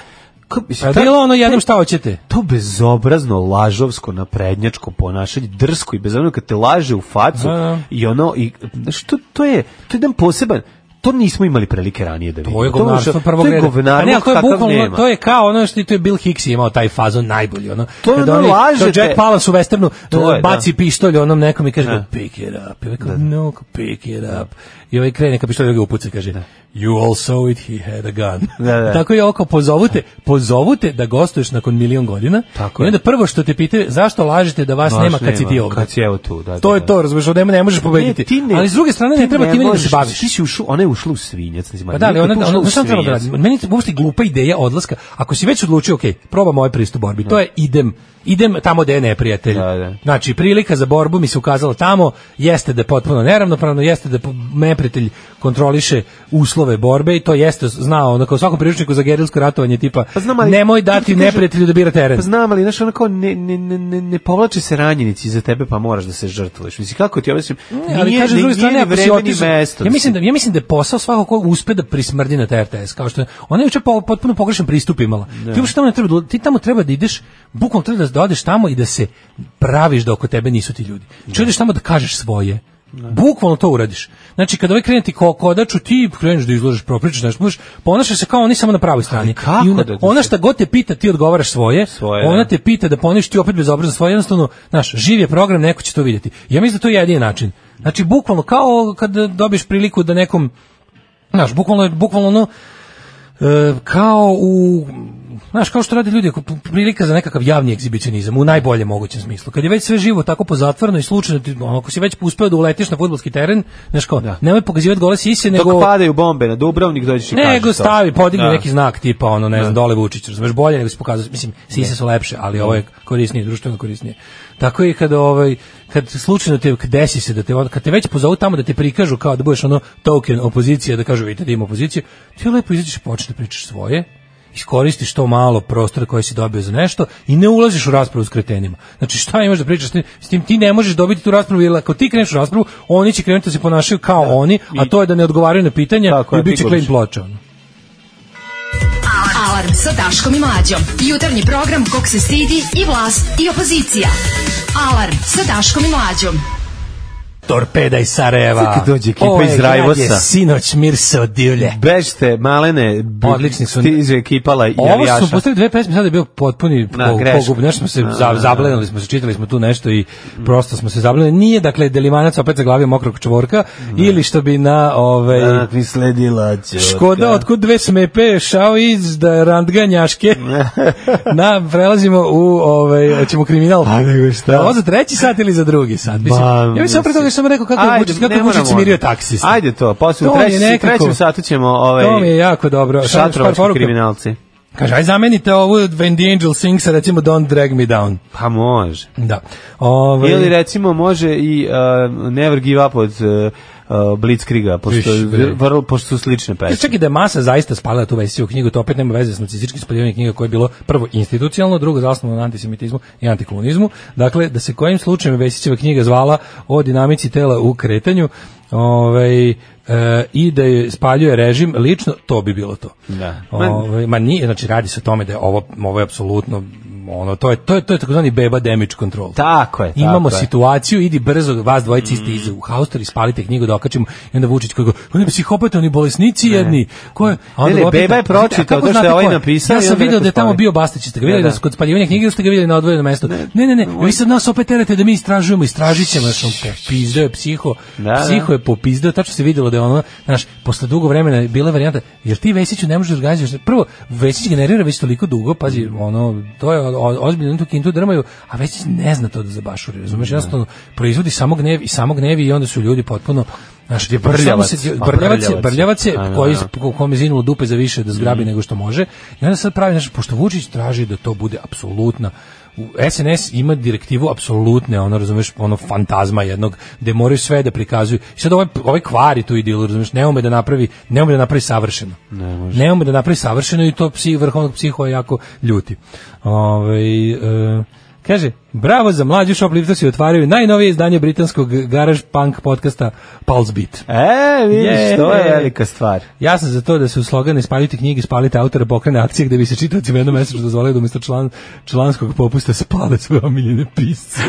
S6: Ka- mislim,
S5: Pa
S6: ta-
S5: bilo ono jednom šta hoćete.
S6: to bezobrazno lažovsko naprednjačko ponašanje drsko i bezobrazno kad te laže u facu
S5: Da, da.
S6: i ono i što to je to je jedan poseban to nismo imali prilike ranije da vidimo.
S5: To Pa je govnarstvo
S6: možda-
S5: prvog
S6: to je
S5: reda.
S6: govnarstvo
S5: Pa ne, ali to je
S6: kakav
S5: bukvalno,
S6: nema.
S5: to je kao ono što i to je Bill Hicks je imao taj fazon najbolji, ono.
S6: To je
S5: Kad
S6: ono,
S5: oni-
S6: lažete.
S5: Jack Palance u westernu
S6: To
S5: uh,
S6: je, da.
S5: baci pištolj onom nekom i kaže
S6: Da.
S5: da. pick it up. I ovaj kao, no, pick it up. I ovaj krene ka pištolju i ga upuca i kaže you all saw it, he had a gun.
S6: (laughs) Da, da.
S5: Tako je oko pozovute, pozovute da gostuješ nakon milion godina.
S6: Tako
S5: I
S6: je.
S5: onda prvo što te pitaju, zašto lažete da vas
S6: Baš
S5: nema kad si ti ovde?
S6: Kad si evo tu, da, da,
S5: To je
S6: da.
S5: to, razumeš, ovdje ne možeš pobediti.
S6: Ne, ti ne-
S5: Ali s druge strane ne
S6: ti
S5: treba time ni da se
S6: možeš,
S5: baviš.
S6: Ti si ušao, ona je ušla u svinjac. mislim,
S5: Pa da, ali
S6: nije
S5: ona,
S6: ušla
S5: ona,
S6: u
S5: ona sam treba da
S6: svinjac.
S5: radi. Meni je uopšte glupa ideja odlaska. Ako si već odlučio, ok, probam ovaj pristup borbi. To je idem, idem tamo gde je neprijatelj.
S6: Da, da.
S5: Znači, prilika za borbu mi se ukazala tamo, jeste da je potpuno neravnopravno, jeste da po- neprijatelj kontroliše uslove borbe i to jeste znao, onako u svakom priručniku za gerilsko ratovanje tipa,
S6: Pa znam, ali-
S5: nemoj
S6: ti
S5: dati
S6: kažem-
S5: neprijatelju da bira teren.
S6: Pa znam, ali znaš, ono kao ne, ne, ne, ne, ne povlače se ranjenici za tebe, pa moraš da se žrtvuješ. Mislim, kako ti, ja mislim,
S5: Ne, ali
S6: nije,
S5: kaže s druge
S6: nije
S5: strane
S6: ni
S5: ako si
S6: vreme, ni
S5: otišao-
S6: mesto.
S5: Ja mislim da ja mislim da je posao svakog ko uspe da prismrdi na taj RTS kao što je- ona je juče po, potpuno pogrešan pristup imala. Ti uopšte tamo ne treba da- ti tamo treba da ideš bukvalno treba da odeš tamo i da se praviš da oko tebe nisu ti ljudi. Znači odeš tamo da kažeš svoje. Bukvalno to uradiš. Znači kada ovaj krene ti ko kodaču, ti kreneš da izlažeš, propričaš, znači možeš, ponašaš se kao oni samo na pravoj strani.
S6: kako
S5: I onda,
S6: da ti se-
S5: ona šta god te pita, ti odgovaraš svoje.
S6: Svoje,
S5: ona
S6: da.
S5: te pita da poništi opet bezobrazno svoje, jednostavno, znaš, živ je program, neko će to vidjeti. Ja mislim da to je jedini način. Znači, bukvalno, kao kad dobiješ priliku da nekom, znaš, bukvalno, je- bukvalno ono, e, kao u Znaš, kao što rade ljudi, ako p- prilika za nekakav javni egzibicionizam, u najboljem mogućem smislu. Kad je već sve živo tako pozatvoreno i slučajno, ti, ono, ako si već uspeo da uletiš na futbolski teren, znaš kao, nemoj pokazivati gole sise,
S6: Dok
S5: nego...
S6: padaju bombe na Dubrovnik, dođeš i kažeš
S5: Nego
S6: to.
S5: stavi, podigni
S6: Da.
S5: neki znak tipa ono, ne znam, dole Vučić, razumeš, bolje nego se pokazuje, mislim, sise su lepše, ali ovo je korisnije, društveno korisnije. Tako je kada ovaj kad slučajno te kad desi se da te on- kad te već pozovu tamo da te prikažu kao da budeš ono token opozicije, da kažu vidite da ima opozicije, ti lepo izađeš i počneš da pričaš svoje iskoristiš to malo prostora koji si dobio za nešto i ne ulaziš u raspravu s kretenima. Znači šta imaš da pričaš s tim, s tim ti ne možeš dobiti tu raspravu jer ako ti kreneš u raspravu oni će krenuti da se ponašaju kao oni, a to je da ne odgovaraju na pitanja
S6: Tako je,
S5: i bit će
S6: ti
S5: clean
S6: gubiš.
S5: ploča. ono.
S4: Alarm sa Daškom i Mlađom. Jutarnji program kog se stidi i vlast i opozicija. Alarm sa Daškom i Mlađom.
S5: Torpeda iz Sarajeva.
S6: Sad kad dođe ekipa
S5: Ovaj
S6: iz
S5: grad
S6: Rajvosa.
S5: je sinoć mir se odilje.
S6: Bežte, malene, b-
S5: Odlični su.
S6: stiže ekipala i
S5: Ovo
S6: avijaša.
S5: su postali dve pesme, sada je bio potpuni
S6: Na,
S5: po-
S6: greška.
S5: pogub, nešto smo se
S6: Na,
S5: za,
S6: na,
S5: zablenili, smo se čitali smo tu nešto i prosto smo se zablenili. Nije, dakle, Delimanac opet zaglavio mokrog čvorka, ili što bi na, ovaj,
S6: Danak mi sledila ćorka.
S5: Škoda, otkud dve smepe, šao iz da
S6: (laughs)
S5: randganjaške. Na, prelazimo u, ovaj, hoćemo kriminal.
S6: A Pa nego šta?
S5: Ovo za treći sat ili za drugi sat? Mislim,
S6: Ma,
S5: ja bih samo pre toga
S6: mislim.
S5: sam rekao kako je
S6: Ajde,
S5: Vučić, kako
S6: ne
S5: je Vučić
S6: moramo
S5: smirio
S6: onda.
S5: taksista.
S6: Ajde to, posle u
S5: To mi je
S6: trećem-
S5: nekako-
S6: trećem satu ćemo, ovaj,
S5: To mi je jako dobro. Sad još par
S6: Šatrovački
S5: poruka.
S6: kriminalci.
S5: Kaže, aj zamenite ovu od When the Angel Sings, sa, recimo Don't Drag Me Down.
S6: Pa može.
S5: Da. Ove,
S6: Ili recimo može i uh, Never Give Up od uh, uh, Blitzkriga, pošto,
S5: Viš, bre.
S6: vrlo, pošto su slične pesme.
S5: Čak i da je masa zaista spalila tu Vesiju knjigu, to opet nema veze s nacističkim spaljivanjem knjiga koje je bilo prvo institucionalno, drugo zasnovano na antisemitizmu i antikolonizmu. Dakle, da se kojim slučajem Vesićeva knjiga zvala o dinamici tela u kretanju ovaj, e, i da je spaljuje režim lično, to bi bilo to.
S6: Da.
S5: Ovaj, ma nije, znači radi se o tome da je ovo, ovo je apsolutno ono, to je, to je, to je takozvani beba damage control.
S6: Tako je, tako
S5: Imamo
S6: je. Mm.
S5: situaciju, idi brzo, vas dvojici ste iz u haustor, ispalite knjigu da okačimo i onda Vučić koji go, "Pa oni psihopati, oni bolesnici jedni. Ko je? A onda
S6: Ne, ne,
S5: ga opet-
S6: beba je
S5: A kako
S6: pročitao to što
S5: znate
S6: je ovaj
S5: ko
S6: napisao
S5: Ja
S6: i
S5: sam
S6: onda
S5: video
S6: rekao
S5: da je tamo
S6: spali.
S5: bio Bastić, ste ga videli
S6: Da,
S5: da,
S6: da.
S5: su kod spaljivanja knjige ili ste ga videli na odvojenom mestu. Ne, ne, ne, vi sad nas opet terate da mi istražujemo, istražit ćemo, znaš, on popizdeo je psiho,
S6: Da, da.
S5: psiho je popizdeo, tačno se videlo da je ono, znaš, posle dugo vremena je bila varijanta, jer ti Vesiću ne možeš organizovati, prvo, Vesić generira već toliko dugo, pazi,
S6: Mm.
S5: ono, to je o- o- ozbiljno, oni tu kintu drmaju, a Vesić ne zna to da zabašuri, razumeš, jednostavno, proizvodi samo gnev i samo gnev i onda su ljudi potpuno, znaš,
S6: brljavac,
S5: samo se-
S6: a
S5: brljavac, je-
S6: brljavac.
S5: brljavac je,
S6: A, da,
S5: koji
S6: da. Mhm.
S5: ko- kome zinulo dupe za više da zgrabi nego što može. I onda sad pravi, znači, pošto Vučić traži da to bude apsolutna u SNS ima direktivu apsolutne, ono, razumeš, ono fantazma jednog, gde moraju sve da prikazuju. I sad ovaj, ovaj kvari tu idilu, razumeš, ne ume da napravi, ne ume da napravi savršeno. Ne, ume da napravi savršeno i to psi, vrhovnog psiho je jako ljuti. Ove, e, Ovaj, kaže, Bravo za mlađu shoplifters i otvaraju najnovije izdanje britanskog garage punk podcasta Pulse Beat.
S6: E, vidiš,
S5: Je.
S6: to je velika stvar.
S5: Ja sam za to da se u slogane spaljiti knjige, spalite autora pokrene akcije gde bi se čitavcima jednom mesečno dozvolio da umjesto član, članskog popusta spale svoje omiljene pisce.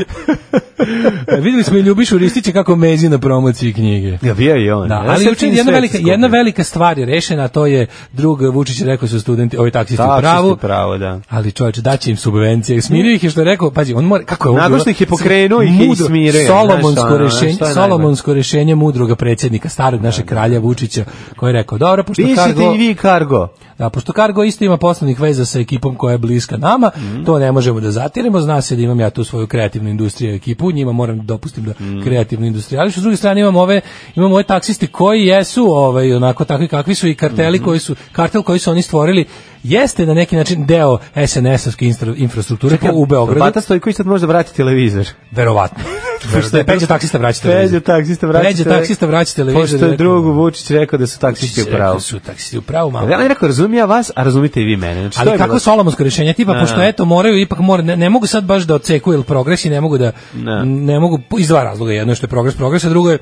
S5: E, Videli smo i Ljubišu Ristića kako mezi na promociji knjige.
S6: Ja bio je i on.
S5: Da,
S6: Ja
S5: ali
S6: sad
S5: juče
S6: vidim
S5: jedna
S6: sve
S5: velika,
S6: to
S5: jedna
S6: skuplje.
S5: velika stvar je rešena, a to je drug Vučić je rekao su studenti, ovi taksisti u
S6: Taksisti pa
S5: pravu,
S6: u pravu, da.
S5: ali čovječe, daće im subvencije. Smirio ih je što je rekao, pazi, on mora, kako je ovo
S6: Nakon
S5: bilo?
S6: što ih je pokrenuo, ih je
S5: Mudro,
S6: ismirio, znaš,
S5: Solomonsko
S6: ono,
S5: rešenje,
S6: šta je najbolje?
S5: Solomonsko rešenje mudroga predsjednika, starog našeg kralja Vučića, koji je rekao, dobro, pošto
S6: Pišite
S5: Cargo,
S6: i vi kargo.
S5: da, pošto Cargo isto ima poslovnih veza sa ekipom koja je bliska nama,
S6: Mhm.
S5: to ne možemo da zatiremo, zna se da imam ja tu svoju kreativnu industriju i ekipu, njima moram da dopustim da
S6: Mhm.
S5: kreativnu industriju, ali što s druge strane imam ove, imam ove taksiste koji jesu ovaj, onako takvi kakvi su i karteli
S6: Mhm.
S5: koji su, kartel koji su oni stvorili jeste na neki način deo SNS-ovske instra- infrastrukture po- u Beogradu.
S6: Bata Stojković sad može da vrati televizor. (laughs)
S5: Verovatno. Pošto je Peđa taksista vraća televizor.
S6: Peđa taksista vraća
S5: Peđa
S6: televizor.
S5: taksista vraća televizor.
S6: Pošto je
S5: rekao-
S6: drugu Vučić rekao da su taksisti u
S5: Rekao
S6: pravu.
S5: Su taksisti u pravu, mama.
S6: Ja ne rekao, razumijem ja vas, a razumite i vi mene. Znači, to
S5: Ali
S6: je
S5: kako
S6: bilo-
S5: solomonsko rješenje tipa pošto eto moraju ipak mora ne, ne mogu sad baš da odsekuju jel progres i ne mogu da
S6: Ne.
S5: ne. mogu iz dva razloga jedno je što je progres progres a drugo je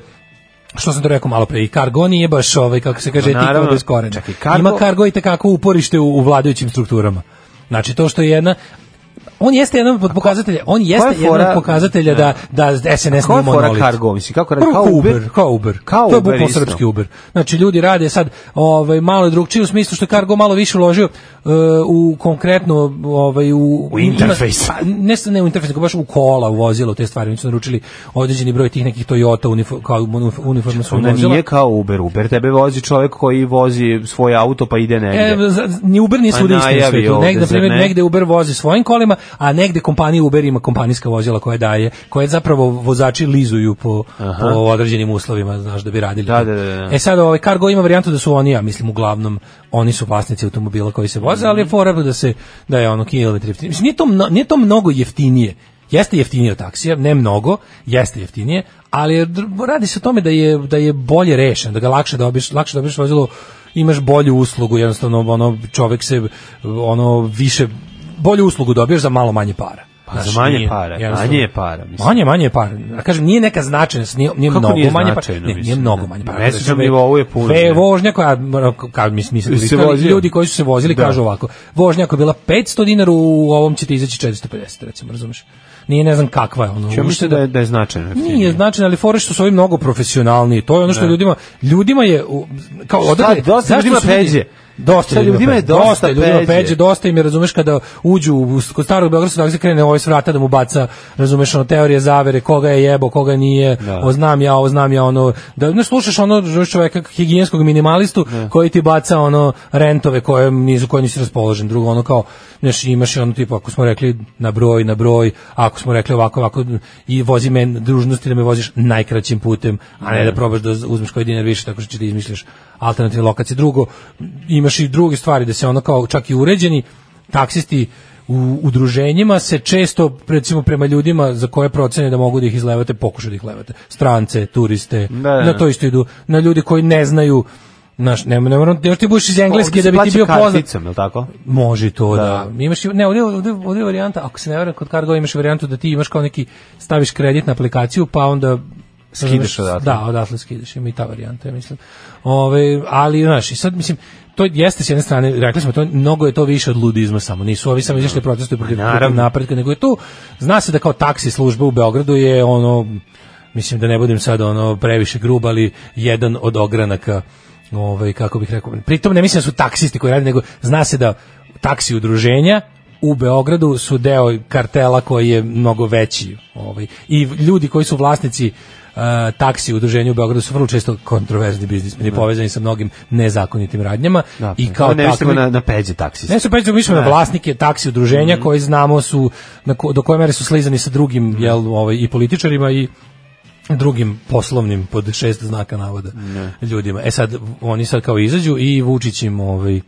S5: što sam to rekao malo pre i Cargo nije baš ovaj kako se kaže
S6: Ma,
S5: etikova
S6: naravno.
S5: bez korena.
S6: Čekaj, Cargo-
S5: Ima Cargo i takako uporište u, u vladajućim strukturama. Znači to što je jedna on jeste jedan od pokazatelja, on jeste
S6: je
S5: jedan
S6: fora-
S5: od pokazatelja da da SNS
S6: Koja
S5: nije
S6: je fora
S5: monolit.
S6: kargo, mislim, kako radi,
S5: Prvo
S6: kao Uber?
S5: kao Uber.
S6: Kao
S5: to je
S6: Uber
S5: bukvalno
S6: isto.
S5: srpski Uber. Znači ljudi rade sad ovaj malo je drugčije u smislu što je Cargo malo više uložio e, u konkretno ovaj u,
S6: U interfejs.
S5: Ima- pa, ne s- ne u interfejs, nego baš u kola, u vozilo, u te stvari. Mi su naručili određeni broj tih nekih Toyota unifo, kao unif- uniforma su
S6: Ona
S5: vozila.
S6: Pa nije kao Uber. Uber tebe vozi čovjek koji vozi svoj auto pa ide
S5: E,
S6: negde.
S5: za- ni Uber nije
S6: Pa
S5: svuda isti na
S6: najavi
S5: svetu.
S6: ovde,
S5: Negde, na
S6: zar
S5: primjer,
S6: ne?
S5: negde Uber vozi svojim kolima, a negde kompanija Uber ima kompanijska vozila koje daje, koje zapravo vozači lizuju po, po određenim uslovima, znaš, da bi radili.
S6: Da, da, da, da.
S5: E sad, ovaj, Cargo ima varijantu da su oni, ja mislim, uglavnom, oni su vlasnici automobila koji se voze, ali je fora da se, da je ono kilometar jeftinije. Mislim, nije to, mno- nije to mnogo jeftinije. Jeste jeftinije od taksija, ne mnogo, jeste jeftinije, ali je dr- radi se o tome da je, da je bolje rešen, da ga lakše dobiš, lakše dobiš vozilo imaš bolju uslugu, jednostavno ono čovjek se ono više bolju uslugu dobiješ za malo manje para.
S6: Pa za manje para,
S5: jednostavno-
S6: manje je para, mislim.
S5: Manje, manje je para. A kažem, nije neka značajnost, nije, nije
S6: Kako
S5: mnogo
S6: nije
S5: manje para.
S6: značajno,
S5: Ne, nije
S6: mislim,
S5: mnogo
S6: da.
S5: manje pa-
S6: Na
S5: para.
S6: mesečnom
S5: Ve-
S6: nivou je puno,
S5: ve-
S6: ne.
S5: vožnja koja, ono, kao mislim, nisam
S6: Se
S5: koristio, ali
S6: vozio.
S5: ljudi koji su se vozili
S6: Da.
S5: kažu ovako, vožnja koja je bila 500 dinara, u ovom će ti izaći 450, recimo, razumeš? Nije ne znam kakva je ono.
S6: Ja
S5: ušte
S6: mislim da je, da je značajno.
S5: nije značajno, ali fore što su ovi mnogo profesionalniji. To je ono što ljudima ljudima je u- kao
S6: Šta,
S5: odakle
S6: dosta
S5: zašto
S6: ljudima
S5: su ljudi-
S6: peđe?
S5: Dosta
S6: Šta, ljudima je dosta
S5: dosta ljudima
S6: peđe.
S5: peđe, dosta im je, razumeš, kada uđu u, kod starog Beogradskog tako se krene ovaj s vrata da mu baca, razumeš, ono, teorije zavere, koga je jebo, koga nije, o znam ja, o znam ja, ono, da ne slušaš ono, razumeš, čoveka higijenskog minimalistu koji ti baca, ono, rentove koje nisu, koje nisi raspoložen, drugo, ono, kao, znaš, imaš ono, tipa, ako smo rekli na broj, na broj, ako smo rekli ovako, ovako, i vozi me dužnosti da me voziš najkraćim putem, a ne da probaš da uzmeš koji dinar više, tako što će da izmišljaš alternativne lokacije. Drugo, imaš i druge stvari, da se ono kao čak i uređeni, taksisti u udruženjima se često recimo prema ljudima za koje procene da mogu da ih izlevate, pokušaju da ih levate. Strance, turiste,
S6: Da, da,
S5: na
S6: da.
S5: to isto idu, na ljudi koji ne znaju Naš, ne, ne moram, još ti budeš iz engleske da bi ti bio poznat.
S6: Karticom, je li tako?
S5: Može i to, da.
S6: Da.
S5: Imaš, i- ne, ovdje, ovdje, ovdje je varijanta, ako se ne varam, kod Cargo imaš varijantu da ti imaš kao neki, staviš kredit na aplikaciju, pa onda
S6: Skidaš odatle.
S5: Da, odatle skidaš, ima i ta varijanta, ja mislim. Ove, ali, znaš, i sad, mislim, to jeste s jedne strane, rekli smo to, mnogo je to više od ludizma samo, nisu ovi samo izašli protestuju protiv, protiv
S6: naravno.
S5: napretka, nego je tu, zna se da kao taksi služba u Beogradu je ono, mislim da ne budem sad ono previše grub, ali jedan od ogranaka, ovaj, kako bih rekao, pritom ne mislim da su taksisti koji rade, nego zna se da taksi udruženja u Beogradu su deo kartela koji je mnogo veći. Ovaj. I ljudi koji su vlasnici e, taksi udruženja u Beogradu su vrlo često kontroverzni biznismeni povezani sa mnogim nezakonitim radnjama
S6: Da, pa
S5: i kao
S6: ne mislimo
S5: takvi
S6: na, na peđe taksista.
S5: ne se peđemo, mi smo na vlasnike taksi udruženja koji znamo su na ko- do koje mere su slizani sa drugim jel, ovaj, i političarima i drugim poslovnim pod šest znaka navoda ljudima. E sad oni sad kao izađu i Vučić im ovaj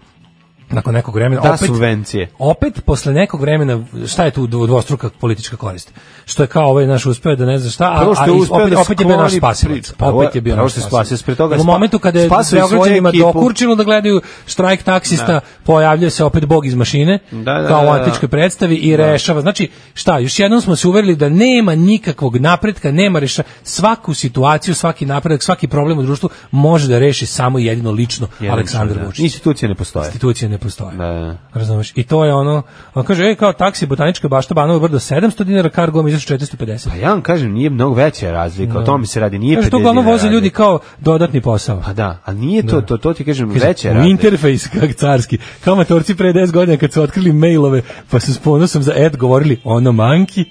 S5: nakon nekog vremena
S6: Da,
S5: opet
S6: subvencije.
S5: opet posle nekog vremena šta je tu dvo- dvostruka politička korist što je kao ovaj naš uspeo da ne zna šta a,
S6: Prvo što je
S5: ali
S6: uspeo
S5: opet,
S6: da
S5: opet je bio naš
S6: skloni
S5: spasilac
S6: priču. Prvo-
S5: opet je bio
S6: prvo
S5: naš
S6: što je
S5: spasilac
S6: spasio, pre toga je
S5: u
S6: spa-
S5: momentu kada je
S6: spasio i svoju
S5: Beograđanima
S6: ekipu.
S5: dokurčilo da gledaju štrajk taksista pojavljuje se opet bog iz mašine
S6: Da, da,
S5: kao u
S6: da, da.
S5: antičkoj predstavi i rešava znači šta još jednom smo se uverili da nema nikakvog napretka nema reša svaku situaciju svaki napredak svaki problem u društvu može da reši samo i jedino lično Aleksandar
S6: da.
S5: Vučić
S6: Institucije ne postoje. E,
S5: institucije ne postoje.
S6: Da, da.
S5: Razumeš? I to je ono, on kaže, ej, kao taksi, botanička bašta, Banovo brdo, 700 dinara, kargo mi izašao 450.
S6: Pa ja vam kažem, nije mnogo veća razlika, o tome se radi, nije 50
S5: Kaže, to
S6: dinara
S5: uglavnom voze ljudi
S6: razlika.
S5: kao dodatni posao.
S6: Pa da, ali nije to, to, to ti kažem,
S5: Kaže,
S6: veća
S5: u
S6: razlika.
S5: interfejs, kak carski. Kao matorci pre 10 godina kad su otkrili mailove, pa su s ponosom za ad govorili, ono manki.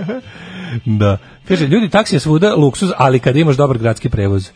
S5: (laughs) da. Kaže, ljudi, taksi je svuda luksuz, ali kada imaš dobar gradski prevoz.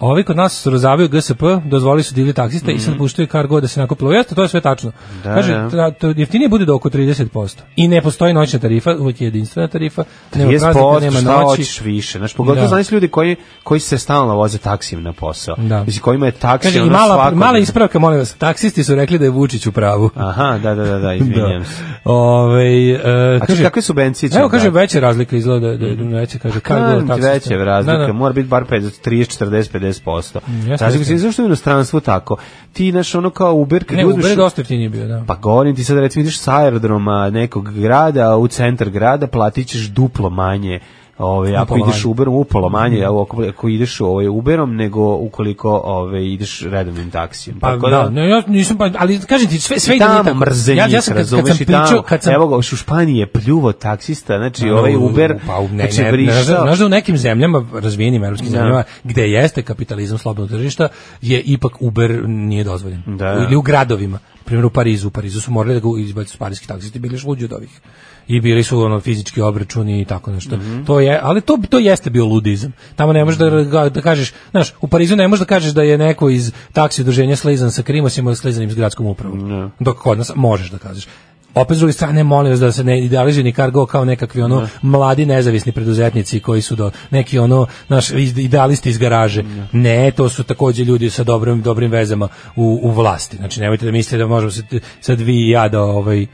S5: Ovi kod nas su razavio GSP, dozvoli su divlje taksiste i sad puštaju kargo da se nakupilo. Jeste, to je sve tačno.
S6: Mhm. Da,
S5: Kaže,
S6: da.
S5: tra- to jeftinije bude do oko 30%. I ne postoji noćna tarifa, uvijek je jedinstvena tarifa. Nema
S6: je
S5: praznika,
S6: sport,
S5: nema
S6: šta
S5: noći.
S6: hoćeš više. Znaš, pogotovo
S5: Da.
S6: znaš ljudi koji, koji se stalno voze taksijem na posao.
S5: Da.
S6: Mislim, kojima je taksi
S5: Kaže, i
S6: ono
S5: mala,
S6: svakodnevno.
S5: mala ispravka, molim vas, taksisti su rekli da je Vučić u pravu.
S6: Aha,
S5: (laughs)
S6: da, da, da, da, izvinjam se.
S5: Ovaj e,
S6: A kaže, kakve subvencije će
S5: Evo kaže
S6: dati?
S5: veća razlika izgleda da da idu veće kaže
S6: Kažem
S5: kargo
S6: ti
S5: taksista.
S6: veće razlika,
S5: Da, Mm, da.
S6: mora biti bar 50, 30, 40, 50%.
S5: jeste,
S6: Razlika
S5: jeste.
S6: se Znači, zašto je u inostranstvu tako. Ti, naš, ono kao Uber, kad
S5: Ne,
S6: uzmeš...
S5: Uber je dosta jeftiniji bio, da.
S6: Pa govorim ti sad recimo ideš sa aerodroma nekog grada u centar grada platit ćeš duplo manje Ove, ako
S5: Upola
S6: ideš
S5: manje. Mm.
S6: Uberom, upolo manje, a ako, ako ideš ovaj, Uberom, nego ukoliko ove, ideš redovnim taksijem.
S5: Pa
S6: Tako
S5: da, ne, ja nisam pa, ali kažem ti sve sve
S6: I
S5: ide nije
S6: tamo
S5: tako.
S6: mrze
S5: ja,
S6: njih,
S5: ja sam kad, kad
S6: razumeš,
S5: sam
S6: i tamo,
S5: pričao, kad sam
S6: Evo ga, u Španiji je pljuvo taksista, znači
S5: Ono,
S6: ovaj Uber,
S5: pa u- ne,
S6: znači
S5: ne, ne,
S6: vrištao.
S5: znaš da- znaš da u nekim zemljama, razvijenim evropskim
S6: Da.
S5: zemljama, gde jeste kapitalizam slobodnog tržišta, je ipak Uber nije dozvoljen.
S6: Da.
S5: Ili u gradovima. Na primjer u Parizu, u Parizu su morali da ga izbacu parijski taksisti, bili su luđi od ovih. I bili su ono fizički obračuni i tako nešto.
S6: Mhm.
S5: To je, ali to to jeste bio ludizam. Tamo ne možeš da da kažeš, znaš, u Parizu ne možeš da kažeš da je neko iz taksi udruženja slizan sa Krimosima ili slizanim s gradskom upravom. Dok kod nas možeš da kažeš. Opet s druge strane, molim vas da se ne idealizuje ni Cargo kao nekakvi ono mladi nezavisni preduzetnici koji su do neki ono naš iz- idealisti iz garaže. Ne, to su takođe ljudi sa dobrim dobrim vezama u, u vlasti. Znači nemojte da mislite da možemo se t- sad vi i ja da ovaj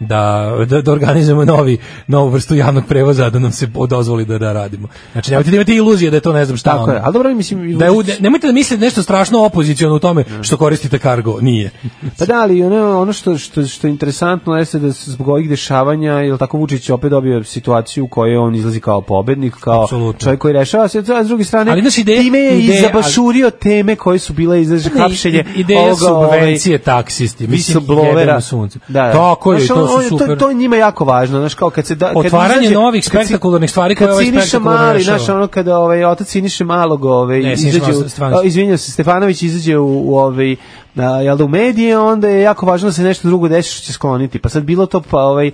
S5: da, da, da organizujemo novi, novu vrstu javnog prevoza da nam se dozvoli da, da radimo. Znači nemojte da imate iluzije da je to ne znam šta.
S6: Tako je,
S5: ono.
S6: ali dobro, mislim... i
S5: Da je, u-
S6: Vučić-
S5: ne- nemojte da mislite nešto strašno opoziciono u tome što koristite kargo, nije.
S6: Pa da, ali ono, ono što, što, što je interesantno jeste da se zbog ovih dešavanja, jel tako Vučić je opet dobio situaciju u kojoj on izlazi kao pobednik, kao
S5: Apsolutno.
S6: čovjek koji rešava sve, a s druge strane,
S5: Ali, znaš, ideja-
S6: time je
S5: ideja- Pa
S6: i zabašurio teme koje su bile izlaže
S5: Ne,
S6: hapšenje
S5: ideja
S6: ovaj,
S5: subvencije taksisti mislim
S6: visoblovera.
S5: jebemo sunce
S6: Da, da.
S5: tako je
S6: Znaš,
S5: to
S6: on- on
S5: su
S6: je-
S5: super
S6: To, to je njima jako važno, znaš, kao kad se da, kad
S5: Otvaranje
S6: izađe-
S5: novih
S6: kad si-
S5: spektakularnih stvari koje
S6: kad
S5: ovaj
S6: Siniša
S5: spektakularno
S6: Mali,
S5: rešava.
S6: znaš, ono kada ovaj otac Siniše Malog, ovaj
S5: Ne, Siniša
S6: izađe,
S5: Malog,
S6: u-
S5: Stefanović.
S6: a, izvinjam se, Stefanović izađe u, u ovaj na, jel da u medije, onda je jako važno da se nešto drugo desi što će skloniti. Pa sad bilo to pa, ovaj, eh,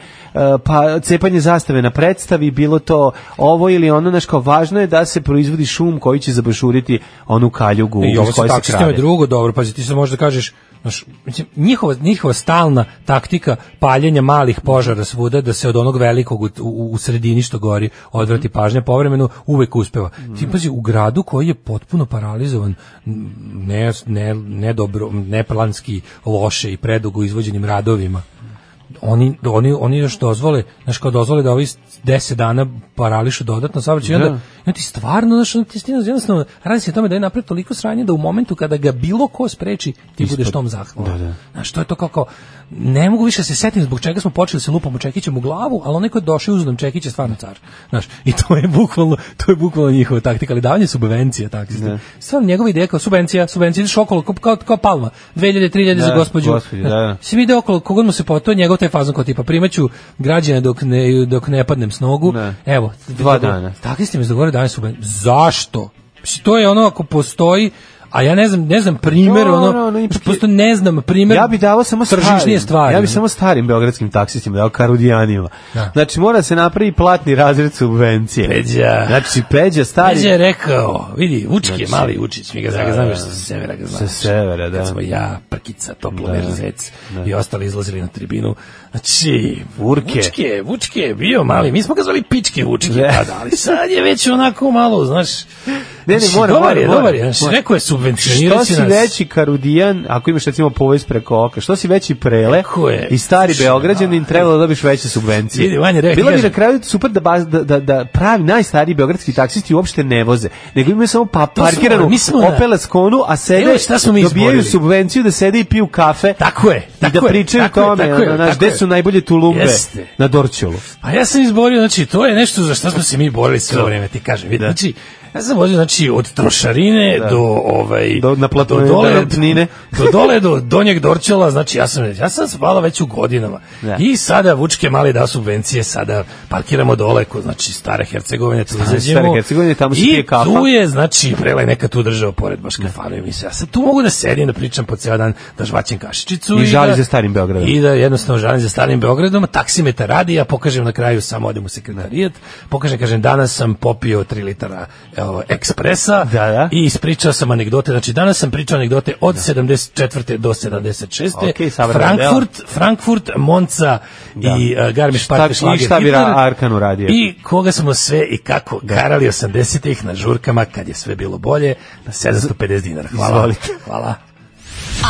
S6: pa cepanje zastave na predstavi, bilo to ovo ili ono, znaš, kao važno je da se proizvodi šum koji će zabašuriti onu kaljugu
S5: E, I ovo
S6: iz koje
S5: sa
S6: se
S5: taksistima je
S6: krade.
S5: drugo dobro, pazi, ti sad možeš da kažeš, znaš, mislim, njihova, njihova stalna taktika paljenja malih požara svuda, da se od onog velikog u, u, u sredini što gori odvrati pažnja, povremeno uvek uspeva. Ti pazi, u gradu koji je potpuno paralizovan, n- ne, ne, ne dobro, neplanski, loše i predugo izvođenim radovima, oni oni oni još dozvole, znači kao dozvole da ovi 10 dana parališu dodatno saobraćaj i onda, i onda ti stvarno znači onda ti stvarno jednostavno radi se o tome da je napred toliko sranje da u momentu kada ga bilo ko spreči ti budeš tom zahvalan. Da, Znaš, to je to kako ne mogu više da se setim zbog čega smo počeli da se lupamo čekićem u glavu, ali onaj ko je došao i uzeo nam čekić je stvarno car. Znaš, i to je bukvalno to je bukvalno njihova taktika, ali davanje subvencija taksisti. Stvarno njegova ideja kao subvencija, subvencija ideš okolo kao, kao, kao palma, 2000 3000 za
S6: Da,
S5: gospođu.
S6: gospođu, da, da.
S5: Svi ide okolo, kogod mu se po to je njegov taj fazon kao tipa primaću građane dok ne dok ne padnem s nogu.
S6: Ne.
S5: Evo,
S6: Dva
S5: dogovor-
S6: dana.
S5: Takvi ste mi dogovorili danas su zašto? Mislim, To je ono ako postoji A ja ne znam, ne znam primer,
S6: Dobro,
S5: ono,
S6: ono, ipak je-
S5: prosto ne znam primer.
S6: Ja bih davao samo
S5: tržišnije
S6: starim.
S5: stvari.
S6: Ja bih
S5: ono.
S6: samo starim beogradskim taksistima, dao karudijanima.
S5: Da.
S6: Znači mora se napravi platni razred subvencije.
S5: Peđa.
S6: Znači peđa stari.
S5: Peđa je rekao, vidi, Vučki je
S6: Znači,
S5: mali Vučić, mi ga da, ga
S6: da,
S5: znam,
S6: da.
S5: još sa severa ga
S6: Sa
S5: znaš.
S6: severa, da.
S5: Kad smo ja, Prkica, Toplomer, Zec i ostali izlazili na tribinu. Znači,
S6: Urke.
S5: Vučke, Vučke je bio mali, mi smo ga zvali Pičke Vučke tada, ali sad je već onako malo, znaš,
S6: Ne, ne,
S5: Mislim,
S6: mora,
S5: dobar
S6: mora,
S5: je,
S6: mora.
S5: dobar je. Znači,
S6: Mora.
S5: rekao je
S6: Što
S5: subvencionirati
S6: si
S5: nas.
S6: veći karudijan, ako imaš recimo povez preko oka, što si veći prele
S5: Tako je.
S6: i stari
S5: Što,
S6: Beograđanin trebalo da dobiš veće subvencije.
S5: Vidi, Vanja, rekao ti
S6: Bilo bi
S5: kažem.
S6: na kraju super da, baz, da, da, da pravi najstariji beogradski taksisti uopšte ne voze, nego imaju samo pa,
S5: smo,
S6: parkiranu
S5: mi smo na-
S6: Opel Askonu, a sede,
S5: Evo šta smo mi
S6: dobijaju
S5: izborili.
S6: subvenciju da sede i piju kafe
S5: Tako je,
S6: i da
S5: tako je,
S6: pričaju o
S5: tako je,
S6: tome,
S5: tako je,
S6: ono, znaš,
S5: tako
S6: gde
S5: je.
S6: su najbolje tulumbe
S5: Jeste.
S6: na Dorćolu.
S5: Pa ja sam izborio, znači, to je nešto za što smo se mi borili sve vreme, ti kažem. Vidi, Znači, ja sam vozio, znači, od trošarine do, ovaj,
S6: Do- na platnu-
S5: do
S6: do
S5: dole,
S6: napnine.
S5: (laughs) do dole, do donjeg dorčela, znači, ja sam, ja sam spala već u godinama.
S6: Da.
S5: I sada Vučke mali da subvencije, sada parkiramo dole, kod, znači, stare Hercegovine, tu izađemo.
S6: Stare Hercegovine, tamo se
S5: I
S6: pije kafa.
S5: tu je, znači, prelaj neka tu država pored, baš kafanu i mi se, ja sad tu mogu da sedim, da pričam po ceo dan, da žvaćem kašičicu.
S6: I žali
S5: da-
S6: za starim Beogradom.
S5: I da jednostavno žalim za starim Beogradom, taksimeta radi, ja pokažem na kraju, samo odem u sekretarijat, pokažem, kažem, danas sam popio 3 litara evo, ekspresa
S6: Da, da.
S5: i ispričao sam anegdote, znači danas sam pričao anegdote od 74. do 76.
S6: Okej, savremena
S5: Frankfurt, Frankfurt, Monca i uh, Garmisch Partenkirchen.
S6: i šta bi Ra- Arkan uradio?
S5: I koga smo sve i kako karali 80-ih na žurkama kad je sve bilo bolje na 750 dinara. Hvala.
S6: Izvolite.
S5: Hvala.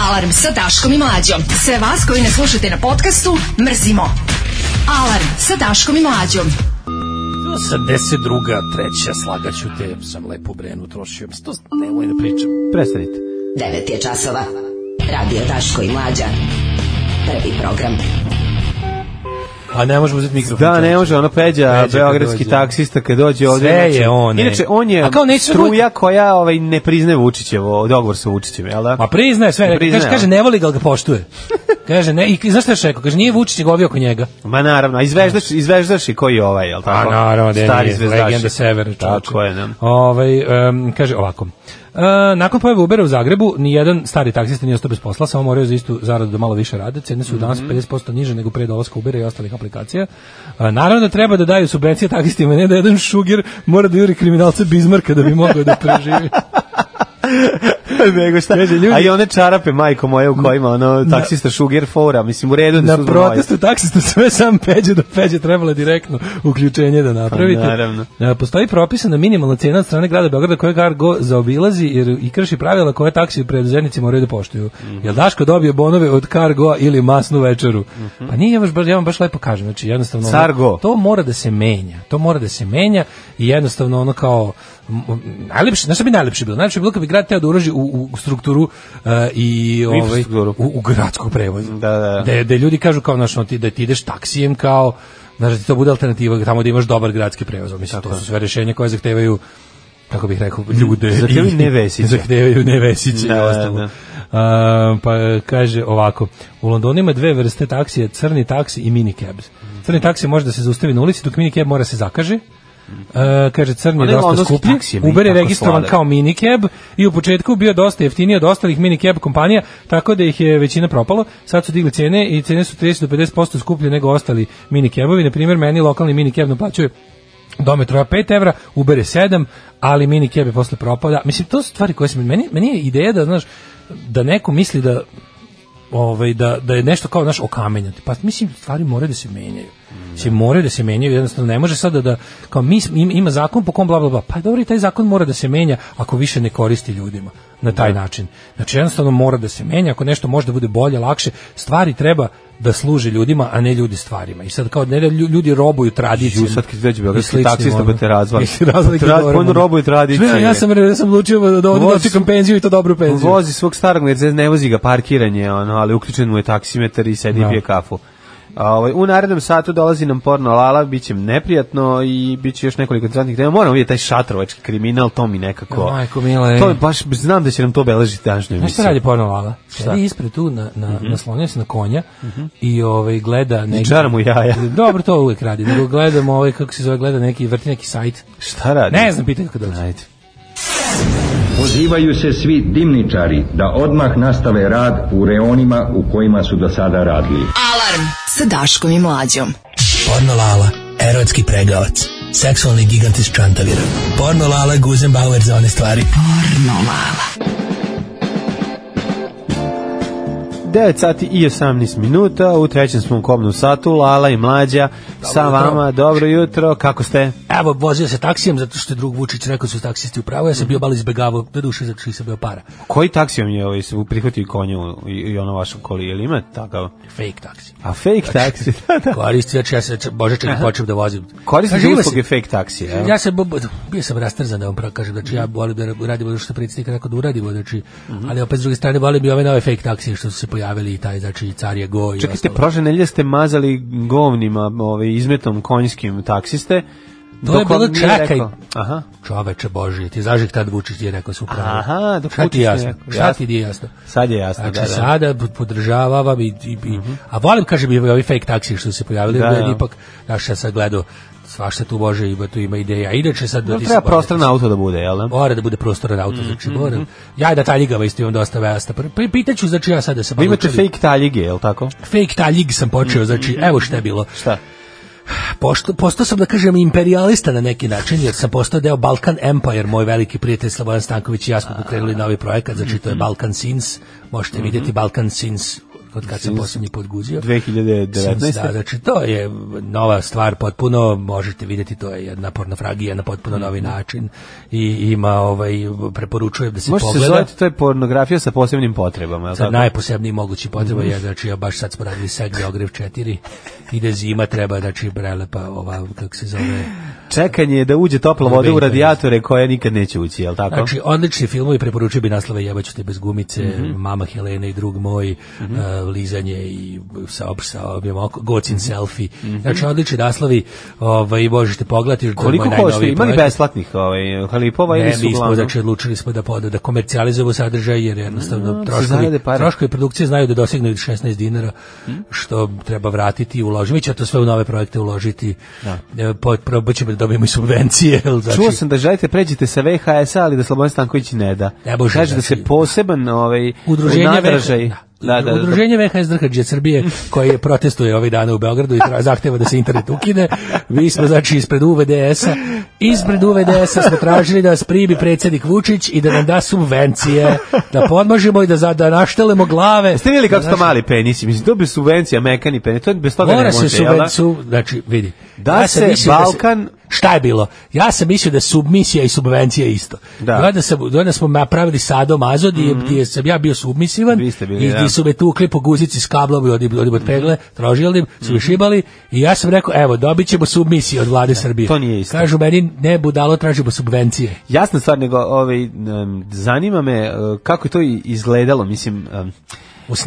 S4: Alarm sa Daškom i Mlađom. Sve vas koji ne slušate na podcastu, mrzimo. Alarm sa Daškom i Mlađom.
S5: 82. treća, slagaću te, sam lepo brenu trošio. Mislim, To nemoj da pričam.
S6: Prestanite.
S11: 9 je časova. Radio Daško i Mlađa. Prvi program.
S5: A ne možemo uzeti mikrofon.
S6: Da, ne može, ono peđa,
S5: Peđa kad
S6: beogradski
S5: dođe.
S6: taksista kad dođe ovde.
S5: Sve
S6: znači-
S5: je on, ej.
S6: Inače, on je
S5: A kao neće
S6: struja koja ovaj, ne priznaje Vučićevo, dogovor sa Vučićem, jel da?
S5: Ma priznaje sve, rekao,
S6: Priznaje,
S5: kaže, kaže
S6: a?
S5: ne voli ga, ali ga poštuje. kaže ne, i znaš šta je još rekao? Kaže nije Vučić je govio oko njega.
S6: Ma naravno, a izveždaš, izveždaš i koji je ovaj, jel
S5: Pa
S6: tako? Stari zvezdaši.
S5: legenda severa, čovječe.
S6: Tako je, ne?
S5: (laughs) Ovaj, em, kaže ovako. E, nakon pojave Ubera u Zagrebu, nijedan stari taksista nije ostao bez posla, samo moraju za istu zaradu da malo više rade. Cene su
S6: Mhm.
S5: danas 50% niže nego pre dolaska Ubera i ostalih aplikacija. E, naravno da treba da daju subvencije taksistima, ne da jedan šugir mora da juri kriminalca Bizmarka da bi mogao da
S6: (laughs)
S5: preživi.
S6: Nego šta?
S5: Kaže, ljudi-
S6: A i one čarape, majko moje, u kojima ono, taksista Sugar fora, mislim, u redu
S5: na
S6: da su
S5: protestu taksista sve sam peđe do peđe trebalo je direktno uključenje da napravite.
S6: Pa, naravno.
S5: E, Postoji propisana minimalna cena od strane grada Beograda koja Gargo zaobilazi jer i krši pravila koje taksi preduzetnici moraju da poštuju.
S6: Mhm.
S5: Jel Daško dobio bonove od Cargo ili masnu večeru? Pa nije ja baš baš- ja vam baš lepo kažem, znači jednostavno ono-
S6: Mhm. Cargo.
S5: to mora da se menja. To mora da se menja i jednostavno ono kao m, m, najlepše, znaš šta bi najlepše bilo? Najlepše bi bilo kad bi grad teo da uloži u, u strukturu e, i ovaj,
S6: infrastrukturu.
S5: u, u gradskog prevoza.
S6: Da, da.
S5: Da, da ljudi kažu kao naš, ti, da ti ideš taksijem kao znaš, da ti to bude alternativa tamo da imaš dobar gradski prevoz. Mislim, to su sve rešenja koje zahtevaju kako bih rekao, ljude.
S6: Zahtevaju
S5: i-
S6: nevesiće.
S5: (laughs) Zahtevaju nevesiće
S6: Da,
S5: i
S6: da,
S5: ostalo.
S6: da.
S5: A, pa e, kaže ovako, u Londonu ima dve vrste taksija, crni taksi i minicab. Crni taksi može da se zaustavi na ulici, dok minicab mora da se zakaže. E, kaže crni je
S6: Onaj
S5: dosta
S6: londonski
S5: skuplji.
S6: taksi je meni
S5: Uber je
S6: tako
S5: registrovan
S6: sladak.
S5: kao minicab i u početku bio dosta jeftiniji od ostalih minicab kompanija, tako da ih je većina propalo. Sad su digli cene i cene su 30 do 50% skuplje nego ostali minicabovi. Na primjer, meni lokalni minicab naplaćuje do metroja 5 evra, Uber je 7, ali mini keb je posle propada. Mislim, to su stvari koje se... Meni, meni je ideja da, znaš, da neko misli da ovaj da da je nešto kao naš okamenjati. Pa mislim stvari moraju da se menjaju. Se moraju da se menjaju, jednostavno ne može sada da kao mi smo- im- ima zakon po kom bla bla bla. Pa dobro, i taj zakon mora da se menja ako više ne koristi ljudima na taj način. Znači jednostavno mora da se menja, ako nešto može da bude bolje, lakše, stvari treba da služe ljudima, a ne ljudi stvarima. I sad kao ne da lju- ljudi robuju tradiciju.
S6: Ju, sad kad dođe beogradski
S5: i sličnim,
S6: taksista,
S5: ono.
S6: pa te
S5: (laughs)
S6: pa razvali.
S5: I se razvali
S6: Tra-
S5: govorimo.
S6: on robuje tradiciju.
S5: Sve, Ja sam, ja sam odlučio da ovdje
S6: Vozi-
S5: dočekam penziju i to dobru penziju.
S6: Vozi svog starog Mercedes, ne vozi ga parkiranje, ono, ali uključen mu je taksimetar i sedi i
S5: Da.
S6: pije kafu. A, ovaj, u narednom satu dolazi nam porno lala, bit će neprijatno i bit će još nekoliko interesantnih tema. Moramo vidjeti taj šatrovački kriminal, to mi nekako...
S5: Ja, majko mila, ej.
S6: to je baš, znam da će nam to obeležiti današnju
S5: Znaš
S6: emisiju.
S5: šta radi porno lala? Sedi ispred tu, na, na, naslonio se na konja i ovaj, gleda neki...
S6: Mhm. Čara mu jaja.
S5: (laughs) Dobro, to uvijek radi. Nego gledam ovaj, kako se zove, gleda neki, vrti neki sajt.
S6: Šta radi?
S5: Ne znam, pitaj kako dođe.
S6: Ajde.
S7: Pozivaju se svi dimničari da odmah nastave rad u reonima u kojima su do sada radili.
S4: Alarm sa Daškom i Mlađom.
S1: Porno Lala, erotski pregavac. Seksualni gigant iz Čantavira. Porno Lala, Guzenbauer za one stvari.
S11: Porno Lala.
S6: 9 sati i 18 minuta, u trećem smo u kobnom satu, Lala i Mlađa dobro sa jutro. vama, dobro jutro, kako ste?
S5: Evo, vozio se taksijem zato što je drug Vučić rekao su taksisti u pravu, ja sam
S6: Mhm.
S5: bio malo izbegavao, do duše zato što sam bio para.
S6: Koji taksijom je ovaj, se prihvatio konju i, i ono vašu koliju, ili ima takav?
S5: Fake taksi.
S6: A fake (laughs) taksi?
S5: Koristi, ja se, bože, čekaj, počnem da vozim.
S6: Koristite usluge fake taksije.
S5: Ja sam, bio sam rastrzan da vam pravo kažem, znači ja volim da radimo ono što predsjednik rekao da uradimo, znači, ali opet s druge strane volim bi ove nove fake taksije što su se pojavili i taj, znači, car je go i
S6: Čekajte, prošle nedelje ste mazali govnima, ovaj, izmetom konjskim taksiste,
S5: To je bilo čekaj.
S6: Aha.
S5: Čoveče Božije, ti znaš ih tad Vučić je rekao su pravo.
S6: Aha, dok
S5: šta ti je jasno? Šta ti je jasno?
S6: Sad je jasno,
S5: znači, da, da. sada podržavam i, i, i uh -huh. a volim, kažem, i ovi fake taksi što su se pojavili, da, da. ipak, znaš, ja sad gledao, svašta tu može ima tu ima ideja. Inače sad
S6: da treba prostor na auto da bude, jel da?
S5: Mora da bude prostor na auto, znači mm -hmm. mora. Ja da taljigama isto imam dosta vesta. Pitaću znači ja sad da se
S6: Vi imate fake taljige, jel tako?
S5: Fake taljig sam počeo, znači evo šta je bilo.
S6: Šta?
S5: Pošto, postao sam, da kažem, imperialista na neki način, jer sam postao deo Balkan Empire, moj veliki prijatelj Slobodan Stanković i ja smo pokrenuli novi projekat, znači
S6: Mhm.
S5: to je Balkan Sins, možete mm -hmm. vidjeti Balkan Sins od kad sam posljednji put guzio.
S6: 2019. Sins,
S5: da, znači to je nova stvar potpuno, možete vidjeti to je jedna pornofragija na potpuno novi način i ima, ovaj, preporučujem da se
S6: Možete
S5: pogleda.
S6: Možete se to je pornografija sa posebnim potrebama. Je
S5: sa najposebnijim mogućim potrebama, mm -hmm. ja, znači ja baš sad smo radili segni ogrev 4, ide zima, treba, znači prelepa ova, kako se zove...
S6: Čekanje je da uđe topla voda u radijatore koja nikad neće ući, je li tako?
S5: Znači, odlični filmovi preporučio bi naslove Jebaću te bez gumice, mm
S6: Mhm.
S5: -hmm. Mama Helena i drug moj, mm -hmm. uh, lizanje i sa sa objem oko
S6: Mhm.
S5: gocin mm -hmm. selfie. Mm -hmm. Znači odlični naslovi, ovaj možete pogledati
S6: koliko košta, ima li besplatnih ovaj halipova ili su
S5: Mi smo znači odlučili smo da pod, da komercijalizujemo sadržaj jer jednostavno no, troškovi troškovi produkcije znaju da dosegnu 16 dinara mm
S6: Mhm.
S5: -hmm. što treba vratiti i uložiti. Mi ćemo to sve u nove projekte uložiti. Da. Po, probat ćemo da dobijemo i subvencije. (laughs) Znači,
S6: Čuo sam da želite pređite sa VHS-a, ali da Slobodan Stanković ne da.
S5: Ne može, znači,
S6: Kaže da se poseban ovaj,
S5: udruženje
S6: nadražaj,
S5: da, da, da, Udruženje VHS Drkađe Srbije koje protestuje ove dane u Beogradu i zahteva da se internet ukine. Mi smo znači ispred UVDS-a ispred UVDS-a smo tražili da nas primi predsjednik Vučić i da nam da subvencije, da podmažemo i da, za, da naštelemo glave.
S6: Ste vidjeli kako znači, to mali penisi? Mislim, to bi subvencija, mekani penis, to bez toga
S5: mora
S6: ne
S5: može. se subvenciju, znači, vidi.
S6: Da ja se Balkan... Da se,
S5: šta je bilo? Ja sam mislio da submisija i subvencija isto. Da. Gleda sam, gleda smo napravili sadom azod mm -hmm. gdje sam ja bio submisivan
S6: Mhm. Vi ste bili,
S5: i gdje su me tukli po guzici s kablom i odim, odim od pegle, trožili mm -hmm. su
S6: Mhm.
S5: šibali i ja sam rekao, evo, dobit ćemo submisiju od vlade Srbije.
S6: To nije isto.
S5: Kažu meni, ne budalo, tražimo subvencije.
S6: Jasna stvar, nego ovaj, zanima me eh, kako je to izgledalo, mislim...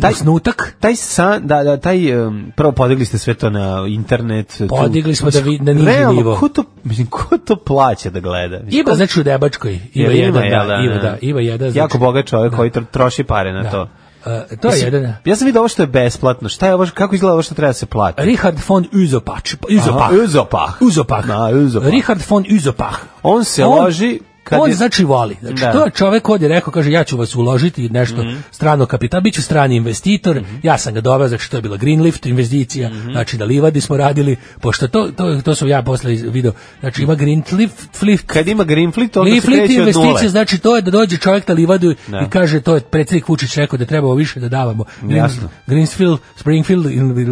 S5: Taj snutak,
S6: taj san, da, da taj um, prvo podigli ste sve to na internet.
S5: Podigli smo da vi na niži
S6: realno,
S5: nivo.
S6: Ko to, mislim, ko to plaća da gleda? Mislim,
S5: ima
S6: ko...
S5: znači u Debačkoj, ima jedan,
S6: ima,
S5: da, ima, da, ima jedan.
S6: Jako znači, bogat čovjek da. koji troši pare na
S5: da.
S6: to.
S5: Uh, to je
S6: Mislim,
S5: jedan.
S6: Ja sam vidio ovo što je besplatno. Šta je ovo, kako izgleda ovo što treba se platiti?
S5: Richard von Uzopach.
S6: Uzopach. Uzopach.
S5: Uzopach.
S6: Na, Uzopach.
S5: Richard von Uzopach.
S6: On se on, loži
S5: kad on je... znači voli. Znači, da. to je čovek ovdje rekao, kaže, ja ću vas uložiti nešto mm
S6: Mhm.
S5: -hmm. strano kapital, bit ću strani investitor, mm -hmm. ja sam ga doveo, znači to je bila Greenlift investicija, mm
S6: Mhm.
S5: -hmm. znači na Livadi smo radili, pošto to, to, to sam ja posle video, znači ima Greenlift, lift,
S6: kad ima Greenlift, onda se kreće od
S5: nule. znači to je da dođe čovek na Livadu da. i kaže, to je predsjednik Vučić rekao da trebamo više da davamo.
S6: Jasno.
S5: Greensfield, Springfield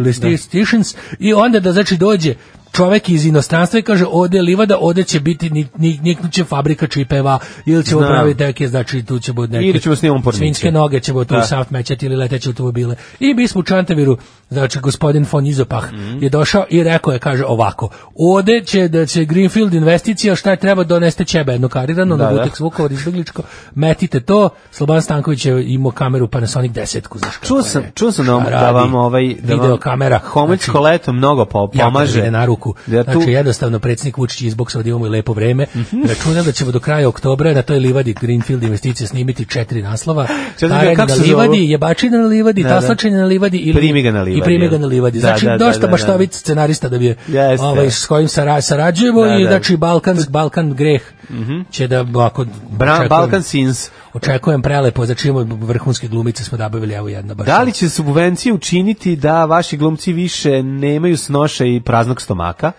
S5: investitions da. i onda da znači dođe čovek iz inostranstva i kaže ode livada, ode će biti niknuće fabrika čipeva ili ćemo Znam. praviti neke, znači tu će biti neke
S6: ili ćemo s njom
S5: svinjske noge, ćemo tu da. saft mećati ili leteće automobile. I mi smo u Čantaviru, znači gospodin von Izopah mm -hmm. je došao i rekao je, kaže ovako, ode će da će Greenfield investicija, šta je treba, doneste ćebe jedno karirano, da, na butek Vukovar izbegličko, metite to, Slobodan Stanković je imao kameru Panasonic 10-ku, znaš
S6: Čuo sam, čuo sam da, da vam ovaj, da
S5: video vam kamera,
S6: homočko znači, leto mnogo pomaže.
S5: Ja, na ruku da tu... Znači jednostavno predsjednik Vučić izboksao da imamo i lepo vreme. Mm
S6: Mhm.
S5: -hmm. Računam da ćemo do kraja oktobra na toj livadi Greenfield investicije snimiti četiri
S6: (laughs)
S5: naslova. Tarenje na livadi, jebačina na livadi, da, taslačenje na livadi ili
S6: primi ga na livadi.
S5: I primi ga na livadi. Znači da, da, dosta baš to scenarista da bi yes, ovaj s kojim sara, sarađujemo i znači balkansk Balkan greh. Mm -hmm. će da ako
S6: Mhm. Bra, Balkan Sins
S5: očekujem prelepo znači imamo vrhunske glumice smo nabavili evo jedna baš
S6: da li će subvencije učiniti da vaši glumci više nemaju snoše i praznog stomaka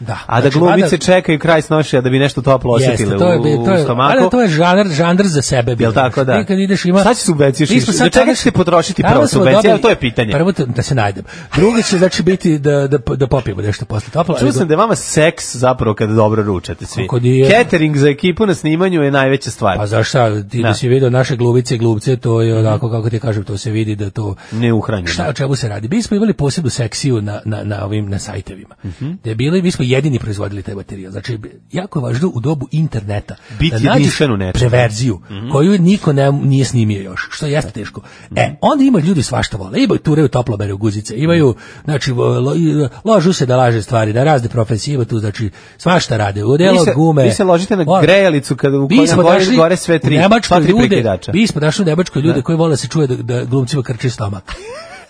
S5: Da.
S6: A da
S5: Znači,
S6: glumice
S5: valjda-
S6: čekaju kraj snošaja da bi nešto toplo osjetile
S5: Jeste, to je,
S6: u,
S5: to
S6: u
S5: je, ali
S6: stomaku.
S5: to je žanr, žanr za sebe. Jel
S6: tako, da?
S5: Ti kad ideš ima...
S6: Sad će subvencije
S5: Mi smo
S6: šiš-
S5: sad
S6: za čega
S5: danas-
S6: ćete potrošiti
S5: danas
S6: prvo
S5: smo
S6: subvencije?
S5: dobili-
S6: Evo, to je pitanje.
S5: Prvo to- da se najdem. Drugo će znači biti da, da, da popijemo nešto posle toplo.
S6: Čuo sam da je vama seks zapravo kada dobro ručate svi.
S5: Kako nije?
S6: Catering za ekipu na snimanju je najveća stvar.
S5: Pa zašto sad, ti da.
S6: Da.
S5: si vidio naše glubice i glubce, to je onako, kako ti kažem, to se vidi da to...
S6: Ne uhranjeno.
S5: Šta, o čemu se radi? Mi smo imali posebnu sekciju na, na, na ovim na sajtevima.
S6: Mhm.
S5: Da je bili, mi smo jedini proizvodili taj materijal. Znači, jako je važno u dobu interneta
S6: Biti
S5: da nađeš
S6: jedinstven u Mhm. nečemu.
S5: preverziju koju niko ne, nije snimio još, što jeste teško.
S6: Mhm.
S5: E, onda ima ljudi svašta vole. Imaju tureju toplobere u guzice, imaju, znači, lo- i- lažu se da laže stvari, da razne profesije ima tu, znači, svašta rade. U delo
S6: Vi se-
S5: gume.
S6: vi se ložite na
S5: Ono,
S6: grejalicu kada u
S5: mi
S6: kojoj
S5: smo
S6: gore-
S5: našli
S6: gore sve tri-
S5: u Nemačkoj
S6: sva tri
S5: ljude-
S6: prekrivača.
S5: Mi smo našli u Nemačkoj ljude koji vole da se čuje da, da glumcima krči stomak.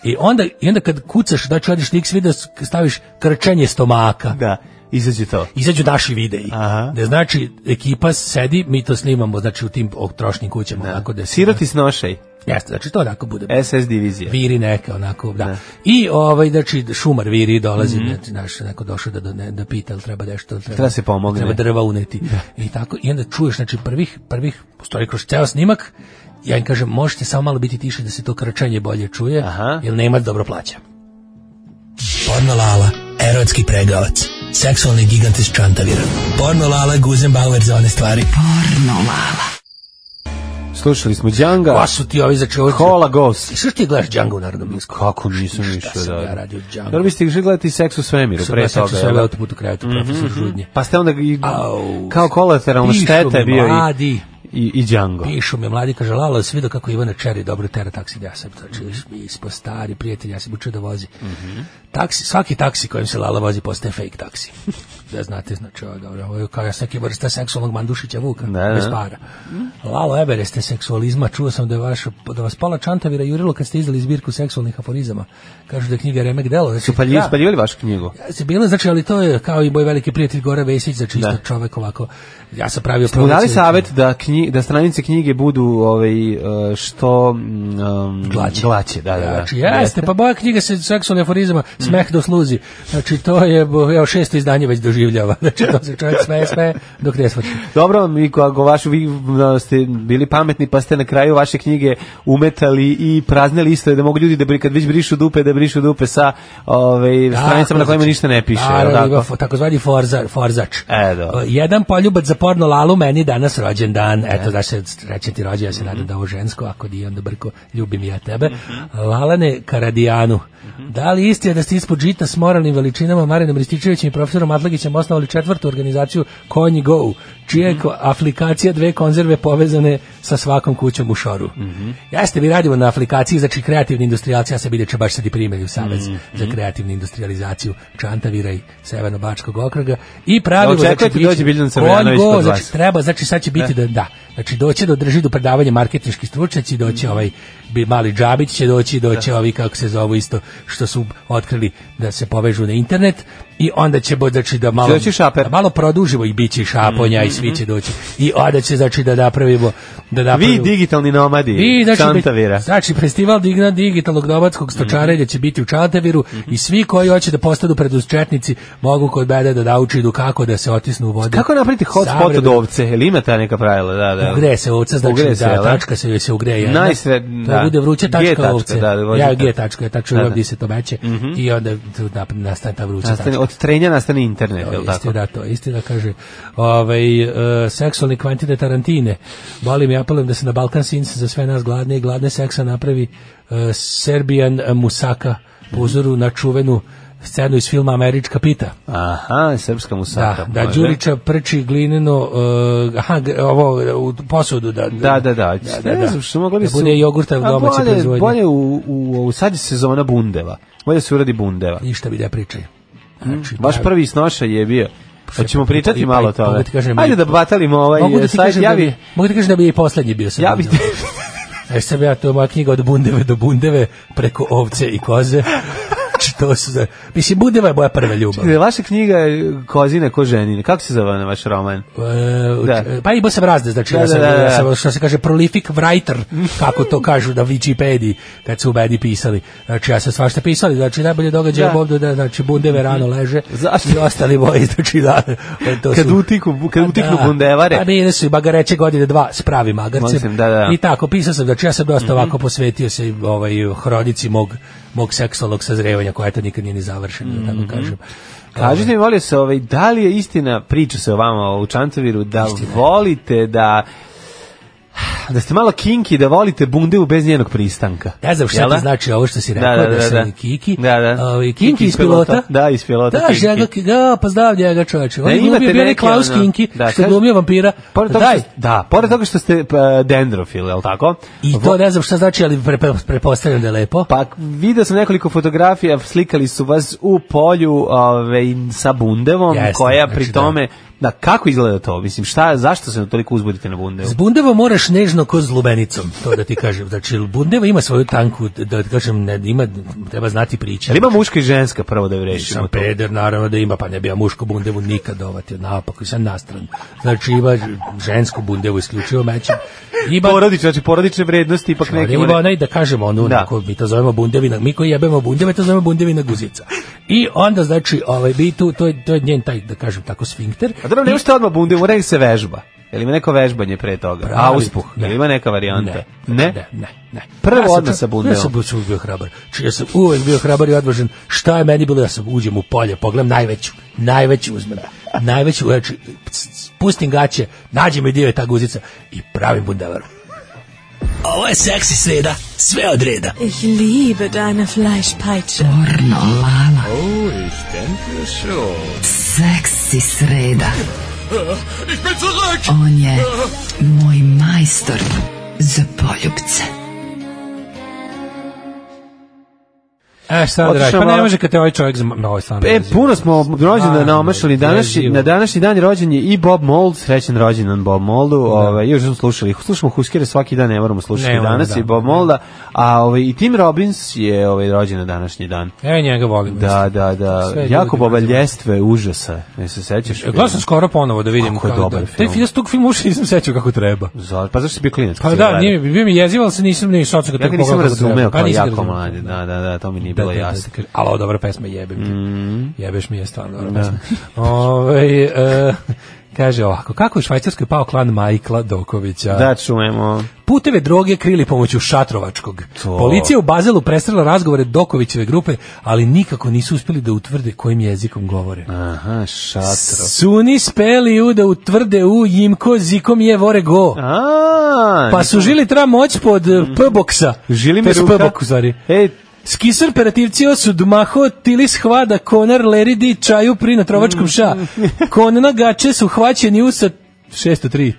S5: I onda, i onda kad kucaš, znači radiš Nix video, staviš krčenje stomaka.
S6: Da, izađe to.
S5: Izađu naši videi.
S6: Aha.
S5: Da znači, ekipa sedi, mi to snimamo, znači u tim trošnim kućama. Da. Onako, da se-
S6: Siroti snošaj.
S5: Jeste, znači to onako bude.
S6: SS divizija.
S5: Viri neka, onako, da. I ovaj, znači, šumar Viri dolazi, znači, znaš, neko došao da, da, ne- da pita, ali treba nešto, treba,
S6: Mhm. Treba se pomogne.
S5: Treba drva uneti. I tako, i onda čuješ, znači, prvih, prvih, postoji kroz ceo snimak, ja im kažem, možete samo malo biti tiši da se to krčanje bolje čuje,
S6: Aha.
S5: jer nema dobro plaća.
S1: Porno Lala, erotski pregavac, seksualni gigant iz Čantavira. Porno Lala, Guzenbauer za one stvari.
S6: Pa.
S1: Porno Lala.
S6: Slušali smo Djanga.
S5: Ko su ti ovi, znači, ovi...
S6: Kola Ghost.
S5: I što ti gledaš Django u Narodnom Minsku?
S6: Kako nisam ništa
S5: Šta sam ja radio Django?
S6: Dobro biste išli gledati seks u svemiru, pre toga.
S5: Sada
S6: jel
S5: sve
S6: da?
S5: autoput u krevetu, profesor Žudnje.
S6: Pa ste onda i,
S5: Au.
S6: kao kolateralna
S5: Pišu
S6: šteta
S5: mi
S6: je bio i,
S5: mladi.
S6: i, i Django.
S5: Pišu mi mladi, kaže, Lalo, si vidio kako Ivana Čeri dobro tera taksi, ja sam,
S6: Mhm.
S5: znači, mi smo stari prijatelji, ja sam učio da vozi. taksi, svaki taksi kojim se Lala vozi postaje fake
S6: (laughs)
S5: taksi. Da znate, znači, ovo, dobro, ovo je kao ja sam neke vrsta seksualnog mandušića Vuka,
S6: Da, Mhm. da.
S5: bez para. Lalo Eber, ste seksualizma, čuo sam da, je vaš, da vas pola čantavira jurilo kad ste izdali zbirku seksualnih aforizama. Kažu da je knjiga Remek Delo. Znači,
S6: Su palji,
S5: da.
S6: spaljivali vašu knjigu?
S5: Se bilo znači ali to je kao i moj veliki prijatelj Gore Vesić znači isto
S6: Da.
S5: čovek ovako ja sam pravio
S6: Mu dali
S5: promociju-
S6: savet Pa da, knji, da stranice knjige budu ovaj, eh, što... mm, Um,
S5: Glaće.
S6: glaće. da, da, da.
S5: Znači, jeste, pa moja knjiga se seksualni aforizama smeh do sluzi. Znači, to je, bo- evo, šesto izdanje već doživljava. (laughs) Znači, to se čovjek smeje, smeje, dok ne shvati.
S6: Dobro, mi ako vašu, vi m, ste bili pametni, pa ste na kraju vaše knjige umetali i prazne listove da mogu ljudi da bri, kad već brišu dupe, da brišu dupe sa ovaj, stranicama na kojima ništa ne piše. jel
S5: znači, Naravno, ima
S6: tako?
S5: fo- takozvani forza, forzač. Ovaj,
S6: E, dobro.
S5: Jedan poljubac za porno lalu, meni danas rođen dan. Eto, da se reći ti rođen, ja se nadam da je ovo žensko, ako di onda brko, ljubim ja tebe. Lalane Karadijanu. Da li isti je da ste ispod žita s moralnim veličinama Marinom Rističevićem i profesorom Atlagićem osnovali četvrtu organizaciju Konji Go, čija je ko- aplikacija dve konzerve povezane sa svakom kućom u šoru. Jeste, mi radimo na aplikaciji, znači kreativni industrijalci, ja se bilje će baš sad i primili u Savez za kreativnu industrializaciju Čantavira i Severno-Bačkog okruga i pravimo,
S6: Da očekujete
S5: bit će-
S6: dođe Biljan Srbljanović
S5: Kongo,
S6: kod
S5: znači,
S6: vas.
S5: treba, znači sad će biti da, da, znači doći da održi do predavanja marketinški stručnjaci,
S6: Mm.
S5: doći ovaj bi- mali Džabić će doći, doći ovi kako se zovu isto što su otkrili da se povežu na internet i onda će bo- znači da malo
S6: doći šaper. Mm,
S5: da malo produžimo i biće i šaponja i svi će doći. I onda će znači da napravimo da
S6: Vi
S5: napravimo
S6: digitalni nomadi,
S5: i znači,
S6: Čantavira.
S5: znači festival digna digitalnog nomadskog stočarenja
S6: Mhm.
S5: će biti u Čantaviru i svi koji hoće da postanu preduzetnici mogu kod bede da nauče idu kako da se otisnu u vodu.
S6: Kako napraviti hotspot od
S5: Savremeno-
S6: ovce? Jel ima ta neka pravila? Da, da.
S5: Ugreje se ovca, znači
S6: Ugreje se,
S5: da,
S6: jel da?
S5: tačka se joj se ugreje. jedna.
S6: Najsred-
S5: To
S6: da.
S5: bude vruća
S6: G
S5: tačka,
S6: tačka,
S5: ovce.
S6: da, da,
S5: ja
S6: vozite.
S5: G tačka, ja tačno da,
S6: Da, da. Mhm.
S5: gdje se to meće i onda tu nap- nastane ta vruća
S6: Nastane,
S5: znači, tačka.
S6: od trenja nastane internet,
S5: To
S6: jel
S5: je isto
S6: tako?
S5: da, to je isto da kaže. Ovaj, e, seksualni kvantite Tarantine. Molim i apelujem da se na Balkan Sins za sve nas gladne i gladne seksa napravi e, Serbian Musaka po uzoru na čuvenu scenu iz filma Američka pita.
S6: Aha, srpska musaka.
S5: Da, da
S6: može.
S5: Đurića prči glineno uh, aha, g- ovo u posudu da
S6: Da, da, da.
S5: da,
S6: Ne
S5: da.
S6: znam što mogli
S5: Da
S6: su-
S5: bude jogurta
S6: A
S5: domaće
S6: bolje-
S5: proizvodnje.
S6: Bolje u, u, u sad je sezona bundeva. Bolje se uradi bundeva.
S5: ništa mi ne pričaj. Znači,
S6: Vaš
S5: da- pa
S6: prvi snošaj je bio. Hoćemo
S5: i-
S6: pričati
S5: i-
S6: malo o
S5: mogu
S6: tome.
S5: ti kažem,
S6: Ajde
S5: i-
S6: da batalimo ovaj
S5: mogu da ti
S6: sajt.
S5: kažem
S6: Ja
S5: da bi,
S6: bi,
S5: mogu da ti kažem da bi je i poslednji bio sa
S6: ja bi,
S5: Bundom. E sad ja, to je moja knjiga od bundeve do bundeve, preko ovce i koze. to su za... Mislim, Budeva je moja prva ljubav.
S6: (laughs) Vaša knjiga je Kozina ko ženine. Kako se zove na vaš roman?
S5: E, da. Pa i sam razne, znači, da, ja sam, da, da, da. Ja sam, što se kaže, prolific writer, kako to kažu na Wikipediji, kad su u meni pisali. Znači, ja sam svašta pisali, znači, najbolje događaje da. ovdje, da, znači, Bundeve rano leže Zašto? i ostali moji, znači, da.
S6: To su, kad utiku, kad utiknu
S5: da,
S6: Bundevare.
S5: Pa bile su i bagareće godine dva s pravim magarcem.
S6: Da, Mhm. da.
S5: I tako, pisao sam, znači, ja sam dosta mm -hmm. ovako posvetio se ovaj, hronici mog mog seksualnog sazrevanja koja to nikad nije ni završena, mm
S6: Mhm.
S5: -hmm. da tako kažem.
S6: Kažite mi, volio se, ovaj, da li je istina, priča se o vama u Čantoviru, da istina. volite da da ste malo kinki, da volite bundevu bez njenog pristanka.
S5: Ne znam šta to znači ovo što si rekao, da, da, da, da sam kiki.
S6: Da, da.
S5: Ovi, kinki, kinki iz pilota. pilota.
S6: Da, iz pilota.
S5: Da, kinki. Njega, da, pa znam njega čoveče. On je glumio bio Klaus ono, Kinki, da, što je glumio vampira.
S6: Pored toga, Daj. Što, da, pored toga što ste pa, dendrofil, je li tako?
S5: I to ne znam šta znači, ali pre, pre, prepostavljam da je lepo.
S6: Pa video sam nekoliko fotografija, slikali su vas u polju ove, sa bundevom, Jasne, koja pri znači, tome da, kako izgleda to? Mislim, šta, zašto se toliko uzbudite na bundevu?
S5: S bundeva moraš nežno ko s lubenicom, to da ti kažem. Znači, bundeva ima svoju tanku, da ti kažem, ne, ima, treba znati priče.
S6: Ali ima muška i ženska, prvo da rešimo
S5: Sam peder, naravno da ima, pa ne bi ja mušku bundevu nikad dovatio, napak, sam nastran. Znači, ima žensku bundevu isključivo mećem.
S6: Ima, porodične, znači porodične vrednosti, ipak neke...
S5: Ima onaj, da kažem, ono, da. Neko, mi to zovemo bundevina, mi koji jebemo bundeve, to zovemo bundevina guzica. I onda, znači, ovaj, bi tu, to je, to je njen taj, da kažem, tako sfinkter.
S6: A Pa dobro, nema što odmah bunde, mora se vežba. Je li ima neko vežbanje pre toga?
S5: Pravi,
S6: Auspuh, je li ima neka varijanta?
S5: Ne,
S6: ne,
S5: ne. ne, ne.
S6: Prvo ja odmah sa bundeom.
S5: Ja sam uvijek bio hrabar. Či ja sam uvijek bio hrabar i odvažen. Šta je meni bilo da sam uđem u polje, pogledam najveću, najveću uzmem. Najveću, znači, pustim gaće, nađem i dio je ta guzica i pravim bundevaru. Ovo je seksi sreda, sve od reda.
S12: Ich liebe deine Fleischpeitsche.
S11: Porno, lala.
S13: Oh, ich denke schon.
S11: Seksi sreda.
S13: Ich bin zurück.
S11: On je moj majstor za poljubce.
S5: E, šta da radi? Pa ne može kad te ovaj čovjek na ovoj stanu.
S6: E, puno smo rođena naomašali. Današnji, na današnji dan je rođen je i Bob Mold, srećen rođendan Bob Moldu. Ovaj, još smo slušali. Slušamo Huskere svaki dan, ne moramo slušati
S5: Ne,
S6: danas
S5: da.
S6: i Bob Molda. A ovaj, i Tim Robbins je ovaj, rođen na današnji dan.
S5: E, njega volim.
S6: Da, da, da.
S5: Sve
S6: jako
S5: ljudi
S6: boba
S5: mrzimo.
S6: ljestve, užasa. Ne se sećaš?
S5: E, Gledao sam skoro ponovo da vidim
S6: Kako je
S5: kako
S6: dobar
S5: da.
S6: film.
S5: Taj film, tog film uši nisam sećao kako treba.
S6: Za- Pa zašto si bio klinac? kad
S5: Pa
S6: si
S5: da,
S6: gledao?
S5: nije mi, bio mi jeziv, ali se nisam ni socu kad
S6: Ja ga nisam razumeo
S5: Pa
S6: kao jako
S5: mlad.
S6: mladi, da, da, da, Mm. to mi nije bilo jasno.
S5: kaže, ali ovo dobra pesma, jebem ti. Jebeš mi je stvarno dobra pesma. Ovaj, e, kaže ovako, kako je u Švajcarskoj pao klan Majkla Dokovića?
S6: Da, čujemo.
S5: Puteve droge krili pomoću Šatrovačkog.
S6: To.
S5: Policija u Bazelu prestrela razgovore Dokovićeve grupe, ali nikako nisu uspjeli da utvrde kojim jezikom govore.
S6: Aha, šatro.
S5: Suni speli u da utvrde u jimko zikom je vore go.
S6: A,
S5: Pa su žili tra moć pod eh, P-boksa.
S6: Mhm. žili mi
S5: To su
S6: ruka.
S5: P-bok, u stvari.
S6: Ej,
S5: Skisar operativcio su Dumaho, Tilis Hvada, Konar, Leridi, Čaju pri na Trovačkom ša.
S6: Mhm. (laughs)
S5: Konana gače su hvaćeni u sa (laughs) 603.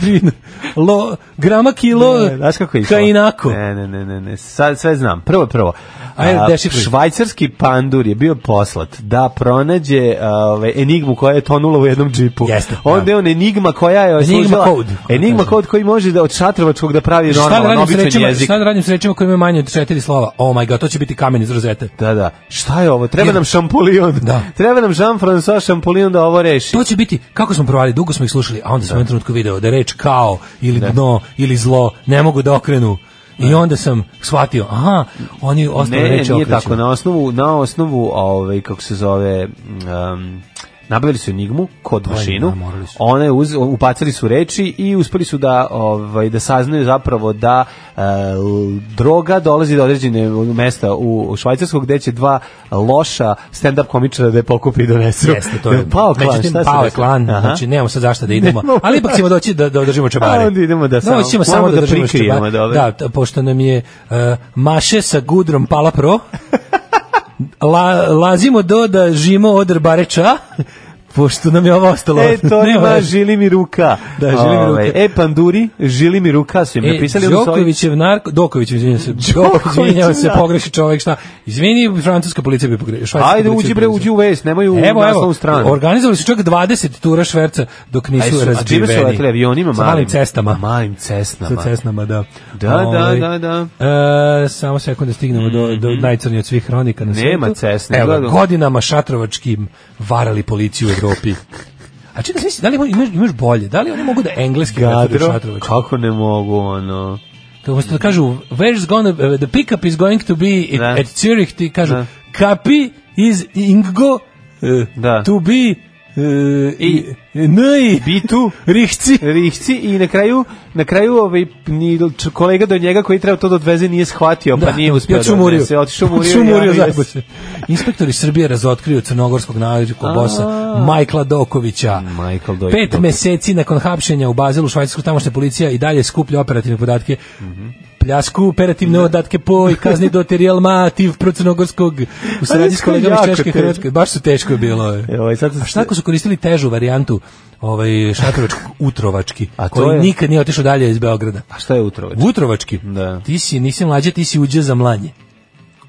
S5: Vino. Lo, grama kilo,
S6: ne, e, znaš kako je išlo?
S5: kainako.
S6: Ne, ne, ne, ne, ne, sad sve znam. Prvo, prvo.
S5: Ajde,
S6: A,
S5: dešifruj.
S6: švajcarski pandur je bio poslat da pronađe a, ovaj, enigmu koja je tonula u jednom džipu.
S5: Jeste, da.
S6: Onda je on enigma koja je
S5: Enigma
S6: služila-
S5: code.
S6: Enigma kod koji može da od šatrovačkog da pravi
S5: Šta da
S6: normalan
S5: radim s
S6: običan
S5: rečima,
S6: jezik.
S5: šta da radim s rečima koje imaju manje od četiri slova? Oh my god, to će biti kamen iz rozete.
S6: Da, da. Šta je ovo? Treba nam šampulion.
S5: Da.
S6: Treba nam Jean-François šampulion da ovo reši.
S5: To će biti, kako smo provali, dugo smo ih slušali, a onda sam u jednom trenutku video da reč kao ili dno ili zlo ne mogu da okrenu. I onda sam shvatio, aha, oni ostale
S6: ne,
S5: reči
S6: nije
S5: okreću.
S6: tako. Na osnovu, na osnovu ovaj, kako se zove, um, nabavili su enigmu kod mašinu,
S5: da, morali su.
S6: ona je uz, upacali su reči i uspeli su da ovaj, da saznaju zapravo da e, l- droga dolazi do određene mesta u, u Švajcarskog gde će dva loša stand-up komičara da je pokupi i donesu.
S5: Jeste, to je.
S6: pao klan,
S5: Međutim,
S6: šta se
S5: pao je
S6: desilo?
S5: klan,
S6: Aha.
S5: znači nemamo sad zašto
S6: (laughs)
S5: da idemo,
S6: Nemamo.
S5: ali ipak ćemo doći da, da održimo čebare.
S6: A, onda idemo da samo-
S5: Doći ćemo samo
S6: moramo
S5: da,
S6: da
S5: održimo
S6: prikrijemo,
S5: čebare.
S6: dobro.
S5: Da, t- pošto nam je uh, Maše sa Gudrom pala
S6: (laughs)
S5: pro, La, lazimo do da žimo od rbareća, pošto nam je ovo ostalo.
S6: E,
S5: (laughs)
S6: to
S5: Nema
S6: ima
S5: veze.
S6: žili mi ruka.
S5: Da, žili mi
S6: Ovaj,
S5: ruka.
S6: E, panduri, žili mi ruka su im
S5: E,
S6: napisali. onda su ovi-
S5: Đokovićev narko... Doković, izvinjam
S6: (laughs)
S5: se. Đoković, izvinjam se, pogreši čovek, šta? Izvini, francuska policija bi pogrešila.
S6: Ajde, uđi bre, uđi u vest, nemoj u
S5: Evo, evo,
S6: naslovnu stranu.
S5: organizovali su čak 20 tura šverca dok
S6: Aj,
S5: nisu
S6: su- a čime su
S5: razbiveni.
S6: leteli? Avionima
S5: Sa malim
S6: malim?
S5: cestama.
S6: Malim cestama.
S5: Sa cestama, da.
S6: Da, da,
S5: Ovaj,
S6: da, da. Mhm.
S5: E, samo sekund da stignemo do, do najcrnije od svih hronika na
S6: Nema
S5: svetu.
S6: cesne,
S5: Evo,
S6: gledam.
S5: godinama šatrovačkim varali policiju u
S6: (laughs)
S5: Evropi. A čekaj, znači, da li ima- imaš, imaš bolje? Da li oni mogu da engleski varaju
S6: Gadro,
S5: šatrovački?
S6: kako ne mogu,
S5: (laughs)
S6: ono...
S5: kako se to kažu, where's gonna, uh, the pickup is going to be at,
S6: Da.
S5: at Zurich, ti kažu,
S6: Da.
S5: kapi is ingo uh,
S6: Da.
S5: to be uh, i, noj,
S6: Bitu,
S5: rihci.
S6: Rihci i na kraju, na kraju ovaj ni č- kolega do njega koji treba to da odveze nije shvatio, pa nije uspeo
S5: ja ću
S6: da
S5: murio. (laughs)
S6: odnese. Otišao
S5: Ja
S6: murio.
S5: ću murio,
S6: i javio
S5: zajebo
S6: se.
S5: se. Inspektori Srbije razotkrio crnogorskog narko bosa Majkla Dokovića.
S6: Michael Doyle.
S5: Pet meseci nakon hapšenja u Bazelu švajcarskog tamošnja policija i dalje skuplja operativne podatke.
S6: Mhm.
S5: Pljasku operativne podatke po i kazni doterijal mativ procrnogorskog u saradnji s
S6: su
S5: kolegama iz
S6: jako
S5: Češke i
S6: teško.
S5: Hrvatske. Baš su teško je bilo. je.
S6: Evo, i Ovaj, sad
S5: A šta ako su koristili težu varijantu ovaj, šatrovačkog utrovački,
S6: A to
S5: koji
S6: je-
S5: nikad nije otišao dalje iz Beograda?
S6: A šta je utrovač?
S5: Utrovački.
S6: Da.
S5: Ti si, nisi mlađe, ti si uđe za mlanje.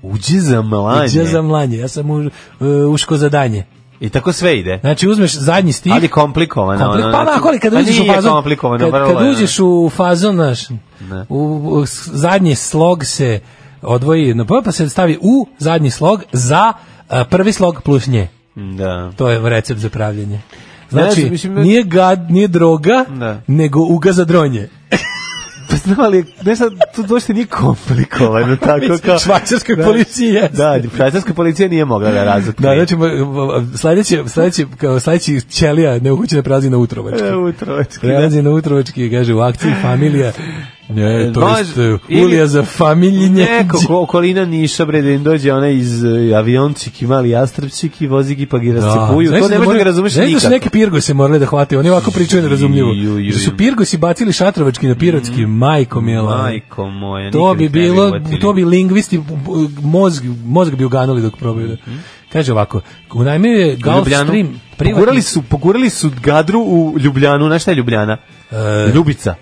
S6: Uđi za mlanje.
S5: Uđe za mlanje, ja sam u, uh, uško za danje.
S6: I tako sve ide.
S5: Znači uzmeš zadnji stih,
S6: Ali komplikovano.
S5: komplet-
S6: ono,
S5: pa
S6: znači-
S5: onako, ali kad
S6: Pa
S5: uđeš u
S6: nije
S5: fazon,
S6: komplikovano,
S5: kad,
S6: vrlo
S5: kad
S6: je, ono.
S5: uđeš u fazon, naš,
S6: Da.
S5: u, u s- zadnji slog se odvoji na P, pa se stavi u zadnji slog za a, prvi slog plus nje.
S6: Da.
S5: To je recept za pravljenje.
S6: Ne
S5: Znači,
S6: znam, mislim,
S5: nije gad, nije droga,
S6: Da.
S5: nego uga za dronje.
S6: Pa znam, ali ne sad, to došte nije (laughs)
S5: (laughs)
S6: komplikovano,
S5: Pa
S6: tako kao...
S5: Švajcarskoj policiji jeste.
S6: Da, švajcarska policija nije mogla da razotkrije.
S5: Da, znači, m- sledeće, sledeće, kao sledeći ćelija neuhućena prelazi na utrovački.
S6: E, utrovački, da.
S5: Prelazi na utrovački, kaže, u akciji familija. Ne, to
S6: Može,
S5: isto je
S6: ili-
S5: ulija za familinje.
S6: Neko
S5: Znači-
S6: ko- okolina Niša, bre, da im dođe ona iz e, aviončik i mali jastrpčik i vozi ga pa ga rascepuju.
S5: znaš
S6: to
S5: da
S6: ne možeš da
S5: mora-
S6: ga razumeš
S5: znaš da su
S6: nikako.
S5: neke pirgose morali da hvataju, oni ovako pričaju nerazumljivo.
S6: Ju, ju, ju. Mm.
S5: Da su pirgosi bacili šatrovački na pirotski, majko mila.
S6: Majko moja,
S5: To
S6: nikad
S5: bi
S6: ih ne bi
S5: bilo,
S6: uhvatili.
S5: to bi lingvisti b- b- mozg, mozg bi uganuli dok probaju. da- Kaže ovako, unajmio je
S6: Mhm. U Ljubljanu.
S5: Gulfstream
S6: Pogurali su, pogurali su gadru u Ljubljanu. Znaš šta je Ljubljana?
S5: E,
S6: Ljubica.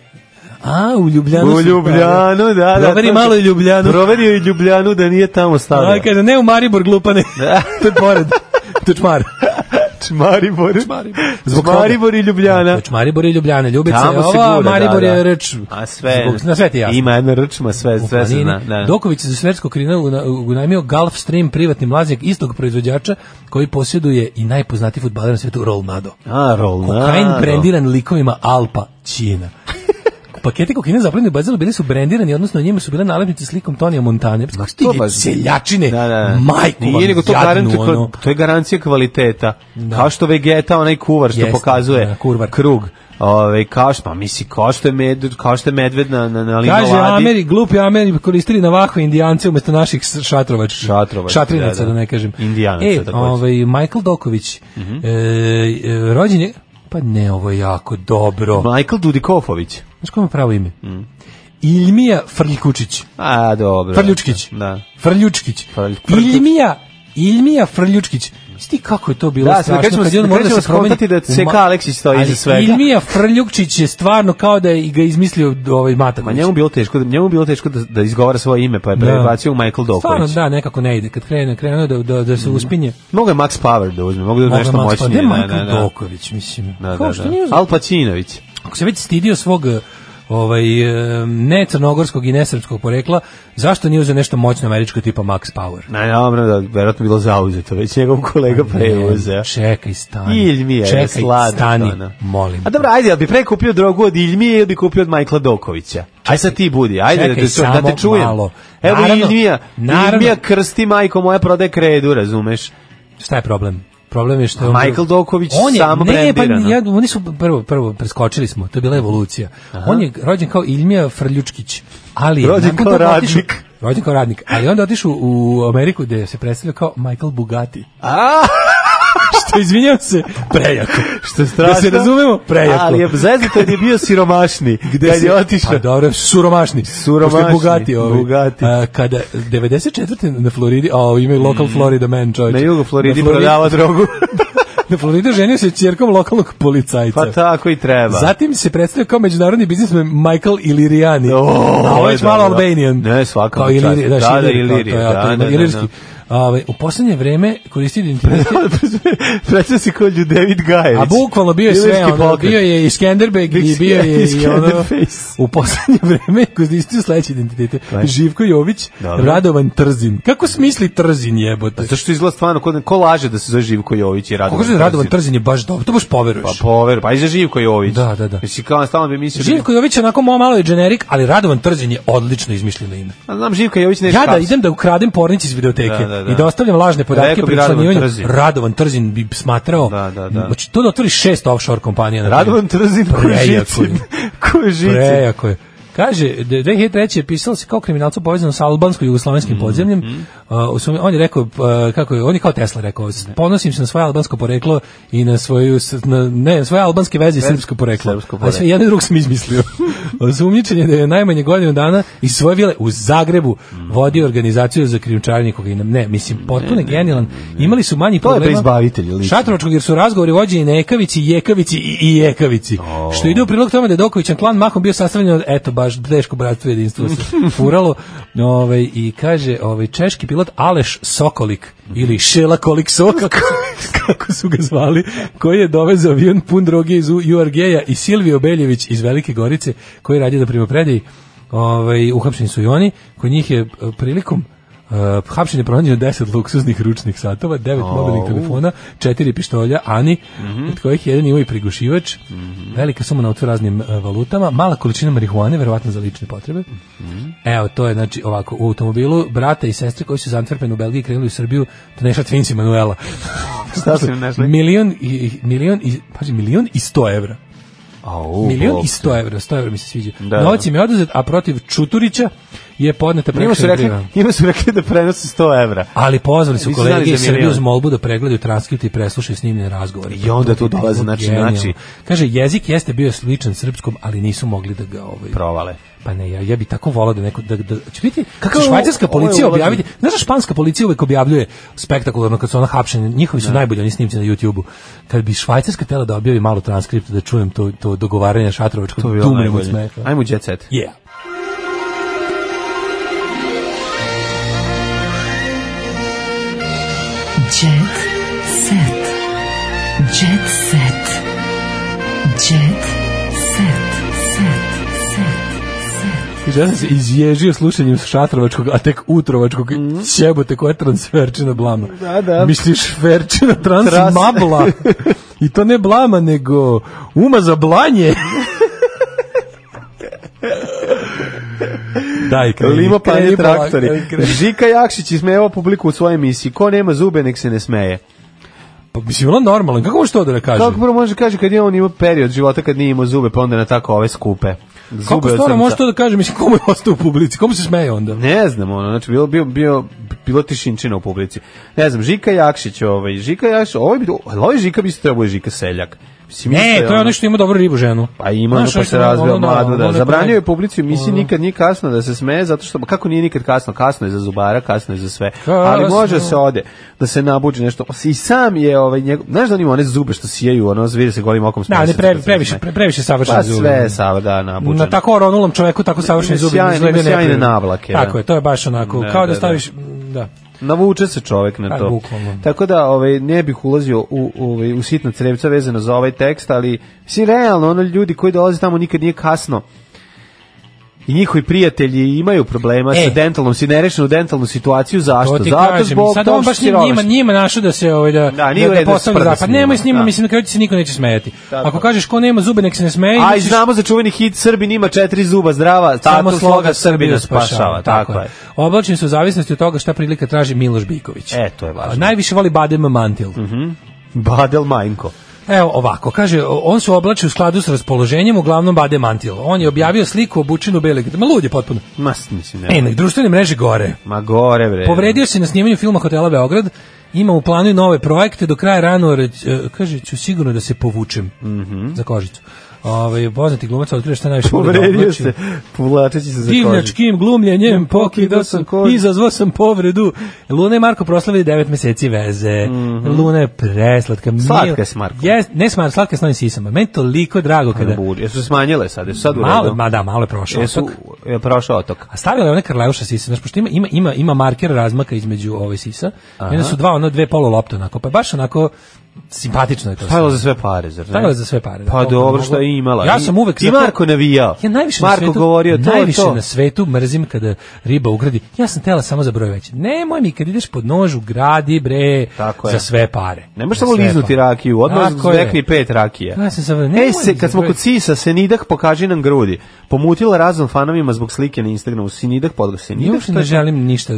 S5: A, u Ljubljanu.
S6: U
S5: su-
S6: Ljubljanu, da, da.
S5: Proveri
S6: to-
S5: malo i Ljubljanu.
S6: Proverio je Ljubljanu da nije tamo stavio.
S5: Aj, kaže, ne u Maribor,
S6: (laughs)
S5: glupane. to je pored. To je čmar.
S6: Maribor. Zbog
S5: toga.
S6: Maribor i Ljubljana.
S5: Znači, Maribor i Ljubljana. Ljubica je
S6: Tamo se
S5: ova,
S6: gura,
S5: Maribor
S6: da, da.
S5: je Rč.
S6: A sve,
S5: Zbog- na sve ti jasno.
S6: Ima jedna rčma, sve,
S5: U
S6: sve se zna.
S5: planini.
S6: Da.
S5: Doković je za svetsko krino una- unajmio Gulfstream privatni mlaznik istog proizvođača koji posjeduje i najpoznatiji fudbaler na svetu Rolnado.
S6: A, Rolnado.
S5: Kokain brendiran likovima Alpa
S6: (laughs)
S5: Čina. Paketi kokaina zapljeni u Bazilu bili su brendirani, odnosno njima su bile nalepnice s likom Tonija Montane. Pa kako ti
S6: to
S5: ide,
S6: baš-
S5: seljačine,
S6: Da, da.
S5: majku vam
S6: Nije, nego to,
S5: jadnu,
S6: garantuje,
S5: ono.
S6: to je garancija kvaliteta. Kao što Vegeta, onaj kuvar što
S5: Jeste,
S6: pokazuje
S5: da, kurvar.
S6: krug. Ove, kao što, pa misli, kao što je, med, kao što je medved na, na, na limonadi.
S5: Kaže Ameri, glupi Ameri koristili Navaho indijance umesto naših s- šatrovač,
S6: Šatrovač,
S5: šatrinaca, da,
S6: da, da.
S5: ne kažem.
S6: Indijanaca,
S5: e,
S6: takođe. Mhm.
S5: ovaj, Michael Doković, e, e, rođen je, pa ne, ovo je jako dobro.
S6: Michael Dudikofović.
S5: Znaš ko ima pravo ime?
S6: Mhm.
S5: Ilmija Frljkučić.
S6: A, dobro.
S5: Frljučkić.
S6: Da.
S5: Frljučkić.
S6: Frlj- Frljuč-
S5: Ilmija, Ilmija Frljučkić. Sti kako je to bilo
S6: Da, sad
S5: strašno.
S6: kad ćemo-
S5: kad je on
S6: kad
S5: morao
S6: ćemo
S5: se promeni
S6: skontati da
S5: u
S6: CK
S5: ma-
S6: Aleksić stoji
S5: Ali
S6: iza svega.
S5: Ilmija Frljučić je stvarno kao da je ga izmislio ovaj
S6: Ma
S5: Mataković.
S6: njemu bilo teško, njemu bilo teško da, da izgovara svoje ime, pa je
S5: Da.
S6: prebacio u Michael
S5: Stvarno,
S6: Doković.
S5: da, nekako ne ide. Kad krene, krene ono da, da, da se uspinje.
S6: Mogu je Max Power da uzme, mogu da
S5: Mogu
S6: uzme nešto
S5: Max Power. Gde je
S6: moćnije. Da, da,
S5: Michael
S6: da.
S5: Doković, mislim.
S6: Da,
S5: Kao
S6: da,
S5: što
S6: da.
S5: nije-
S6: Al Pacinović.
S5: Ako se već stidio svog ovaj, em, ne crnogorskog i ne srpskog porekla, zašto nije uzeo nešto moćno američko tipa Max Power?
S6: Na, dobro, da, verovatno bilo zauzeto, već njegov kolega preuzeo.
S5: Ne, Čekaj, stani.
S6: Ilmija je
S5: Čekaj,
S6: sladak,
S5: stani,
S6: ono.
S5: molim.
S6: A dobro, ajde, jel bi pre kupio drogu od Ilmije ili bi kupio od Michaela Dokovića? Aj sad ti budi, ajde
S5: Čekaj,
S6: da, te, ču- da
S5: samo
S6: te čujem.
S5: malo.
S6: Evo
S5: Naravno,
S6: Ilmija,
S5: naravno.
S6: Ilmija krsti majko moja prodaje kredu, razumeš?
S5: Šta je problem? Problem je što je on
S6: Michael
S5: bio-
S6: Doković
S5: on je,
S6: samo
S5: ne, pa
S6: brendirano.
S5: ja, oni su prvo prvo preskočili smo, to je bila evolucija. On je rođen kao Ilmija Frljučkić, ali je
S6: Rođen
S5: nakon
S6: kao
S5: toga otišao-
S6: radnik.
S5: rođen kao radnik, ali onda otišao u Ameriku gde se predstavljao kao Michael Bugatti.
S6: A,
S5: (laughs) Što izvinjavam se, prejako.
S6: što je strašno.
S5: Da se razumemo, prejako.
S6: Ali je zeznuto jer je bio siromašni. Gde
S5: si-
S6: je otišao?
S5: Pa dobro, suromašni.
S6: Suromašni,
S5: Pošto je Bugatti ovaj.
S6: Bugatti.
S5: A, kada 94. na Floridi, a ovo ime je Local Florida Man, čovječe.
S6: Mm. Na jugu Floridi
S5: Na Floridi- (laughs)
S6: prodava drogu.
S5: na Floridu ženio se čerkom lokalnog policajca.
S6: Pa tako i treba.
S5: Zatim se predstavio kao međunarodni biznismen Michael Ilirijani.
S6: O,
S5: a ovo je
S6: dobro.
S5: malo Albanian.
S6: Ne, svaka
S5: Kao
S6: mu čast.
S5: Iliri- znaš,
S6: Da, da,
S5: Iliri, to- to je
S6: Ilirija,
S5: autor,
S6: da, da, da,
S5: ilirski.
S6: da.
S5: Ovaj, u poslednje vreme koristi identitet
S6: Preća se kod David Gajević.
S5: a bukvalno bio je sve,
S6: Ilirski
S5: ono,
S6: pokret.
S5: bio je i Skenderbeg i
S6: Isk-
S5: bio je i ono,
S6: Skenderface.
S5: u poslednje vreme koristio sledeće identitete.
S6: Ajde.
S5: Živko Jović,
S6: Dobro. Pa
S5: Radovan Trzin. Kako smisli Trzin jebote?
S6: Zato što izgleda stvarno, ko, ko laže da se zove Živko Jović i Radovan
S5: Kako se Radovan Trzin je baš dobro, to baš poveruješ.
S6: Pa pover, pa i za Živko Jović.
S5: Da, da, da.
S6: Mislim, kao stalno bi mislio... da-
S5: Živko Jović je onako mo- malo je generik, ali Radovan Trzin je odlično izmišljeno ime.
S6: A znam Živko Jović neće
S5: Ja da
S6: hapsiti.
S5: idem da ukradem pornić iz videoteke
S6: Da, da, da.
S5: i da ostavljam lažne podatke
S6: Rekao bi
S5: pri
S6: Radovan
S5: članivanju,
S6: Trzin.
S5: Radovan Trzin bi smatrao,
S6: Da, da, da.
S5: znači to da otvori šest offshore kompanija. na
S6: Radovan Trzin koji je
S5: Prejako je.
S6: žicin. Koji je žicin.
S5: Prejako je. Kaže, d- 2003. je pisalo se kao kriminalcu povezano sa albansko-jugoslovenskim podzemljem. Uh, u svom- on je rekao, uh, kako je, on je kao Tesla rekao, "S- ponosim se na svoje albansko poreklo i na svoju, s- na, ne, na svoje albanske veze i srpsko poreklo.
S6: srpsko
S5: A sve jedan i drug sam (laughs) izmislio. Osumnjičen je da je najmanje godinu dana iz svoje vile u Zagrebu vodio organizaciju za krijumčarenje kokaina. Mhm. Ne, mislim, potpuno je genijalan. Imali su manji
S6: To je
S5: problema.
S6: preizbavitelj, lično.
S5: Šatrovačkog jer su razgovori vođeni na Ekavici, Jekavici i, i Jekavici. Što ide u prilog tome da je Dokovićan klan mahom bio sastavljen od, eto, baš teško bratstvo i jedinstvo
S6: (laughs)
S5: se furalo. Ove, I kaže, ovaj češki pilot Aleš Sokolik, ili Šelakolik Sokak, (laughs) kako su ga zvali, koji je dovezao avion pun droge iz URG-a i Silvio Beljević iz Velike Gorice, koji radi da primopredaji. Ovaj, uhapšeni su i oni, koji njih je eh, prilikom Uh, hapšenje pronađeno 10 luksuznih ručnih satova, 9 mobilnih telefona, 4 pištolja, Ani,
S6: Mhm.
S5: od kojih jedan ima i prigušivač, velika suma na raznim e, valutama, mala količina marihuane, verovatno za lične potrebe.
S6: Mhm.
S5: Evo, to je znači ovako, u automobilu brata i sestre koji su iz Antwerpena u Belgiji krenuli u Srbiju, to neša Twins i Manuela.
S6: Šta su im našli?
S5: Milion i, milion i, paži, milion i sto evra.
S6: Au,
S5: milion
S6: Bog.
S5: i sto evra, sto evra mi se sviđa.
S6: Da.
S5: Novac im je oduzet, a protiv Čuturića je podneta
S6: Njima su
S5: prekršajna
S6: rekli,
S5: prijava.
S6: njima su rekli da prenosi 100 evra.
S5: Ali pozvali su
S6: Nisu znali
S5: kolege
S6: za
S5: iz Srbije
S6: milion.
S5: uz molbu da pregledaju transkript i preslušaju snimljene razgovore.
S6: I onda tu dolaze, znači,
S5: Genijalno.
S6: znači-
S5: Kaže, jezik jeste bio sličan srpskom, ali nisu mogli da ga... Ovaj,
S6: Provale.
S5: pa ne, ja, ja bi tako volao da neko... Da, da, će biti,
S6: Kako
S5: kako
S6: je
S5: će
S6: ovo-
S5: švajcarska
S6: ovo je
S5: policija
S6: ulazno.
S5: objaviti... Znaš da španska policija uvek objavljuje spektakularno kad su ona hapšeni, njihovi su najbolji oni snimci na YouTubeu. Kad bi švajcarska tela da objavi malo transkript da čujem to, to dogovaranje šatrovačkog,
S6: To bi bilo
S5: dumnem od
S6: najbolje.
S5: smeha.
S6: Ajmo jet set.
S5: Yeah.
S4: Jet set. Jet set. Jet set. Set. Set.
S5: Kaže, ja sam se izježio slušanjem šatrovačkog, a tek utrovačkog mm. ćebote koja je transferčina blama.
S6: Mhm. Da, da.
S5: Misliš ferčina
S6: Tras-
S5: transmabla. I to ne blama, nego uma za
S6: (laughs)
S5: blanje. Daj, kreni.
S6: Limo panje
S5: kreni polako,
S6: traktori.
S5: kreni, kreni.
S6: Žika Jakšić ismeva publiku u svojoj emisiji. Ko nema zube, nek se ne smeje.
S5: Pa mislim, je ono normalan, kako može to da ne kaže?
S6: Kako prvo može kaže kad je on imao period života kad nije imao zube, pa onda na tako ove skupe. Zube
S5: Kako
S6: od
S5: stvarno
S6: srca.
S5: može to da kaže? Mislim, komu je ostao u publici? Komu se smeje onda?
S6: Ne znam, ono, znači bilo bio bio bilo tišinčina u publici. Ne znam, Žika Jakšić, ovaj Žika Jakšić, ovaj bi ali ovaj Žika bi se trebao je Žika Seljak. Mislim, isto
S5: Ne,
S6: je
S5: to je ono što ima dobru ribu ženu.
S6: Pa ima,
S5: Znaš,
S6: ono pa
S5: ono što
S6: se
S5: ono-
S6: razveo
S5: ono, da,
S6: mladu, da.
S5: ono
S6: Zabranio je
S5: koje-
S6: publici u emisiji,
S5: ono.
S6: nikad nije kasno da se smeje, zato što, kako nije nikad kasno? Kasno je za zubara, kasno je za sve.
S5: Kasno.
S6: Ali može da se ode, da se nabuđi nešto. I sam je, ovaj, njegov, znaš da on ima one zube što sijaju, ono, zviri se golim okom
S5: Da,
S6: smeje.
S5: ali
S6: se
S5: pre,
S6: kad se
S5: previše,
S6: smeje.
S5: pre, previše savršen
S6: Pa
S5: zub.
S6: sve je sav, da, nabuđen.
S5: Na tako oronulom čoveku tako savršeni
S6: Ima
S5: zubi.
S6: sjajne-
S5: izgledaju
S6: ima sjajne
S5: neprijatno.
S6: navlake, da.
S5: Tako je, to je baš onako,
S6: Da,
S5: kao da,
S6: da, da.
S5: staviš, m, da.
S6: Navuče se čovek na
S5: A,
S6: to.
S5: bukvalno.
S6: Tako da ovaj ne bih ulazio u ovaj u sitna crevca vezano za ovaj tekst, ali mislim realno ono ljudi koji dolaze tamo nikad nije kasno. I njihovi prijatelji imaju problema
S5: E.
S6: sa dentalnom, si nerešenu dentalnu situaciju, zašto?
S5: to ti
S6: Zato
S5: kažem.
S6: zbog
S5: I sad
S6: toga
S5: on
S6: što
S5: baš
S6: si
S5: njima, njima,
S6: siromašan.
S5: njima našao da se ovaj, da,
S6: Da, nije u redu da
S5: postavlja
S6: sprda
S5: za-
S6: s
S5: Pa
S6: njima,
S5: nemoj s njima,
S6: da.
S5: mislim, na kraju ti se niko neće smejati.
S6: Tako.
S5: Ako kažeš ko nema zube, nek se ne smeje.
S6: A i
S5: ćeš-
S6: znamo za čuveni hit Srbin ima četiri zuba zdrava,
S5: Samo
S6: status sloga Srbina spašava,
S5: spašava,
S6: tako je.
S5: Oblačeni su u zavisnosti od toga šta prilika traži Miloš Biković.
S6: E, to je Mhm. važno.
S5: A Najviše voli Badem Mantil.
S6: Badel Majnko.
S5: Evo ovako, kaže, on se oblači u skladu s raspoloženjem, uglavnom bade mantil. On je objavio sliku obučenu bele, ma lud je potpuno.
S6: Ma, mislim,
S5: E,
S6: ne.
S5: na društvenoj mreži gore.
S6: Ma gore, bre.
S5: Povredio se na snimanju filma Hotela Beograd, ima u e,
S6: Mhm.
S5: planu i nove projekte, do kraja rano, kaže, ću sigurno da se povučem za kožicu. Ovaj poznati glumac otkrio šta najviše
S6: Povredio se, povlačeći se za kožu.
S5: Divljačkim glumljenjem pokidao sam kožu. Izazvao sam povredu. Luna i Marko proslavili 9 meseci veze. Mm -hmm. Luna je preslatka. Mil...
S6: Mhm. Slatka je s Markom.
S5: Jes, ne smar, slatka je s novim sisama. Meni toliko drago kada...
S6: Budi. Jesu smanjile sad, jesu sad u
S5: Malo,
S6: redu?
S5: ma da, malo je prošao.
S6: Jesu,
S5: otok.
S6: je prošao otok.
S5: A stavila je one Karleuša sisa, znači pošto ima ima ima ima marker razmaka između ove sisa. I onda su dva ono dve polu lopte onako, pa baš onako simpatično je to.
S6: Stavila za sve pare, zar ne?
S5: Stavila za sve pare. da.
S6: Pa
S5: Koliko
S6: dobro
S5: mogu.
S6: što je imala.
S5: Ja sam uvek
S6: I
S5: za to-
S6: Marko navijao.
S5: Ja najviše
S6: Marko
S5: na svetu,
S6: govorio to,
S5: najviše
S6: to.
S5: na svetu mrzim kada riba ugradi. Ja sam tela samo za broj veći. Nemoj mi kad ideš pod nožu gradi bre
S6: Tako je.
S5: za sve pare.
S6: Ne možeš
S5: Za
S6: samo
S5: sve
S6: liznuti
S5: pare.
S6: rakiju, odmah
S5: Tako je.
S6: zvekni pet rakija.
S5: Ja sam samo
S6: Ej,
S5: nemoj
S6: se,
S5: mi
S6: kad smo
S5: za
S6: kod
S5: broj-
S6: Sisa, Senidah pokaži nam grudi. Pomutila razom fanovima zbog slike na Instagramu. Senidah podglas.
S5: Ja
S6: Senidah,
S5: uopšte ne želim ništa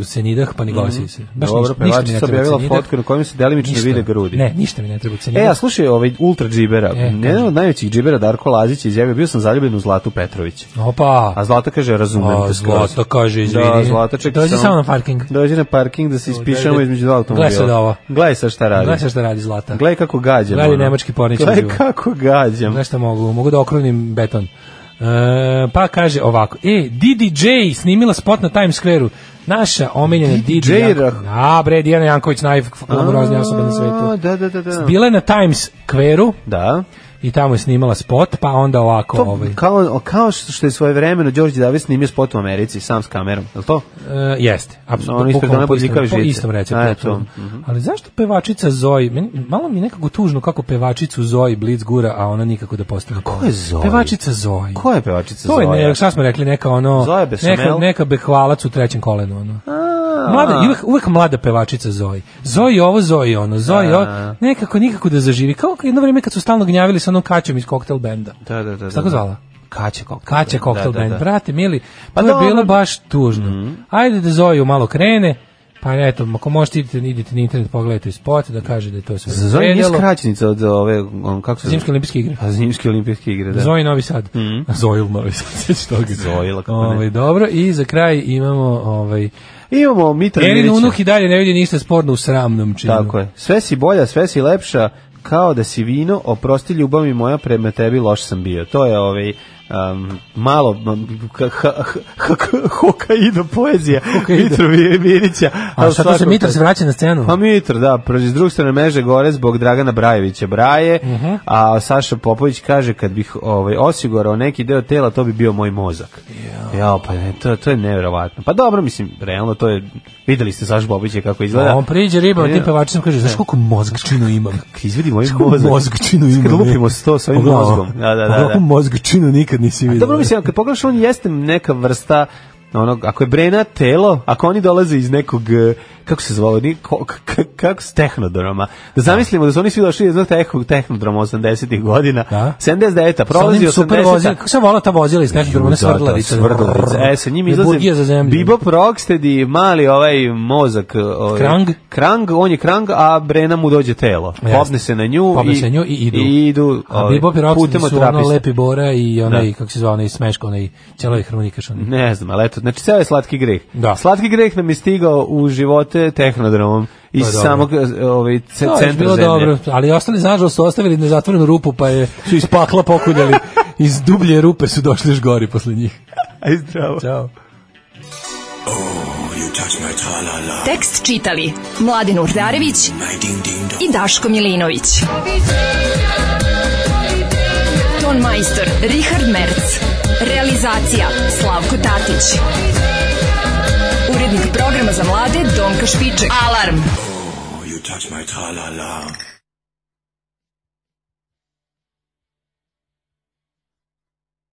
S5: u senidah pa ni glasiti se. Baš
S6: Mhm. Dobro,
S5: ništa, ništa mi ne
S6: pevačica
S5: treba
S6: objavila
S5: cenidah.
S6: fotku na kojoj se delimično
S5: Ništa.
S6: vide grudi.
S5: Ne, ništa mi ne treba cenidah.
S6: E, a slušaj, ovaj ultra džibera,
S5: E,
S6: jedan od najvećih džibera Darko Lazić je izjavio, bio sam zaljubljen u Zlatu Petrović.
S5: Opa.
S6: A Zlata kaže, razumem
S5: A,
S6: te skroz.
S5: Zlata kaže,
S6: Da,
S5: izvini.
S6: Zlata čekaj
S5: Dođi samo na parking.
S6: Dođi na parking da se ispišemo
S5: dođi.
S6: između dva automobila.
S5: Gle sad ovo.
S6: Gledaj sad šta radi.
S5: Gledaj sad šta radi Zlata.
S6: Gledaj kako gađam.
S5: Gledaj
S6: ono.
S5: nemački porničar
S6: Gledaj
S5: živo.
S6: kako gađam.
S5: Znaš šta mogu? Mogu da okrivnim beton. E, pa kaže ovako, e, DDJ snimila spot na Times Square-u. Naša omenjena DDJ.
S6: ra-
S5: A, bre, Dijana Janković, najglamoroznija osoba na svetu.
S6: Da, da, da, da.
S5: Bila je na Times Square-u
S6: Da.
S5: i tamo je snimala spot, pa onda ovako,
S6: To
S5: ovaj,
S6: kao, kao što je svoje vremeno Đorđe Davis snimio spot u Americi sam s kamerom, je li to?
S5: E, jeste,
S6: No,
S5: apsolutno.
S6: oni isto
S5: bukvalno
S6: ga
S5: po istom,
S6: nabodljikaju
S5: po
S6: žice.
S5: istom receptu.
S6: A, eto. Mhm.
S5: apsolutno. Ali zašto pevačica Zoji, meni- malo mi je nekako tužno kako pevačicu Zoji Blitz gura, a ona nikako da postane. Ko
S6: je Zoji?
S5: Pevačica Zoji.
S6: Ko je pevačica
S5: To je,
S6: Zoja?
S5: ne, šta smo rekli, neka ono,
S6: Zoja Besamel?
S5: neka, neka behvalac u trećem kolenu, ono. Mlada, uvek, uvek mlada pevačica Zoji. Zoji ovo, Zoji ono, Zoji ovo, nekako nikako da zaživi. Kao jedno vrijeme kad su stalno gnjavili sa onom kaćom iz koktel benda.
S6: Da, da, da. da.
S5: Šta tako zvala?
S6: Kaća koktel.
S5: Kaća koktel
S6: Da, da,
S5: band.
S6: da.
S5: Brate, mili,
S6: Pa
S5: pa to je
S6: dobro. Mhm.
S5: bilo baš tužno. Ajde da Zoju malo krene, pa eto, ako možete idite, idite na internet, pogledajte spot, da kaže da je to sve
S6: Zoja nije
S5: izgledalo.
S6: skraćenica od ove, on, kako se...
S5: Zimske olimpijske igre.
S6: Pa zimske olimpijske igre, da. Mhm.
S5: Zoji Novi Sad. (laughs) Zojil Novi Sad, (laughs) sjeći toga.
S6: Zojila, kako ne.
S5: Ovaj, dobro, i za kraj imamo ovaj,
S6: Imamo Mitra
S5: Elin
S6: Milića.
S5: Unuk i dalje ne vidi ništa sporno u sramnom činu.
S6: Tako je. Sve si bolja, sve si lepša, kao da si vino, oprosti ljubav mi moja, prema tebi loš sam bio. To je ovaj um, malo um, ka- ha- ha- (laughs) ha- Hokkaido poezija
S5: Hokkaido.
S6: Mitru Mir- Mirića.
S5: A
S6: Ali
S5: šta to se
S6: svakako-
S5: Mitar se vraća na scenu?
S6: Pa Mitar, da, prođe s druge strane meže gore zbog Dragana Brajevića Braje, a Saša Popović kaže kad bih ovaj, osigurao neki deo tela, to bi bio moj mozak. Ja, pa ne, to, to je nevjerovatno. Pa dobro, mislim, realno to je, videli ste Saša Popovića kako izgleda.
S5: On priđe riba,
S6: Ja.
S5: tim pevačicama kaže, znaš koliko mozgčinu imam?
S6: Izvedi moj
S5: Kako
S6: mozak.
S5: mozgčinu
S6: Kad
S5: imam?
S6: lupimo sto s ovim
S5: Pogledaj ovo.
S6: mozgom. Da, da, da,
S5: Pogledaj
S6: da.
S5: Kako mozgčinu nikad nisi vidio.
S6: Dobro mislim, kad pogledaš, on jeste neka vrsta onog, ako je Brena telo, ako oni dolaze iz nekog, eh, kako se zvalo, ni- ko- k- k- kako s tehnodroma, da zamislimo da su oni svi došli iz jednog tehnog tehnodroma 80-ih godina,
S5: Da.
S6: 79-a, prolazi
S5: Sa onim super
S6: 80-a,
S5: vozilom, kako se vola ta vozila iz nekog
S6: Da,
S5: drvene
S6: da,
S5: svrdlarice.
S6: svrdlarice. E, sa njim izlaze
S5: Burgija za zemlju.
S6: Bebop Rocksteady, mali ovaj mozak. Ovaj,
S5: Krang.
S6: Krang, on je Krang, a Brena mu dođe telo.
S5: Jeste.
S6: Popne se na nju,
S5: Popne
S6: i,
S5: se nju i idu.
S6: I idu
S5: A
S6: ovaj,
S5: Bebop i Rocksteady
S6: putem od
S5: su ono
S6: trapista.
S5: lepi bora i onaj,
S6: Da.
S5: kako se zove, onaj smeško, onaj ćelavi harmonikaš. onaj.
S6: Ne znam, ali eto, znači ceo je slatki greh.
S5: Da.
S6: Slatki greh nam je stigao u živote tehnodromom iz
S5: To je dobro.
S6: samog eh, ovaj, ce,
S5: To je
S6: centra
S5: bilo
S6: zemlje.
S5: dobro, ali ostali nažalost su ostavili nezatvorenu rupu, pa je su iz pakla pokuljali. (laughs) Iz dublje rupe su došli još gori posle njih.
S6: (laughs) Aj, zdravo.
S5: Ćao.
S4: Tekst čitali Mladin Urdarević i Daško Milinović. Ton majstor Richard Merc. Realizacija Slavko Tatić. Urednik programa za mlade Donka Špiček. Alarm!
S13: You touch my tra-la-la.